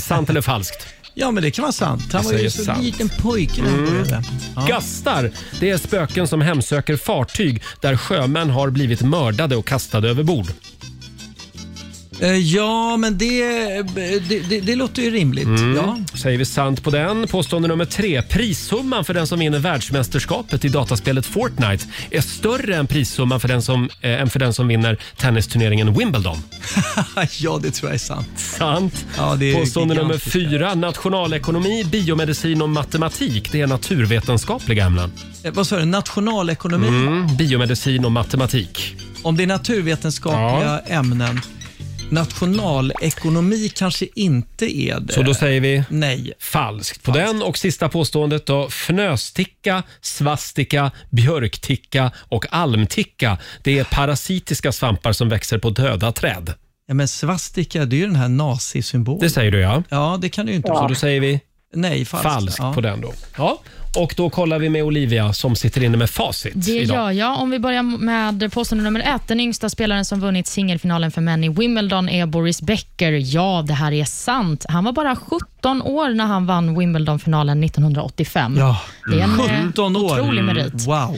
[SPEAKER 1] Sant eller falskt?
[SPEAKER 10] Ja, men det kan vara sant. Han
[SPEAKER 1] Vi
[SPEAKER 10] var ju
[SPEAKER 1] säger
[SPEAKER 10] så
[SPEAKER 1] sant.
[SPEAKER 10] liten pojke när han
[SPEAKER 1] Mm.
[SPEAKER 10] började.
[SPEAKER 1] Gastar, det är spöken som hemsöker fartyg där sjömän har blivit mördade och kastade över bord.
[SPEAKER 10] Eh, Ja, men det, eh, det, det, det låter ju rimligt.
[SPEAKER 1] Mm.
[SPEAKER 10] Ja.
[SPEAKER 1] Säger vi sant på den. Påstående nummer tre. Prissumman för den som vinner världsmästerskapet i dataspelet Fortnite är större än prissumman för den som, eh, än för den som vinner tennisturneringen Wimbledon.
[SPEAKER 10] ja, det tror jag är sant.
[SPEAKER 1] Sant.
[SPEAKER 10] Ja, det är
[SPEAKER 1] Påstående nummer
[SPEAKER 10] gigantiskt.
[SPEAKER 1] fyra. Nationalekonomi, biomedicin och matematik. Det är naturvetenskapliga ämnen.
[SPEAKER 10] Eh, Vad sa du? Nationalekonomi?
[SPEAKER 1] Mm, biomedicin och matematik.
[SPEAKER 10] Om det är naturvetenskapliga ämnen. Nationalekonomi kanske inte är det.
[SPEAKER 1] Så då säger vi
[SPEAKER 10] Nej.
[SPEAKER 1] falskt på den. Och sista påståendet då. Fnösticka, svastika, björkticka och almticka. Det är parasitiska svampar som växer på döda träd.
[SPEAKER 10] Ja, men svastika, det är ju den här nazisymbolen.
[SPEAKER 1] Det säger du ja.
[SPEAKER 10] Ja, det kan det ju inte
[SPEAKER 1] Ja.
[SPEAKER 10] vara.
[SPEAKER 1] Så då säger vi
[SPEAKER 10] Nej, falskt.
[SPEAKER 1] falskt
[SPEAKER 10] ja.
[SPEAKER 1] på den då. Ja. Och då kollar vi med Olivia som sitter inne med facit
[SPEAKER 3] Det
[SPEAKER 1] idag.
[SPEAKER 3] gör jag. Om vi börjar med påstående nummer ett. Den yngsta spelaren som vunnit singelfinalen för män i Wimbledon är Boris Becker. Ja, det här är sant. Han var bara 17 år när han vann Wimbledonfinalen 1985.
[SPEAKER 10] Ja.
[SPEAKER 3] Det är en eh,
[SPEAKER 10] 17 Ah, år.
[SPEAKER 3] otrolig
[SPEAKER 10] Mm.
[SPEAKER 3] merit.
[SPEAKER 10] Wow.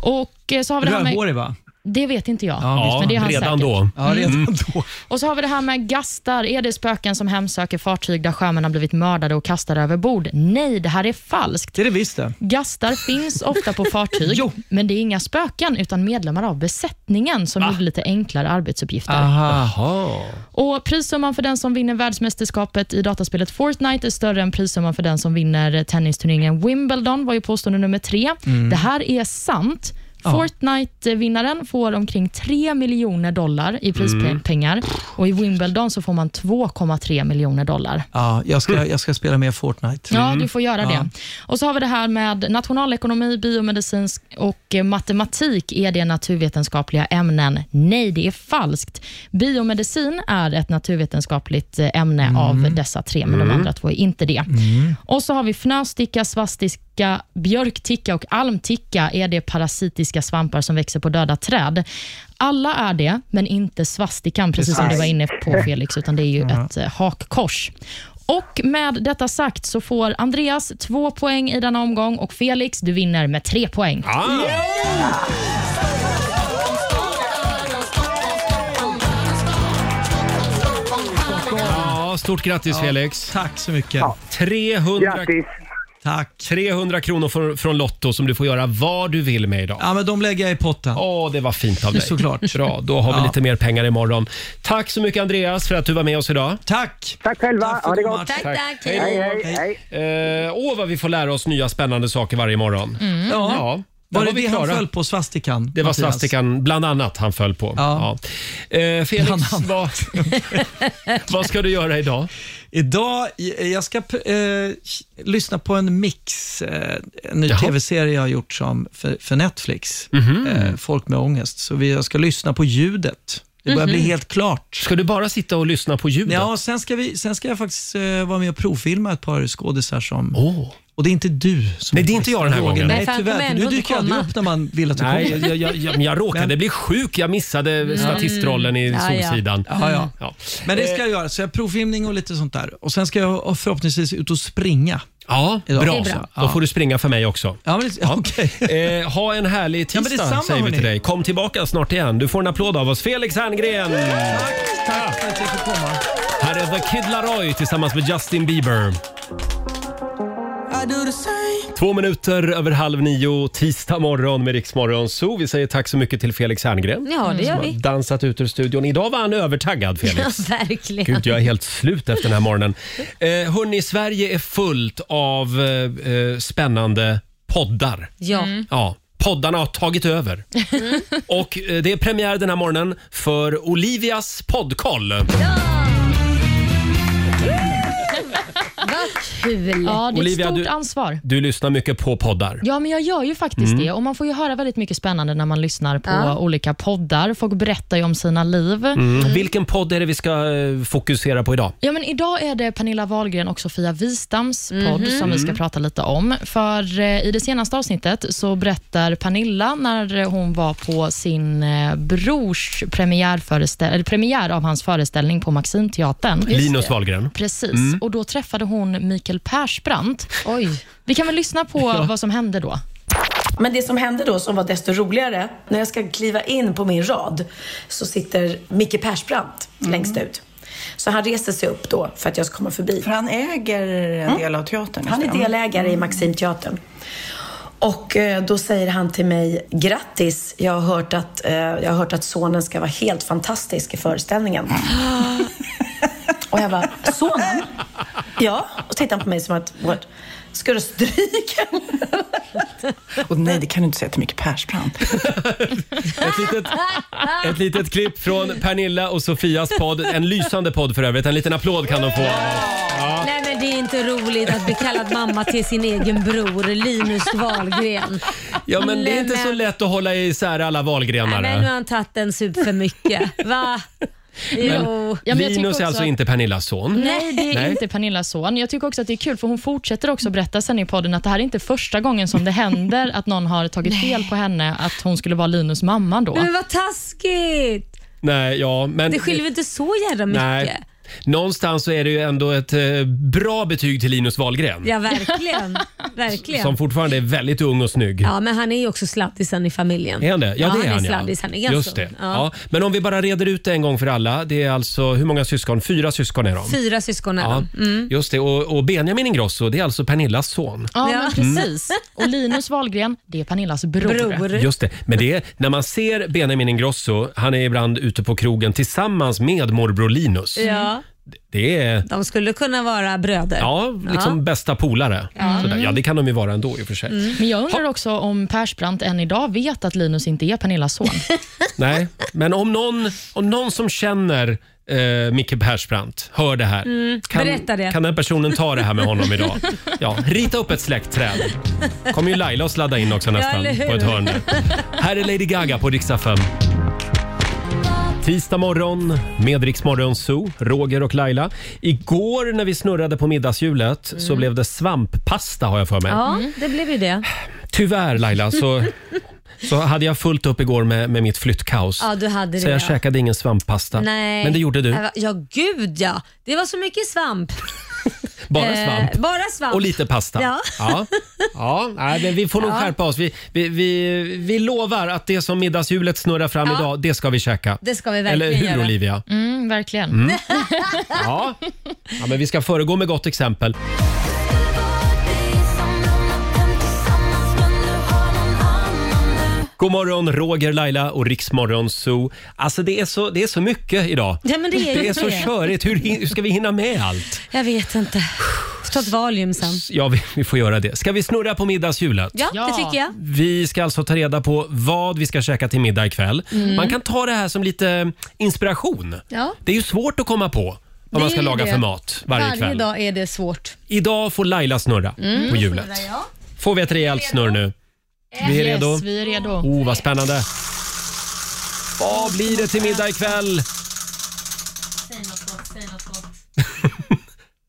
[SPEAKER 3] Och eh, så har vi det här med...
[SPEAKER 10] Rödhårig va?
[SPEAKER 3] Det vet inte jag.
[SPEAKER 1] Ja,
[SPEAKER 3] men det är han
[SPEAKER 1] redan
[SPEAKER 3] säkert.
[SPEAKER 1] då.
[SPEAKER 3] Ja, redan
[SPEAKER 1] då.
[SPEAKER 3] Och så har vi det här med gastar. Är det spöken som hemsöker fartyg där sjömän har blivit mördade och kastade över bord? Nej, det här är falskt.
[SPEAKER 10] Det är det visst det.
[SPEAKER 3] Gastar finns ofta på fartyg, men det är inga spöken utan medlemmar av besättningen
[SPEAKER 15] Ah.
[SPEAKER 3] som gjorde lite enklare arbetsuppgifter.
[SPEAKER 1] Aha.
[SPEAKER 3] Och Prissumman för den som vinner världsmästerskapet i dataspelet Fortnite är större än prissumman för den som vinner tennisturneringen Wimbledon, var ju påstående nummer tre.
[SPEAKER 15] Mm.
[SPEAKER 3] Det här är sant.
[SPEAKER 15] Ja.
[SPEAKER 3] Fortnite-vinnaren får omkring 3 miljoner dollar i prispengar
[SPEAKER 15] Mm.
[SPEAKER 3] och i Wimbledon så får man 2,3 miljoner dollar.
[SPEAKER 10] Ja, jag ska, jag ska spela mer Fortnite.
[SPEAKER 15] Mm.
[SPEAKER 3] Ja, du får göra
[SPEAKER 10] Ja.
[SPEAKER 3] det. Och så har vi det här med nationalekonomi, biomedicin och eh, matematik. Är det naturvetenskapliga ämnen? Nej, det är falskt. Biomedicin är ett naturvetenskapligt eh, ämne av dessa tre, men de
[SPEAKER 15] Mm.
[SPEAKER 3] andra två är inte det. Och så har vi fnösticka, svastika, björkticka och almticka. Är det parasitiska svampar som växer på döda träd? Alla är det, men inte svastikan, precis som du var inne på Felix, utan det är ju ett eh, hakkors. Och med detta sagt så får Andreas två poäng i denna omgång och Felix, du vinner med tre poäng.
[SPEAKER 1] Ah! Ja, stort grattis Felix.
[SPEAKER 10] Tack så mycket.
[SPEAKER 1] 300,
[SPEAKER 10] Grattis. Tack.
[SPEAKER 1] 300 kronor från, från Lotto som du får göra vad du vill med idag.
[SPEAKER 10] Ja, men de lägger jag i potten.
[SPEAKER 1] Åh, det var fint av dig.
[SPEAKER 10] Såklart.
[SPEAKER 1] Bra, då har vi
[SPEAKER 10] Ja.
[SPEAKER 1] lite mer pengar imorgon. Tack så mycket Andreas för att du var med oss idag.
[SPEAKER 10] Tack!
[SPEAKER 16] Tack själva.
[SPEAKER 10] Tack för
[SPEAKER 16] ha det
[SPEAKER 10] god
[SPEAKER 16] gott.
[SPEAKER 10] match. Tack, tack.
[SPEAKER 16] Hej,
[SPEAKER 10] Hej,
[SPEAKER 16] hej,
[SPEAKER 10] hej.
[SPEAKER 16] hej.
[SPEAKER 1] Eh, åh, vad vi får lära oss nya spännande saker varje morgon.
[SPEAKER 10] Mm. Ja.
[SPEAKER 1] där
[SPEAKER 10] Var det
[SPEAKER 1] vi
[SPEAKER 10] det han
[SPEAKER 1] klara.
[SPEAKER 10] föll på, svastikan?
[SPEAKER 1] Det var
[SPEAKER 10] Mattias?
[SPEAKER 1] svastikan, bland annat, han föll på. Ja. Eh, Felix, vad, vad ska du göra idag?
[SPEAKER 10] Idag, eh, jag ska eh, lyssna på en mix, eh, en ny
[SPEAKER 1] Jaha. Mhm.
[SPEAKER 10] tv-serie jag har gjort som för, för Netflix, eh, Folk med ångest. Så vi, jag ska lyssna på ljudet. Det börjar
[SPEAKER 1] Mhm.
[SPEAKER 10] bli helt klart.
[SPEAKER 1] Ska du bara sitta och lyssna på ljudet?
[SPEAKER 10] Ja, sen ska, vi, sen ska jag faktiskt eh, vara med och provfilma ett par skådisar som... Och det är inte du som...
[SPEAKER 1] Nej, det är inte jag den här
[SPEAKER 10] Roger.
[SPEAKER 1] gången.
[SPEAKER 10] Nej, tyvärr. för Du dyker aldrig upp när man vill att du
[SPEAKER 1] Nej,
[SPEAKER 10] kommer.
[SPEAKER 1] jag, jag, jag, jag, jag råkade
[SPEAKER 10] Men-
[SPEAKER 1] bli sjuk. Jag missade
[SPEAKER 10] Mm.
[SPEAKER 1] statistrollen i
[SPEAKER 10] Ja, ja.
[SPEAKER 1] Solsidan.
[SPEAKER 10] Ja, ja.
[SPEAKER 1] Ja.
[SPEAKER 10] Men det ska
[SPEAKER 1] Eh,
[SPEAKER 10] jag göra. Så jag provfilmning och lite sånt där. Och sen ska jag förhoppningsvis ut och springa.
[SPEAKER 1] Ja,
[SPEAKER 10] Idag.
[SPEAKER 1] bra.
[SPEAKER 10] Det är bra.
[SPEAKER 1] Då får du springa för mig också.
[SPEAKER 10] Ja, men, ja.
[SPEAKER 1] Eh, ha en härlig
[SPEAKER 10] Ja,
[SPEAKER 1] tisdag
[SPEAKER 10] men detsamma,
[SPEAKER 1] säger vi till
[SPEAKER 10] hörni.
[SPEAKER 1] dig. Kom tillbaka snart igen. Du får en applåd av oss. Felix Herngren!
[SPEAKER 10] Tack för att jag fick komma.
[SPEAKER 1] Här är The Kid Laroi tillsammans med Justin Bieber. Två minuter över halv nio, tisdag morgon med Riksmorgon Zoo. Vi säger tack så mycket till Felix Herngren.
[SPEAKER 2] Ja, det gör
[SPEAKER 10] Mm.
[SPEAKER 1] som
[SPEAKER 2] vi.
[SPEAKER 1] har dansat ut ur studion. Idag var han övertaggad, Felix.
[SPEAKER 2] Ja, verkligen.
[SPEAKER 1] Gud, jag är helt slut efter den här morgonen. Eh, hörni, Sverige är fullt av eh, eh, spännande poddar.
[SPEAKER 2] Ja. Mm.
[SPEAKER 1] ja. Poddarna har tagit över. Och eh, det är premiär den här morgonen för Olivias poddkoll.
[SPEAKER 3] Vad kul! Ja, det är
[SPEAKER 1] Olivia,
[SPEAKER 3] ett stort
[SPEAKER 1] du-
[SPEAKER 3] ansvar.
[SPEAKER 1] Du lyssnar mycket på poddar.
[SPEAKER 3] Ja, men jag gör ju faktiskt
[SPEAKER 1] Mm.
[SPEAKER 3] det. Och Man får ju höra väldigt mycket spännande när man lyssnar på
[SPEAKER 1] Ja.
[SPEAKER 3] olika poddar. Folk berättar ju om sina liv.
[SPEAKER 1] Mm. Vilken podd är det vi ska eh, fokusera på idag?
[SPEAKER 3] Ja, men idag är det Pernilla Wahlgren och Sofia Wistams podd
[SPEAKER 1] Mhm.
[SPEAKER 3] som vi ska
[SPEAKER 1] Mm.
[SPEAKER 3] prata lite om. För eh, I det senaste avsnittet så berättar Pernilla när eh, hon var på sin eh, brors premiärföreställ- eller premiär av hans föreställning på Maximteatern.
[SPEAKER 1] Linus Wahlgren.
[SPEAKER 3] Precis,
[SPEAKER 1] Mm.
[SPEAKER 3] och då träffade hon Mikael Persbrandt. Oj. Vi kan väl lyssna på
[SPEAKER 14] Ja.
[SPEAKER 3] vad som hände då.
[SPEAKER 14] Men det som hände då, som var desto roligare, när jag ska kliva in på min rad så sitter Micke Persbrandt längst ut. Så han reser sig upp då för att jag ska komma förbi. För han äger en del av teatern? Han är
[SPEAKER 5] just det.
[SPEAKER 14] delägare i Maximteatern. Och eh, då säger han till mig, grattis, jag har hört att, eh, jag har hört att sonen ska vara helt fantastisk i föreställningen. Och jag bara, sonen? Ja. Och tittar han på mig som att, what? Ska du stryka
[SPEAKER 5] Och nej, det kan du inte säga till Micke Persbrandt.
[SPEAKER 1] Ett litet,
[SPEAKER 10] Mm.
[SPEAKER 1] ett litet klipp från Pernilla och Sofias podd. En lysande podd för övrigt. En liten applåd kan de få. Ja.
[SPEAKER 2] Nej men det är inte roligt att bli kallad mamma till sin egen bror Linus Wahlgren.
[SPEAKER 1] ja, men det är inte
[SPEAKER 2] Nej,
[SPEAKER 1] så
[SPEAKER 2] men-
[SPEAKER 1] lätt att hålla isär alla
[SPEAKER 2] Nej, men nu
[SPEAKER 1] valgrenar.
[SPEAKER 2] har han tagit en sup för mycket. Va? Jo.
[SPEAKER 1] Linus är alltså inte Pernillas son.
[SPEAKER 3] Nej, det är inte Pernillas son. Jag tycker också att det är kul, för hon fortsätter också berätta sen i podden att det här är inte första gången som det händer att någon har tagit fel på henne, att hon skulle vara Linus mamma då.
[SPEAKER 2] Mm. Men vad taskigt!
[SPEAKER 1] Nej, ja, men...
[SPEAKER 2] det skiljer väl inte så jävla mycket?
[SPEAKER 1] Nej. Någonstans så är det ju ändå ett eh, bra betyg till Linus Wahlgren.
[SPEAKER 2] Ja, verkligen. verkligen.
[SPEAKER 1] Som fortfarande är väldigt ung och snygg.
[SPEAKER 2] Ja, men han är ju också sladdisen i familjen.
[SPEAKER 1] Är han det? Ja, det är han.
[SPEAKER 2] är sladdis. Han är alltså- ganska
[SPEAKER 1] Just det.
[SPEAKER 2] ung.
[SPEAKER 1] Ja. Men om vi bara reder ut det en gång för alla. Det är alltså, hur många syskon? Fyra syskon är de.
[SPEAKER 2] Fyra syskon är
[SPEAKER 1] Ja,
[SPEAKER 2] de. Mm.
[SPEAKER 1] Just det. Och, och Benjamin Ingrosso, det är alltså Pernillas son.
[SPEAKER 3] Ja, men
[SPEAKER 1] Mm.
[SPEAKER 3] precis. Och Linus Wahlgren, det är Pernillas bror.
[SPEAKER 1] Just det. Men det är, när man ser Benjamin Ingrosso, han är ibland ute på krogen tillsammans med morbror Linus.
[SPEAKER 2] Ja,
[SPEAKER 1] Det är
[SPEAKER 2] de skulle kunna vara bröder.
[SPEAKER 1] ja, liksom bästa polare.
[SPEAKER 3] Ja.
[SPEAKER 1] Sådär. Ja, det kan de ju vara ändå i och för sig.
[SPEAKER 3] Men jag undrar också om Persbrandt än idag vet att Linus inte är Pernillas son.
[SPEAKER 1] Nej, men om någon, om någon som känner eh, Micke Persbrandt hör det här.
[SPEAKER 2] Mm,
[SPEAKER 1] kan,
[SPEAKER 2] berätta det.
[SPEAKER 1] kan den personen ta det här med honom idag? Ja, rita upp ett släktträd. kommer ju Laila att sladda in också
[SPEAKER 7] Ja,
[SPEAKER 1] nästan
[SPEAKER 7] eller hur?
[SPEAKER 1] på ett hörn där. Här är Lady Gaga på riksdag 5. Tisdag morgon med Rix Morgon Zoo, Roger och Laila. Igår när vi snurrade på middagshjulet så blev det svamppasta har jag för mig.
[SPEAKER 2] Mm. Ja, det blev ju det.
[SPEAKER 1] Tyvärr Laila så, så hade jag fullt upp igår med, med mitt flyttkaos.
[SPEAKER 2] Ja, du hade det.
[SPEAKER 1] Så jag
[SPEAKER 2] ja.
[SPEAKER 1] käkade ingen svamppasta.
[SPEAKER 2] Nej. Äh,
[SPEAKER 1] Men det gjorde du.
[SPEAKER 2] Ja, gud ja. Det var så mycket svamp.
[SPEAKER 1] Bara svamp.
[SPEAKER 2] Eh, bara svamp.
[SPEAKER 1] Och lite pasta.
[SPEAKER 2] Ja.
[SPEAKER 1] ja. Ja, nej, men vi får nog
[SPEAKER 2] Ja.
[SPEAKER 1] skärpa oss. Vi, vi, vi, vi lovar att det som middagshjulet snurrar fram
[SPEAKER 3] Ja.
[SPEAKER 1] idag, det ska vi käka.
[SPEAKER 3] Det ska vi
[SPEAKER 1] Eller
[SPEAKER 3] verkligen
[SPEAKER 1] hur
[SPEAKER 3] göra.
[SPEAKER 1] Olivia?
[SPEAKER 3] Mm, verkligen.
[SPEAKER 1] Mm. Ja. ja, men vi ska föregå med gott exempel. God morgon, Roger, Laila och Riksmorgon Zoo. Alltså det är så, det är så mycket idag.
[SPEAKER 2] Ja, men det är ju
[SPEAKER 1] det är
[SPEAKER 2] det.
[SPEAKER 1] så körigt. Hur, hin- hur ska vi hinna med allt?
[SPEAKER 2] Jag vet inte. Jag ska ta ett Valium sen.
[SPEAKER 1] Ja, vi, vi får göra det. Ska vi snurra på middagshjulet?
[SPEAKER 2] Ja, det tycker jag.
[SPEAKER 1] Vi ska alltså ta reda på vad vi ska käka till middag ikväll.
[SPEAKER 2] Mm.
[SPEAKER 1] Man kan ta det här som lite inspiration.
[SPEAKER 17] Ja.
[SPEAKER 1] Det är ju svårt att komma på
[SPEAKER 17] Det
[SPEAKER 1] vad man
[SPEAKER 17] är
[SPEAKER 1] ska
[SPEAKER 17] ju
[SPEAKER 1] laga
[SPEAKER 17] det.
[SPEAKER 1] för mat varje, kväll.
[SPEAKER 17] dag är det svårt.
[SPEAKER 1] Idag får Laila snurra
[SPEAKER 17] Mm.
[SPEAKER 1] på hjulet. Får vi ett rejält snurr nu? Vi är redo.
[SPEAKER 3] Yes, vi är redo.
[SPEAKER 1] Oh, vad spännande. Vad blir det till middag ikväll?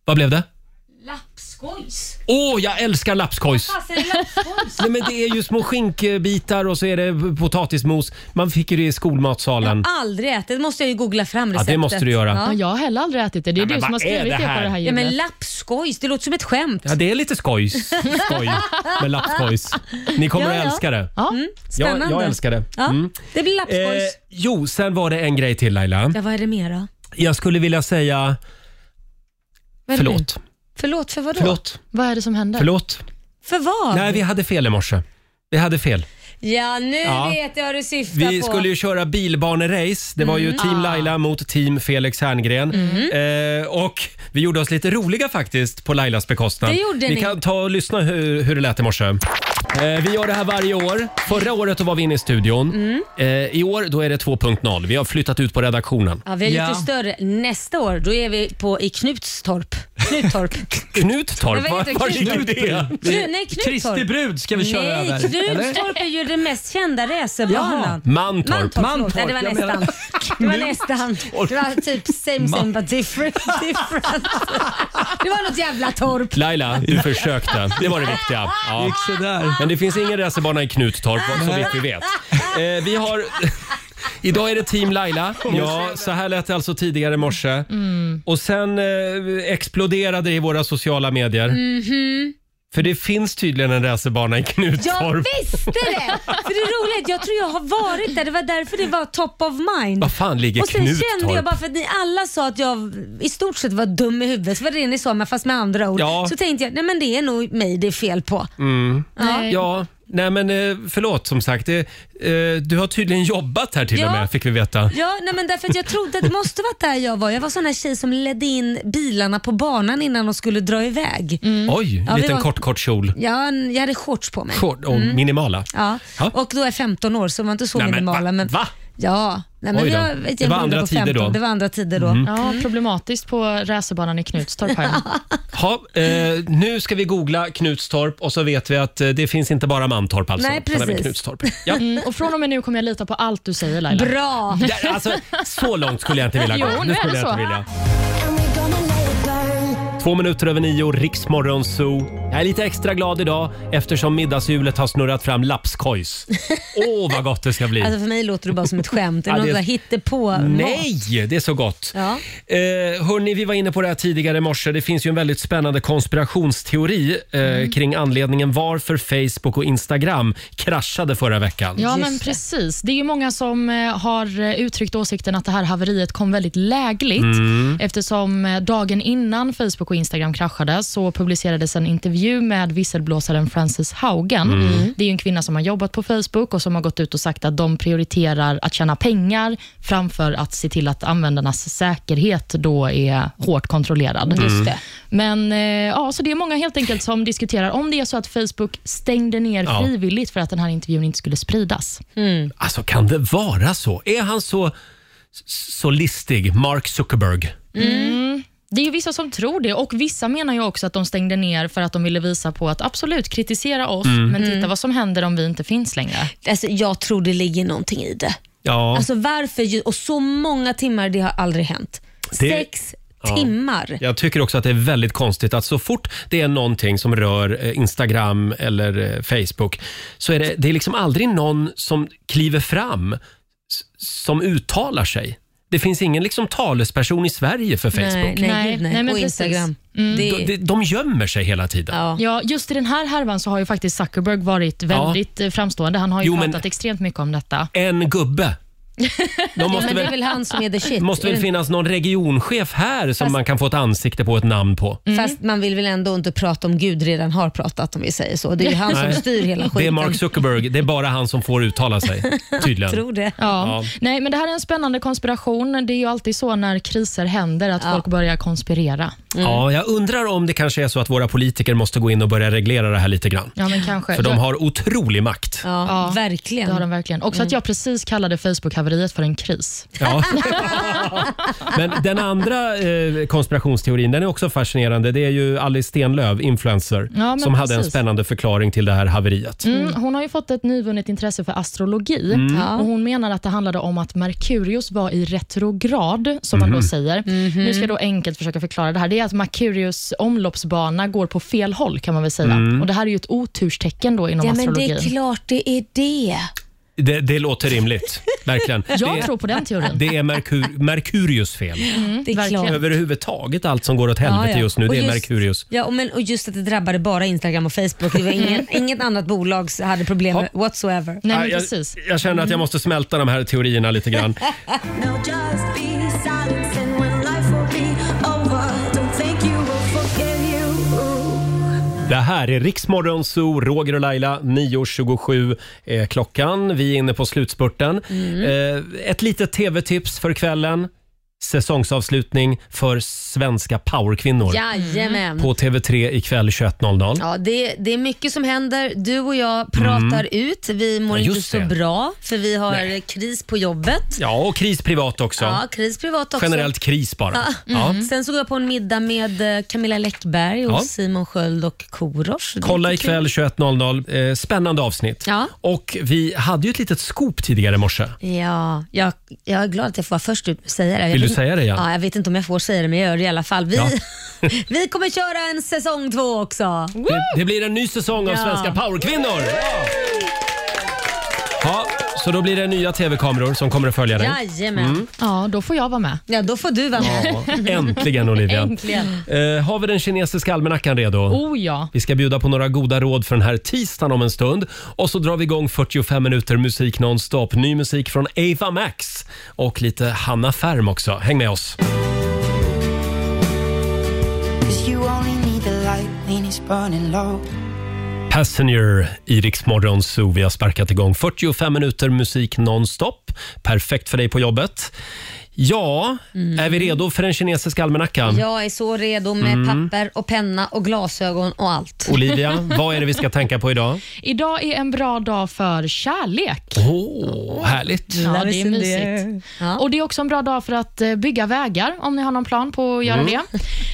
[SPEAKER 1] Vad blev det?
[SPEAKER 17] Lappskojs.
[SPEAKER 1] Åh, jag älskar lapskojs!
[SPEAKER 17] Fasen, lappskojs.
[SPEAKER 1] Nej, men det är ju små skinkbitar och så är det potatismos. Man fick ju det i skolmatsalen.
[SPEAKER 2] Aldrig ätit. Det måste jag ju googla fram
[SPEAKER 1] det
[SPEAKER 2] receptet.
[SPEAKER 1] måste du göra. Ja,
[SPEAKER 3] Jag har heller aldrig ätit det. Det är
[SPEAKER 1] Ja, men
[SPEAKER 3] du som
[SPEAKER 1] vad
[SPEAKER 3] har
[SPEAKER 1] är
[SPEAKER 3] skrivit
[SPEAKER 1] det
[SPEAKER 3] det,
[SPEAKER 1] här?
[SPEAKER 3] på det här
[SPEAKER 2] Ja,
[SPEAKER 3] hjulet.
[SPEAKER 2] men lappskojs, det låter som ett skämt.
[SPEAKER 1] Ja, det är lite skojs. Skoj med lapskojs. Ni kommer
[SPEAKER 2] Ja,
[SPEAKER 1] att
[SPEAKER 2] ja.
[SPEAKER 1] älska det.
[SPEAKER 2] Ja. Mm,
[SPEAKER 1] jag,
[SPEAKER 2] spännande.
[SPEAKER 1] jag älskar det.
[SPEAKER 2] Ja,
[SPEAKER 1] Mm.
[SPEAKER 2] Det blir lappskojs.
[SPEAKER 1] Eh, jo, sen var det en grej till Laila.
[SPEAKER 2] Ja, vad är det mer då?
[SPEAKER 1] Jag skulle vilja säga
[SPEAKER 3] Vad är det
[SPEAKER 1] förlåt.
[SPEAKER 2] Förlåt för vadå?
[SPEAKER 1] Förlåt.
[SPEAKER 3] Vad är det som händer?
[SPEAKER 1] Förlåt.
[SPEAKER 2] För vad?
[SPEAKER 1] Nej, vi hade fel i morse. Vi hade fel.
[SPEAKER 2] Ja, nu
[SPEAKER 1] Ja.
[SPEAKER 2] vet jag vad du syftar
[SPEAKER 1] Vi
[SPEAKER 2] på.
[SPEAKER 1] skulle ju köra bilbanerace. Det var ju
[SPEAKER 2] Mm.
[SPEAKER 1] team
[SPEAKER 2] Ah. Mm.
[SPEAKER 1] Laila mot team Felix Herngren. Eh, och vi gjorde oss lite roliga faktiskt på Lailas bekostnad.
[SPEAKER 7] Det gjorde
[SPEAKER 1] vi
[SPEAKER 7] ni.
[SPEAKER 1] kan ta och lyssna hur, hur det lät i morse. Eh, vi gör det här varje år. Förra året då var vi inne i studion.
[SPEAKER 2] Mm.
[SPEAKER 1] Eh, I år då är det 2.0. Vi har flyttat ut på redaktionen.
[SPEAKER 2] Ja, vi har gjort det större. Nästa år, då är vi på, i Knutstorp. Knuttorp.
[SPEAKER 1] Knuttorp,
[SPEAKER 2] Men vad
[SPEAKER 1] var,
[SPEAKER 2] heter
[SPEAKER 1] var ligger
[SPEAKER 2] Knuttorp?
[SPEAKER 1] det?
[SPEAKER 2] Knu- nej, Knutstorp.
[SPEAKER 18] Kristi brud ska vi köra
[SPEAKER 2] nej,
[SPEAKER 18] över,
[SPEAKER 2] Knutstorp är ju den mest kända racerbanan.
[SPEAKER 1] Jaha, Mantorp.
[SPEAKER 2] Mantorp. Mantorp.
[SPEAKER 1] Mantorp,
[SPEAKER 2] Nej, det var
[SPEAKER 1] jag
[SPEAKER 2] nästan.
[SPEAKER 1] menar.
[SPEAKER 2] Det var nästan. Det var typ same same but different. different. Det var något jävla torp.
[SPEAKER 1] Laila, du försökte. Det var det viktiga. Ja. Men det finns ingen racerbana i Knutstorp, så
[SPEAKER 7] Nej.
[SPEAKER 1] vitt vi vet. Eh, vi har... Idag är det team Laila. Ja, så här lät det alltså tidigare i morse.
[SPEAKER 2] Mm.
[SPEAKER 1] Och sen eh, exploderade det i våra sociala medier.
[SPEAKER 2] Mhm.
[SPEAKER 1] För det finns tydligen en racerbana i
[SPEAKER 2] Jag
[SPEAKER 1] Knutstorp.
[SPEAKER 2] visste det! För det är roligt, jag tror jag har varit där. Det var därför det var top of mind.
[SPEAKER 1] Vad fan ligger
[SPEAKER 2] Och sen kände jag
[SPEAKER 1] Knutstorp?
[SPEAKER 2] bara för att ni alla sa att jag i stort sett var dum i huvudet. Så var det det ni sa men fast med andra ord.
[SPEAKER 1] Ja.
[SPEAKER 2] Så tänkte jag, nej men det är nog mig det är fel på.
[SPEAKER 1] Mm.
[SPEAKER 2] Ja. Nej.
[SPEAKER 1] Ja, nej men eh, förlåt som sagt. Det, eh, du har tydligen jobbat här till
[SPEAKER 2] Ja. Mm.
[SPEAKER 1] och med, fick vi veta.
[SPEAKER 2] Ja, nej men därför att jag trodde att det måste varit där jag var. Jag var sån här tjej som ledde in bilarna på banan innan de skulle dra iväg.
[SPEAKER 1] Oj,
[SPEAKER 2] Ja, vi
[SPEAKER 1] liten
[SPEAKER 2] var-
[SPEAKER 1] kort kort kjol.
[SPEAKER 2] Ja, jag hade shorts på mig.
[SPEAKER 1] Short och
[SPEAKER 2] Mm.
[SPEAKER 1] minimala.
[SPEAKER 2] Ja.
[SPEAKER 1] Ja.
[SPEAKER 2] och då är jag 15 år så var inte så
[SPEAKER 1] Nej, men
[SPEAKER 2] minimala.
[SPEAKER 1] va-
[SPEAKER 2] men,
[SPEAKER 1] va?
[SPEAKER 2] Ja, nej, men
[SPEAKER 1] Oj då.
[SPEAKER 2] jag,
[SPEAKER 1] Det
[SPEAKER 2] vet, jag
[SPEAKER 1] var
[SPEAKER 2] bodde
[SPEAKER 1] andra
[SPEAKER 2] på
[SPEAKER 1] tider
[SPEAKER 2] 15.
[SPEAKER 1] då.
[SPEAKER 2] Det var andra tider då.
[SPEAKER 1] Mm.
[SPEAKER 3] Ja, problematiskt på racerbanan i Knutstorp. Här.
[SPEAKER 1] Ha, eh, nu ska vi googla Knutstorp och så vet vi att eh, det finns inte bara Mantorp alltså.
[SPEAKER 3] Nej,
[SPEAKER 1] utan även
[SPEAKER 3] precis.
[SPEAKER 1] Knutstorp.
[SPEAKER 3] Mm, och från och med nu kommer jag lita på allt du säger Laila.
[SPEAKER 2] Bra!
[SPEAKER 1] Ja, alltså, så långt skulle jag inte vilja gå.
[SPEAKER 3] Jo, nu är
[SPEAKER 1] skulle
[SPEAKER 3] det
[SPEAKER 1] jag
[SPEAKER 3] så.
[SPEAKER 1] inte vilja. Två minuter över nio, Riksmorgon Zoo. Jag är lite extra glad idag eftersom middagshjulet har snurrat fram lapskojs. Åh, vad gott det ska bli!
[SPEAKER 2] Alltså för mig låter det bara som ett skämt. Är
[SPEAKER 1] Ja,
[SPEAKER 2] det någon
[SPEAKER 1] det-
[SPEAKER 2] sån här hittepå
[SPEAKER 1] Nej, det är så gott.
[SPEAKER 2] Ja.
[SPEAKER 1] Eh, hörni, vi var inne på det här tidigare i morse. Det finns ju en väldigt spännande konspirationsteori eh,
[SPEAKER 3] Mm.
[SPEAKER 1] kring anledningen varför Facebook och Instagram kraschade förra veckan.
[SPEAKER 3] Ja, men precis. Det är ju många som eh, har eh, uttryckt åsikten att det här haveriet kom väldigt lägligt
[SPEAKER 7] Mm.
[SPEAKER 3] eftersom eh, dagen innan Facebook och Instagram kraschade så publicerades en intervju med visselblåsaren Frances Haugen.
[SPEAKER 7] Mm.
[SPEAKER 3] Det är ju en kvinna som har jobbat på Facebook och som har gått ut och sagt att de prioriterar att tjäna pengar framför att se till att användarnas säkerhet då är hårt kontrollerad.
[SPEAKER 7] Mm. Just det.
[SPEAKER 3] Men eh, ja, så det är många helt enkelt som diskuterar om det är så att Facebook stängde ner
[SPEAKER 1] Ja.
[SPEAKER 3] frivilligt för att den här intervjun inte skulle spridas.
[SPEAKER 1] Alltså, kan det vara så? Är han så, så listig, Mark Zuckerberg?
[SPEAKER 3] Mm. Det är ju vissa som tror det och vissa menar ju också att de stängde ner för att de ville visa på att absolut kritisera oss,
[SPEAKER 1] Mm.
[SPEAKER 3] men titta
[SPEAKER 2] Mm.
[SPEAKER 3] vad som händer om vi inte finns längre.
[SPEAKER 2] Alltså, jag tror det ligger någonting i det.
[SPEAKER 1] Ja.
[SPEAKER 2] Alltså varför? ju- Och så många timmar, det har aldrig hänt.
[SPEAKER 1] Det-
[SPEAKER 2] Sex
[SPEAKER 1] Ja.
[SPEAKER 2] timmar.
[SPEAKER 1] Jag tycker också att det är väldigt konstigt att så fort det är någonting som rör eh, Instagram eller eh, Facebook så är det, det är liksom aldrig någon som kliver fram s- som uttalar sig. Det finns ingen liksom talesperson i Sverige för Facebook.
[SPEAKER 2] Nej, nej, gud, nej.
[SPEAKER 3] Nej, men
[SPEAKER 2] och
[SPEAKER 3] precis.
[SPEAKER 2] Instagram.
[SPEAKER 3] Mm.
[SPEAKER 2] Det,
[SPEAKER 1] De, de gömmer sig hela tiden.
[SPEAKER 3] Ja, just i den här härvan så har ju faktiskt Zuckerberg varit väldigt eh, framstående. Han har ju
[SPEAKER 1] Jo, men-
[SPEAKER 3] pratat extremt mycket om detta.
[SPEAKER 1] En gubbe. De
[SPEAKER 2] ja,
[SPEAKER 1] måste
[SPEAKER 2] men det är
[SPEAKER 1] väl,
[SPEAKER 2] väl han som är the shit.
[SPEAKER 1] det måste
[SPEAKER 2] är
[SPEAKER 1] väl
[SPEAKER 2] det inte?
[SPEAKER 1] finnas någon regionchef här som
[SPEAKER 2] Fast- Mm,
[SPEAKER 1] man kan få ett ansikte på, ett namn på.
[SPEAKER 2] Fast man vill väl ändå inte prata om Gud redan har pratat om vi säger så. Det är ju han som
[SPEAKER 1] Nej.
[SPEAKER 2] styr hela skiten.
[SPEAKER 1] Det är Mark Zuckerberg. Det är bara han som får uttala sig. Tydligen.
[SPEAKER 2] det.
[SPEAKER 3] Ja.
[SPEAKER 1] Ja.
[SPEAKER 3] Nej, men det här är en spännande konspiration. Det är ju alltid så när kriser händer att folk börjar konspirera.
[SPEAKER 1] Ja, jag undrar om det kanske är så att våra politiker måste gå in och börja reglera det här lite grann.
[SPEAKER 3] Ja, men kanske.
[SPEAKER 1] För de
[SPEAKER 3] Jag-
[SPEAKER 1] har otrolig makt.
[SPEAKER 2] Ja, verkligen.
[SPEAKER 3] Det har de verkligen. Också att jag precis kallade Facebook-haveriet för en kris.
[SPEAKER 1] Ja. Men den andra eh, konspirationsteorin, den är också fascinerande. Det är ju Alice Stenlöf, influencer,
[SPEAKER 3] Ja, men
[SPEAKER 1] som hade en
[SPEAKER 3] precis.
[SPEAKER 1] spännande förklaring till det här haveriet.
[SPEAKER 3] Mm, hon har ju fått ett nyvunnet intresse för astrologi.
[SPEAKER 1] Mm. Ja.
[SPEAKER 3] Och Hon menar att det handlade om att Merkurius var i retrograd, som man
[SPEAKER 7] Mhm.
[SPEAKER 3] då säger. Nu ska jag då enkelt försöka förklara det här. Det är att Merkurius omloppsbana går på fel håll, kan man väl säga.
[SPEAKER 1] Mm.
[SPEAKER 3] Och Det här är ju ett oturstecken då inom
[SPEAKER 2] Ja, men
[SPEAKER 3] astrologin.
[SPEAKER 2] det är klart det är det.
[SPEAKER 1] Det, det låter rimligt, verkligen.
[SPEAKER 3] Jag
[SPEAKER 1] det,
[SPEAKER 3] tror på den Mm. teorin.
[SPEAKER 1] Det är Merkur, Merkurius fel.
[SPEAKER 2] det är klart.
[SPEAKER 1] Överhuvudtaget allt som går åt helvete
[SPEAKER 2] Ja, ja.
[SPEAKER 1] just nu, det
[SPEAKER 2] Och
[SPEAKER 1] är Merkurius.
[SPEAKER 2] Ja, och, men, och just att det drabbade bara Instagram och Facebook. Det var ingen, inget annat bolag som hade problem med whatsoever.
[SPEAKER 1] Ja, jag, jag känner
[SPEAKER 3] Mm.
[SPEAKER 1] att jag måste smälta de här teorierna lite grann.
[SPEAKER 7] No, just be silent and when life will be over Don't think you will forgive you
[SPEAKER 1] Det här är Riksmorgon Zoo, Roger och Laila. 9.27 är klockan. Vi är inne på slutspurten.
[SPEAKER 7] Mm.
[SPEAKER 1] Eh, ett litet tv-tips för kvällen. Säsongsavslutning för svenska powerkvinnor.
[SPEAKER 2] Jajamän.
[SPEAKER 1] På TV3 ikväll 21.00.
[SPEAKER 2] Ja, det, det är mycket som händer. Du och jag pratar
[SPEAKER 1] Mm.
[SPEAKER 2] ut. Vi mår
[SPEAKER 1] Ja,
[SPEAKER 2] inte
[SPEAKER 1] just
[SPEAKER 2] så
[SPEAKER 1] det.
[SPEAKER 2] bra för vi har
[SPEAKER 1] Nej.
[SPEAKER 2] kris på jobbet.
[SPEAKER 1] Ja, och kris privat också.
[SPEAKER 2] Ja, kris privat också.
[SPEAKER 1] Generellt kris bara.
[SPEAKER 2] Ja. Mm.
[SPEAKER 1] Ja.
[SPEAKER 2] Sen så går jag på en middag med eh, Camilla Läckberg och
[SPEAKER 1] Ja.
[SPEAKER 2] Simon Sköld och Korosh. Det är
[SPEAKER 1] Kolla
[SPEAKER 2] lite kul.
[SPEAKER 1] ikväll 21.00. Eh, spännande avsnitt.
[SPEAKER 2] Ja.
[SPEAKER 1] Och vi hade ju ett litet scoop tidigare i morse.
[SPEAKER 2] Ja, jag, jag är glad att jag får vara först ut och säga det. Jag
[SPEAKER 1] Vill du
[SPEAKER 2] vet-
[SPEAKER 1] säga det igen?
[SPEAKER 2] Ja, jag vet inte om jag får säga det, men jag gör det i alla fall. Vi,
[SPEAKER 1] Ja.
[SPEAKER 2] vi kommer köra en säsong två också.
[SPEAKER 1] Det, det blir en ny säsong av
[SPEAKER 2] Ja.
[SPEAKER 1] Svenska powerkvinnor! Ja, så då blir det nya TV-kameror som kommer att följa dig.
[SPEAKER 2] Jajamän.
[SPEAKER 1] Mm.
[SPEAKER 3] Ja, då får jag vara med.
[SPEAKER 2] Ja, då får du vara med.
[SPEAKER 1] Ja, äntligen Olivia.
[SPEAKER 2] Äntligen.
[SPEAKER 1] Eh, har vi den kinesiska almanackan redo?
[SPEAKER 3] Oh ja.
[SPEAKER 1] Vi ska bjuda på några goda råd för den här tisdagen om en stund. Och så drar vi igång 45 minuter musik nonstop. Ny musik från Ava Max och lite Hanna Färm också. Häng med oss.
[SPEAKER 7] Cause you only need the light when it's burning low
[SPEAKER 1] Passenger i Rix Morgon Zoo. Vi har sparkat igång 45 minuter musik nonstop. Perfekt för dig på jobbet. Ja, är vi redo för den kinesiska almanackan?
[SPEAKER 2] Jag är så redo med
[SPEAKER 1] Mm.
[SPEAKER 2] papper och penna och glasögon och allt.
[SPEAKER 1] Olivia, vad är det vi ska tänka på idag?
[SPEAKER 3] Idag är en bra dag för kärlek.
[SPEAKER 1] Åh, oh, härligt.
[SPEAKER 3] Ja, det är mysigt. Och Det är också en bra dag för att eh, bygga vägar, om ni har någon plan på att göra
[SPEAKER 7] Mm.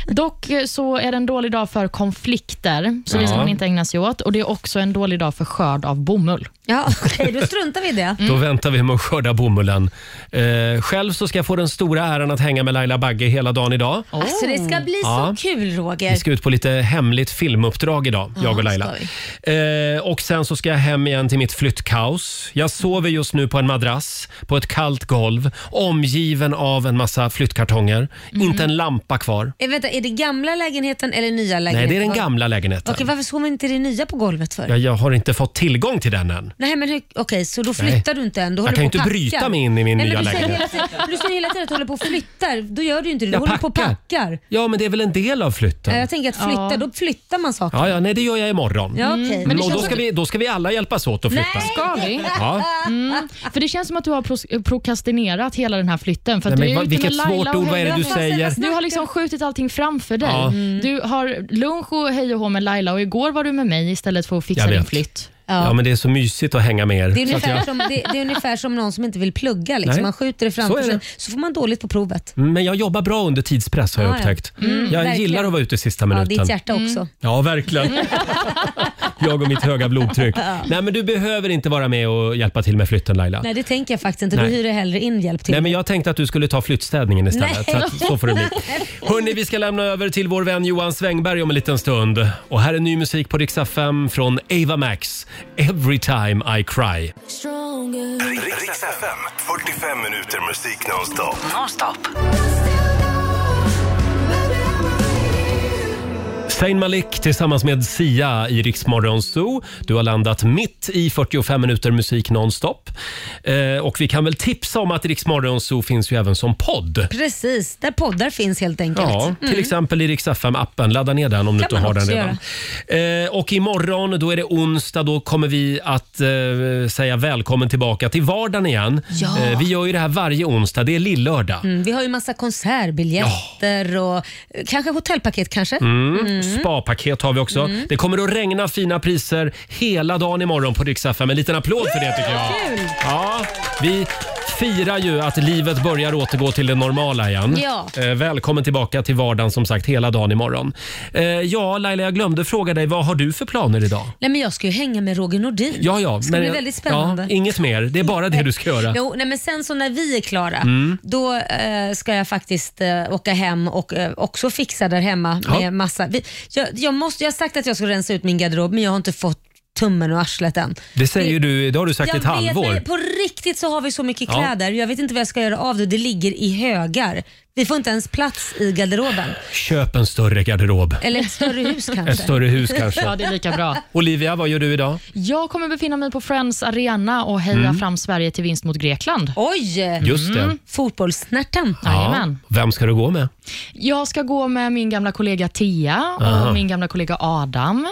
[SPEAKER 3] det. Dock eh, så är det en dålig dag för konflikter, så det ska
[SPEAKER 1] Ja.
[SPEAKER 3] man inte ägna sig åt. Och Det är också en dålig dag för skörd av bomull.
[SPEAKER 2] Ja, okej, då struntar vi i det.
[SPEAKER 1] Då väntar vi med att skörda bomullen. Eh, själv så ska jag får den stora äran att hänga med Laila Bagge hela dagen idag.
[SPEAKER 2] Alltså det ska bli
[SPEAKER 1] Oh. Ja.
[SPEAKER 2] så kul Roger.
[SPEAKER 1] Vi ska ut på lite hemligt filmuppdrag idag,
[SPEAKER 2] Ja,
[SPEAKER 1] jag och
[SPEAKER 2] det
[SPEAKER 1] Laila. Eh, och sen så ska jag hem igen till mitt flyttkaos. Jag sover just nu på en madrass på ett kallt golv omgiven av en massa flyttkartonger.
[SPEAKER 2] Mm.
[SPEAKER 1] Inte en lampa kvar.
[SPEAKER 2] Eh, vänta, är det gamla lägenheten eller nya
[SPEAKER 1] Nej,
[SPEAKER 2] lägenheten?
[SPEAKER 1] det är den
[SPEAKER 2] Var-
[SPEAKER 1] gamla lägenheten.
[SPEAKER 2] Okej, varför sover inte det nya på golvet för?
[SPEAKER 1] Jag, jag har inte fått tillgång till den än.
[SPEAKER 2] Nej, men hur- okej, så då
[SPEAKER 1] Nej.
[SPEAKER 2] flyttar du inte än? Du
[SPEAKER 1] Jag
[SPEAKER 2] håller
[SPEAKER 1] kan ju
[SPEAKER 2] på
[SPEAKER 1] inte
[SPEAKER 2] och
[SPEAKER 1] bryta
[SPEAKER 2] packar.
[SPEAKER 1] mig in i min
[SPEAKER 2] Nej, men
[SPEAKER 1] nya
[SPEAKER 2] du säger
[SPEAKER 1] lägenhet.
[SPEAKER 2] hela tiden- Du säger hela tiden att du håller på och flyttar. Då gör du ju inte det. Du
[SPEAKER 1] Jag
[SPEAKER 2] håller på och
[SPEAKER 1] packar.
[SPEAKER 2] packar.
[SPEAKER 1] Ja, men det är väl en del av flytten.
[SPEAKER 2] Ja, Jag tänker att flytta,
[SPEAKER 3] Ja.
[SPEAKER 2] då flyttar man saker.
[SPEAKER 1] Ja, ja, nej det gör jag imorgon.
[SPEAKER 2] Ja, okej. Men det
[SPEAKER 1] och då
[SPEAKER 2] känns
[SPEAKER 1] ska,
[SPEAKER 2] som-
[SPEAKER 1] vi, då ska vi alla hjälpas åt att flytta.
[SPEAKER 3] Ska vi?
[SPEAKER 1] Ja.
[SPEAKER 3] Mm. För det känns som att du har pros- eh, prokrastinerat hela den här flytten. För
[SPEAKER 1] Nej,
[SPEAKER 3] att
[SPEAKER 1] men
[SPEAKER 3] du är
[SPEAKER 1] vad-
[SPEAKER 3] ute
[SPEAKER 1] vilket
[SPEAKER 3] med Laila
[SPEAKER 1] svårt
[SPEAKER 3] och
[SPEAKER 1] ord, vad är det
[SPEAKER 3] Heja.
[SPEAKER 1] du säger?
[SPEAKER 3] Du har liksom skjutit allting framför dig.
[SPEAKER 1] Ja.
[SPEAKER 3] Du har lunch och hej och hå med Laila och igår var du med mig istället för att
[SPEAKER 1] Jag
[SPEAKER 3] fixa din
[SPEAKER 1] vet.
[SPEAKER 3] flytt.
[SPEAKER 1] Ja. men det är så mysigt att hänga med er.
[SPEAKER 2] Det är,
[SPEAKER 1] så att
[SPEAKER 2] ungefär
[SPEAKER 1] jag,
[SPEAKER 2] som, det, det är ungefär som någon som inte vill plugga. Liksom.
[SPEAKER 1] Nej.
[SPEAKER 2] Man skjuter det framför
[SPEAKER 1] Så är
[SPEAKER 2] sig
[SPEAKER 1] det.
[SPEAKER 2] så får man dåligt på provet.
[SPEAKER 1] men jag jobbar bra under tidspress har jag
[SPEAKER 2] Ja, ja.
[SPEAKER 1] upptäckt.
[SPEAKER 2] Mm,
[SPEAKER 1] jag
[SPEAKER 2] verkligen.
[SPEAKER 1] gillar att vara ute i sista
[SPEAKER 2] Ja,
[SPEAKER 1] minuten.
[SPEAKER 2] ditt hjärta också.
[SPEAKER 1] Ja, verkligen. Jag och mitt höga blodtryck. Nej, men du behöver inte vara med och hjälpa till med flytten Laila. Nej.
[SPEAKER 2] Nej, det tänker jag faktiskt inte. Då
[SPEAKER 1] Nej.
[SPEAKER 2] hyr jag hellre in hjälp till
[SPEAKER 1] men jag tänkte att du skulle ta flyttstädningen istället. Så,
[SPEAKER 2] Nej.
[SPEAKER 1] att, så får det bli. Hörni, vi ska lämna över till vår vän Johan Svängberg om en liten stund. Och här är ny musik på Rix FM från Ava Max. Every time I cry.
[SPEAKER 6] Riks FM, 45 minuter musik nonstop. Nonstop.
[SPEAKER 1] Zayn Malik tillsammans med Sia i Rix Morgon Zoo. Du har landat mitt i 45 minuter musik nonstop. Eh, och vi kan väl tipsa om att Rix Morgon Zoo finns ju även som podd.
[SPEAKER 2] Precis, där poddar finns helt enkelt.
[SPEAKER 1] Ja, till exempel i Rix FM-appen. Ladda ner den om du
[SPEAKER 2] Mm. Kan
[SPEAKER 1] inte
[SPEAKER 2] man
[SPEAKER 1] har den
[SPEAKER 2] också
[SPEAKER 1] redan. Eh, och imorgon, då är det onsdag, då kommer vi att eh, säga välkommen tillbaka till vardagen igen.
[SPEAKER 2] Ja.
[SPEAKER 1] Eh, vi gör ju det här varje onsdag, det är lillördag.
[SPEAKER 2] Mm, vi har ju massa konsertbiljetter och eh, kanske hotellpaket kanske.
[SPEAKER 1] Mm.
[SPEAKER 2] Mm.
[SPEAKER 1] Spapaket har vi också.
[SPEAKER 2] Mm.
[SPEAKER 1] Det kommer att regna fina priser hela dagen imorgon på Rix FM. En liten applåd för det tycker jag.
[SPEAKER 2] Kul!
[SPEAKER 1] Ja, vi firar ju att livet börjar återgå till det normala igen.
[SPEAKER 7] Ja.
[SPEAKER 1] Eh, Välkommen tillbaka till vardagen som sagt hela dagen imorgon. Eh, Ja, Laila, jag glömde fråga dig, vad har du för planer idag?
[SPEAKER 2] Nej, men jag ska ju hänga med Roger Nordin.
[SPEAKER 1] Ja, ja.
[SPEAKER 2] det ska bli väldigt spännande.
[SPEAKER 1] Ja, inget mer, det är bara det du ska göra.
[SPEAKER 2] Jo, nej, men sen så när vi är klara,
[SPEAKER 1] Mm.
[SPEAKER 2] då eh, ska jag faktiskt eh, åka hem och eh, också fixa där hemma
[SPEAKER 1] Ja.
[SPEAKER 2] med massa... Vi, jag, jag, måste, jag har sagt att jag ska rensa ut min garderob, men jag har inte fått tummen och arslet än.
[SPEAKER 1] Det säger du, det har du sagt i
[SPEAKER 2] jag
[SPEAKER 1] ett
[SPEAKER 2] vet,
[SPEAKER 1] halvår.
[SPEAKER 2] men på riktigt så har vi så mycket
[SPEAKER 1] Ja.
[SPEAKER 2] kläder. Jag vet inte vad jag ska göra av det. Det ligger i högar. Vi får inte ens plats i garderoben.
[SPEAKER 1] Köp en större garderob.
[SPEAKER 2] Eller ett större hus kanske.
[SPEAKER 1] Ett större hus kanske.
[SPEAKER 3] Ja, det är lika bra.
[SPEAKER 1] Olivia, vad gör du idag?
[SPEAKER 3] Jag kommer befinna mig på Friends Arena och heja
[SPEAKER 1] Mm.
[SPEAKER 3] fram Sverige till vinst mot Grekland.
[SPEAKER 2] Oj!
[SPEAKER 1] Just
[SPEAKER 2] Mm.
[SPEAKER 1] det.
[SPEAKER 2] Fotbollsnärten.
[SPEAKER 3] Jajamän.
[SPEAKER 1] Vem ska du gå med?
[SPEAKER 3] Jag ska gå med min gamla kollega Tia och
[SPEAKER 1] Aha.
[SPEAKER 3] min gamla kollega Adam.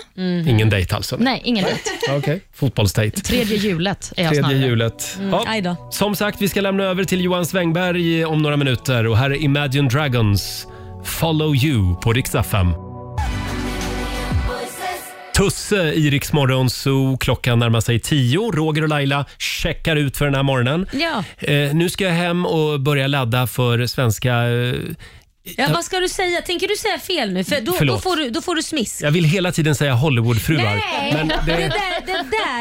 [SPEAKER 1] Ingen dejt alltså?
[SPEAKER 3] Mm-hmm. Nej, ingen dejt.
[SPEAKER 1] Okej. Fotbollsdejt.
[SPEAKER 3] Tredje hjulet är jag
[SPEAKER 1] Tredje
[SPEAKER 3] snarare.
[SPEAKER 1] hjulet.
[SPEAKER 3] Mm, aj
[SPEAKER 1] Ja. Som sagt, vi ska lämna över till Johan Svängberg om några minuter och här är Imagine Dragons Follow You på riksdag 5. Tusse i Rix Morgon Zoo. Klockan närmar sig tio. Roger och Laila checkar ut för den här morgonen.
[SPEAKER 2] Ja.
[SPEAKER 1] Eh, nu ska jag hem och börja ladda för svenska... Eh,
[SPEAKER 2] Ja, vad ska du säga? Tänker du säga fel nu? För då, då,
[SPEAKER 1] Förlåt.
[SPEAKER 2] får, du, då får du smisk.
[SPEAKER 1] jag vill hela tiden säga Hollywoodfruar.
[SPEAKER 2] Nej,
[SPEAKER 1] Men
[SPEAKER 2] det...
[SPEAKER 1] det,
[SPEAKER 2] där, det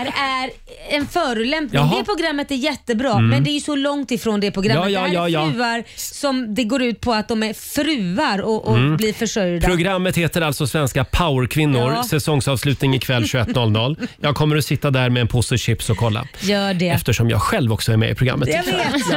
[SPEAKER 2] där är en förolämpning.
[SPEAKER 1] Jaha.
[SPEAKER 2] Det programmet är jättebra,
[SPEAKER 1] Mm.
[SPEAKER 2] men det är ju så långt ifrån det programmet.
[SPEAKER 1] Ja, ja,
[SPEAKER 2] det här
[SPEAKER 1] ja,
[SPEAKER 2] är
[SPEAKER 1] ja.
[SPEAKER 2] fruar som det går ut på att de är fruar och, och
[SPEAKER 1] Mm.
[SPEAKER 2] blir försörjda.
[SPEAKER 1] Programmet heter alltså Svenska powerkvinnor.
[SPEAKER 2] Ja.
[SPEAKER 1] Säsongsavslutning ikväll 21.00. Jag kommer att sitta där med en påse chips och kolla.
[SPEAKER 2] Gör det.
[SPEAKER 1] Eftersom jag själv också är med i programmet.
[SPEAKER 2] Jag vet.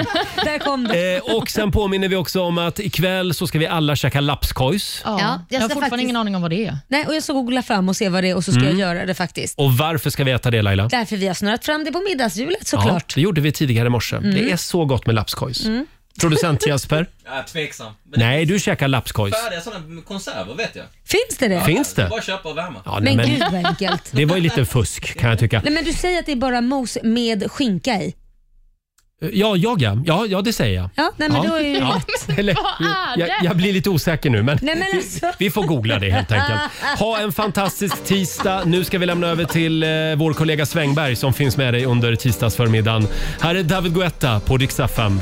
[SPEAKER 2] där kom det.
[SPEAKER 1] Eh, och sen påminner vi också om att ikväll så ska vi alla käka lapskojs.
[SPEAKER 3] Ja,
[SPEAKER 2] Ja,
[SPEAKER 3] jag,
[SPEAKER 2] jag
[SPEAKER 3] har
[SPEAKER 2] ska
[SPEAKER 3] fortfarande
[SPEAKER 2] faktiskt-
[SPEAKER 3] ingen aning om vad det är.
[SPEAKER 2] Nej, och jag ska googla fram och se vad det är och så ska
[SPEAKER 1] Mm.
[SPEAKER 2] jag göra det faktiskt.
[SPEAKER 1] Och varför ska vi äta det Laila?
[SPEAKER 2] Därför vi har snurrat fram det på middagshjulet såklart.
[SPEAKER 1] Ja, det gjorde vi tidigare i morse.
[SPEAKER 2] Mm.
[SPEAKER 1] Det är så gott med lapskojs.
[SPEAKER 2] Mm.
[SPEAKER 1] Producent Jesper?
[SPEAKER 19] Jag är tveksam. Men
[SPEAKER 1] Nej, du käkar lapskojs.
[SPEAKER 19] Färdiga sådana konserver vet jag.
[SPEAKER 2] Finns det det?
[SPEAKER 1] Finns
[SPEAKER 19] Det är
[SPEAKER 1] det?
[SPEAKER 19] bara att köpa och värma.
[SPEAKER 1] Ja, nej,
[SPEAKER 2] men,
[SPEAKER 1] men-
[SPEAKER 2] gud vad enkelt.
[SPEAKER 1] Det var ju lite fusk kan jag tycka.
[SPEAKER 2] Nej, men du säger att det är bara mos med skinka i.
[SPEAKER 1] Ja, jag ja. Ja, ja det säger jag.
[SPEAKER 2] Ja, nej, men då är ju rätt.
[SPEAKER 1] Eller,
[SPEAKER 2] Vad är
[SPEAKER 1] jag,
[SPEAKER 2] det?
[SPEAKER 1] jag blir lite osäker nu, men,
[SPEAKER 2] Nej, men alltså.
[SPEAKER 1] vi, vi får googla det helt enkelt. Ha en fantastisk tisdag. Nu ska vi lämna över till eh, vår kollega Svängberg som finns med dig under tisdagsförmiddagen. Här är David Guetta på Dix FM.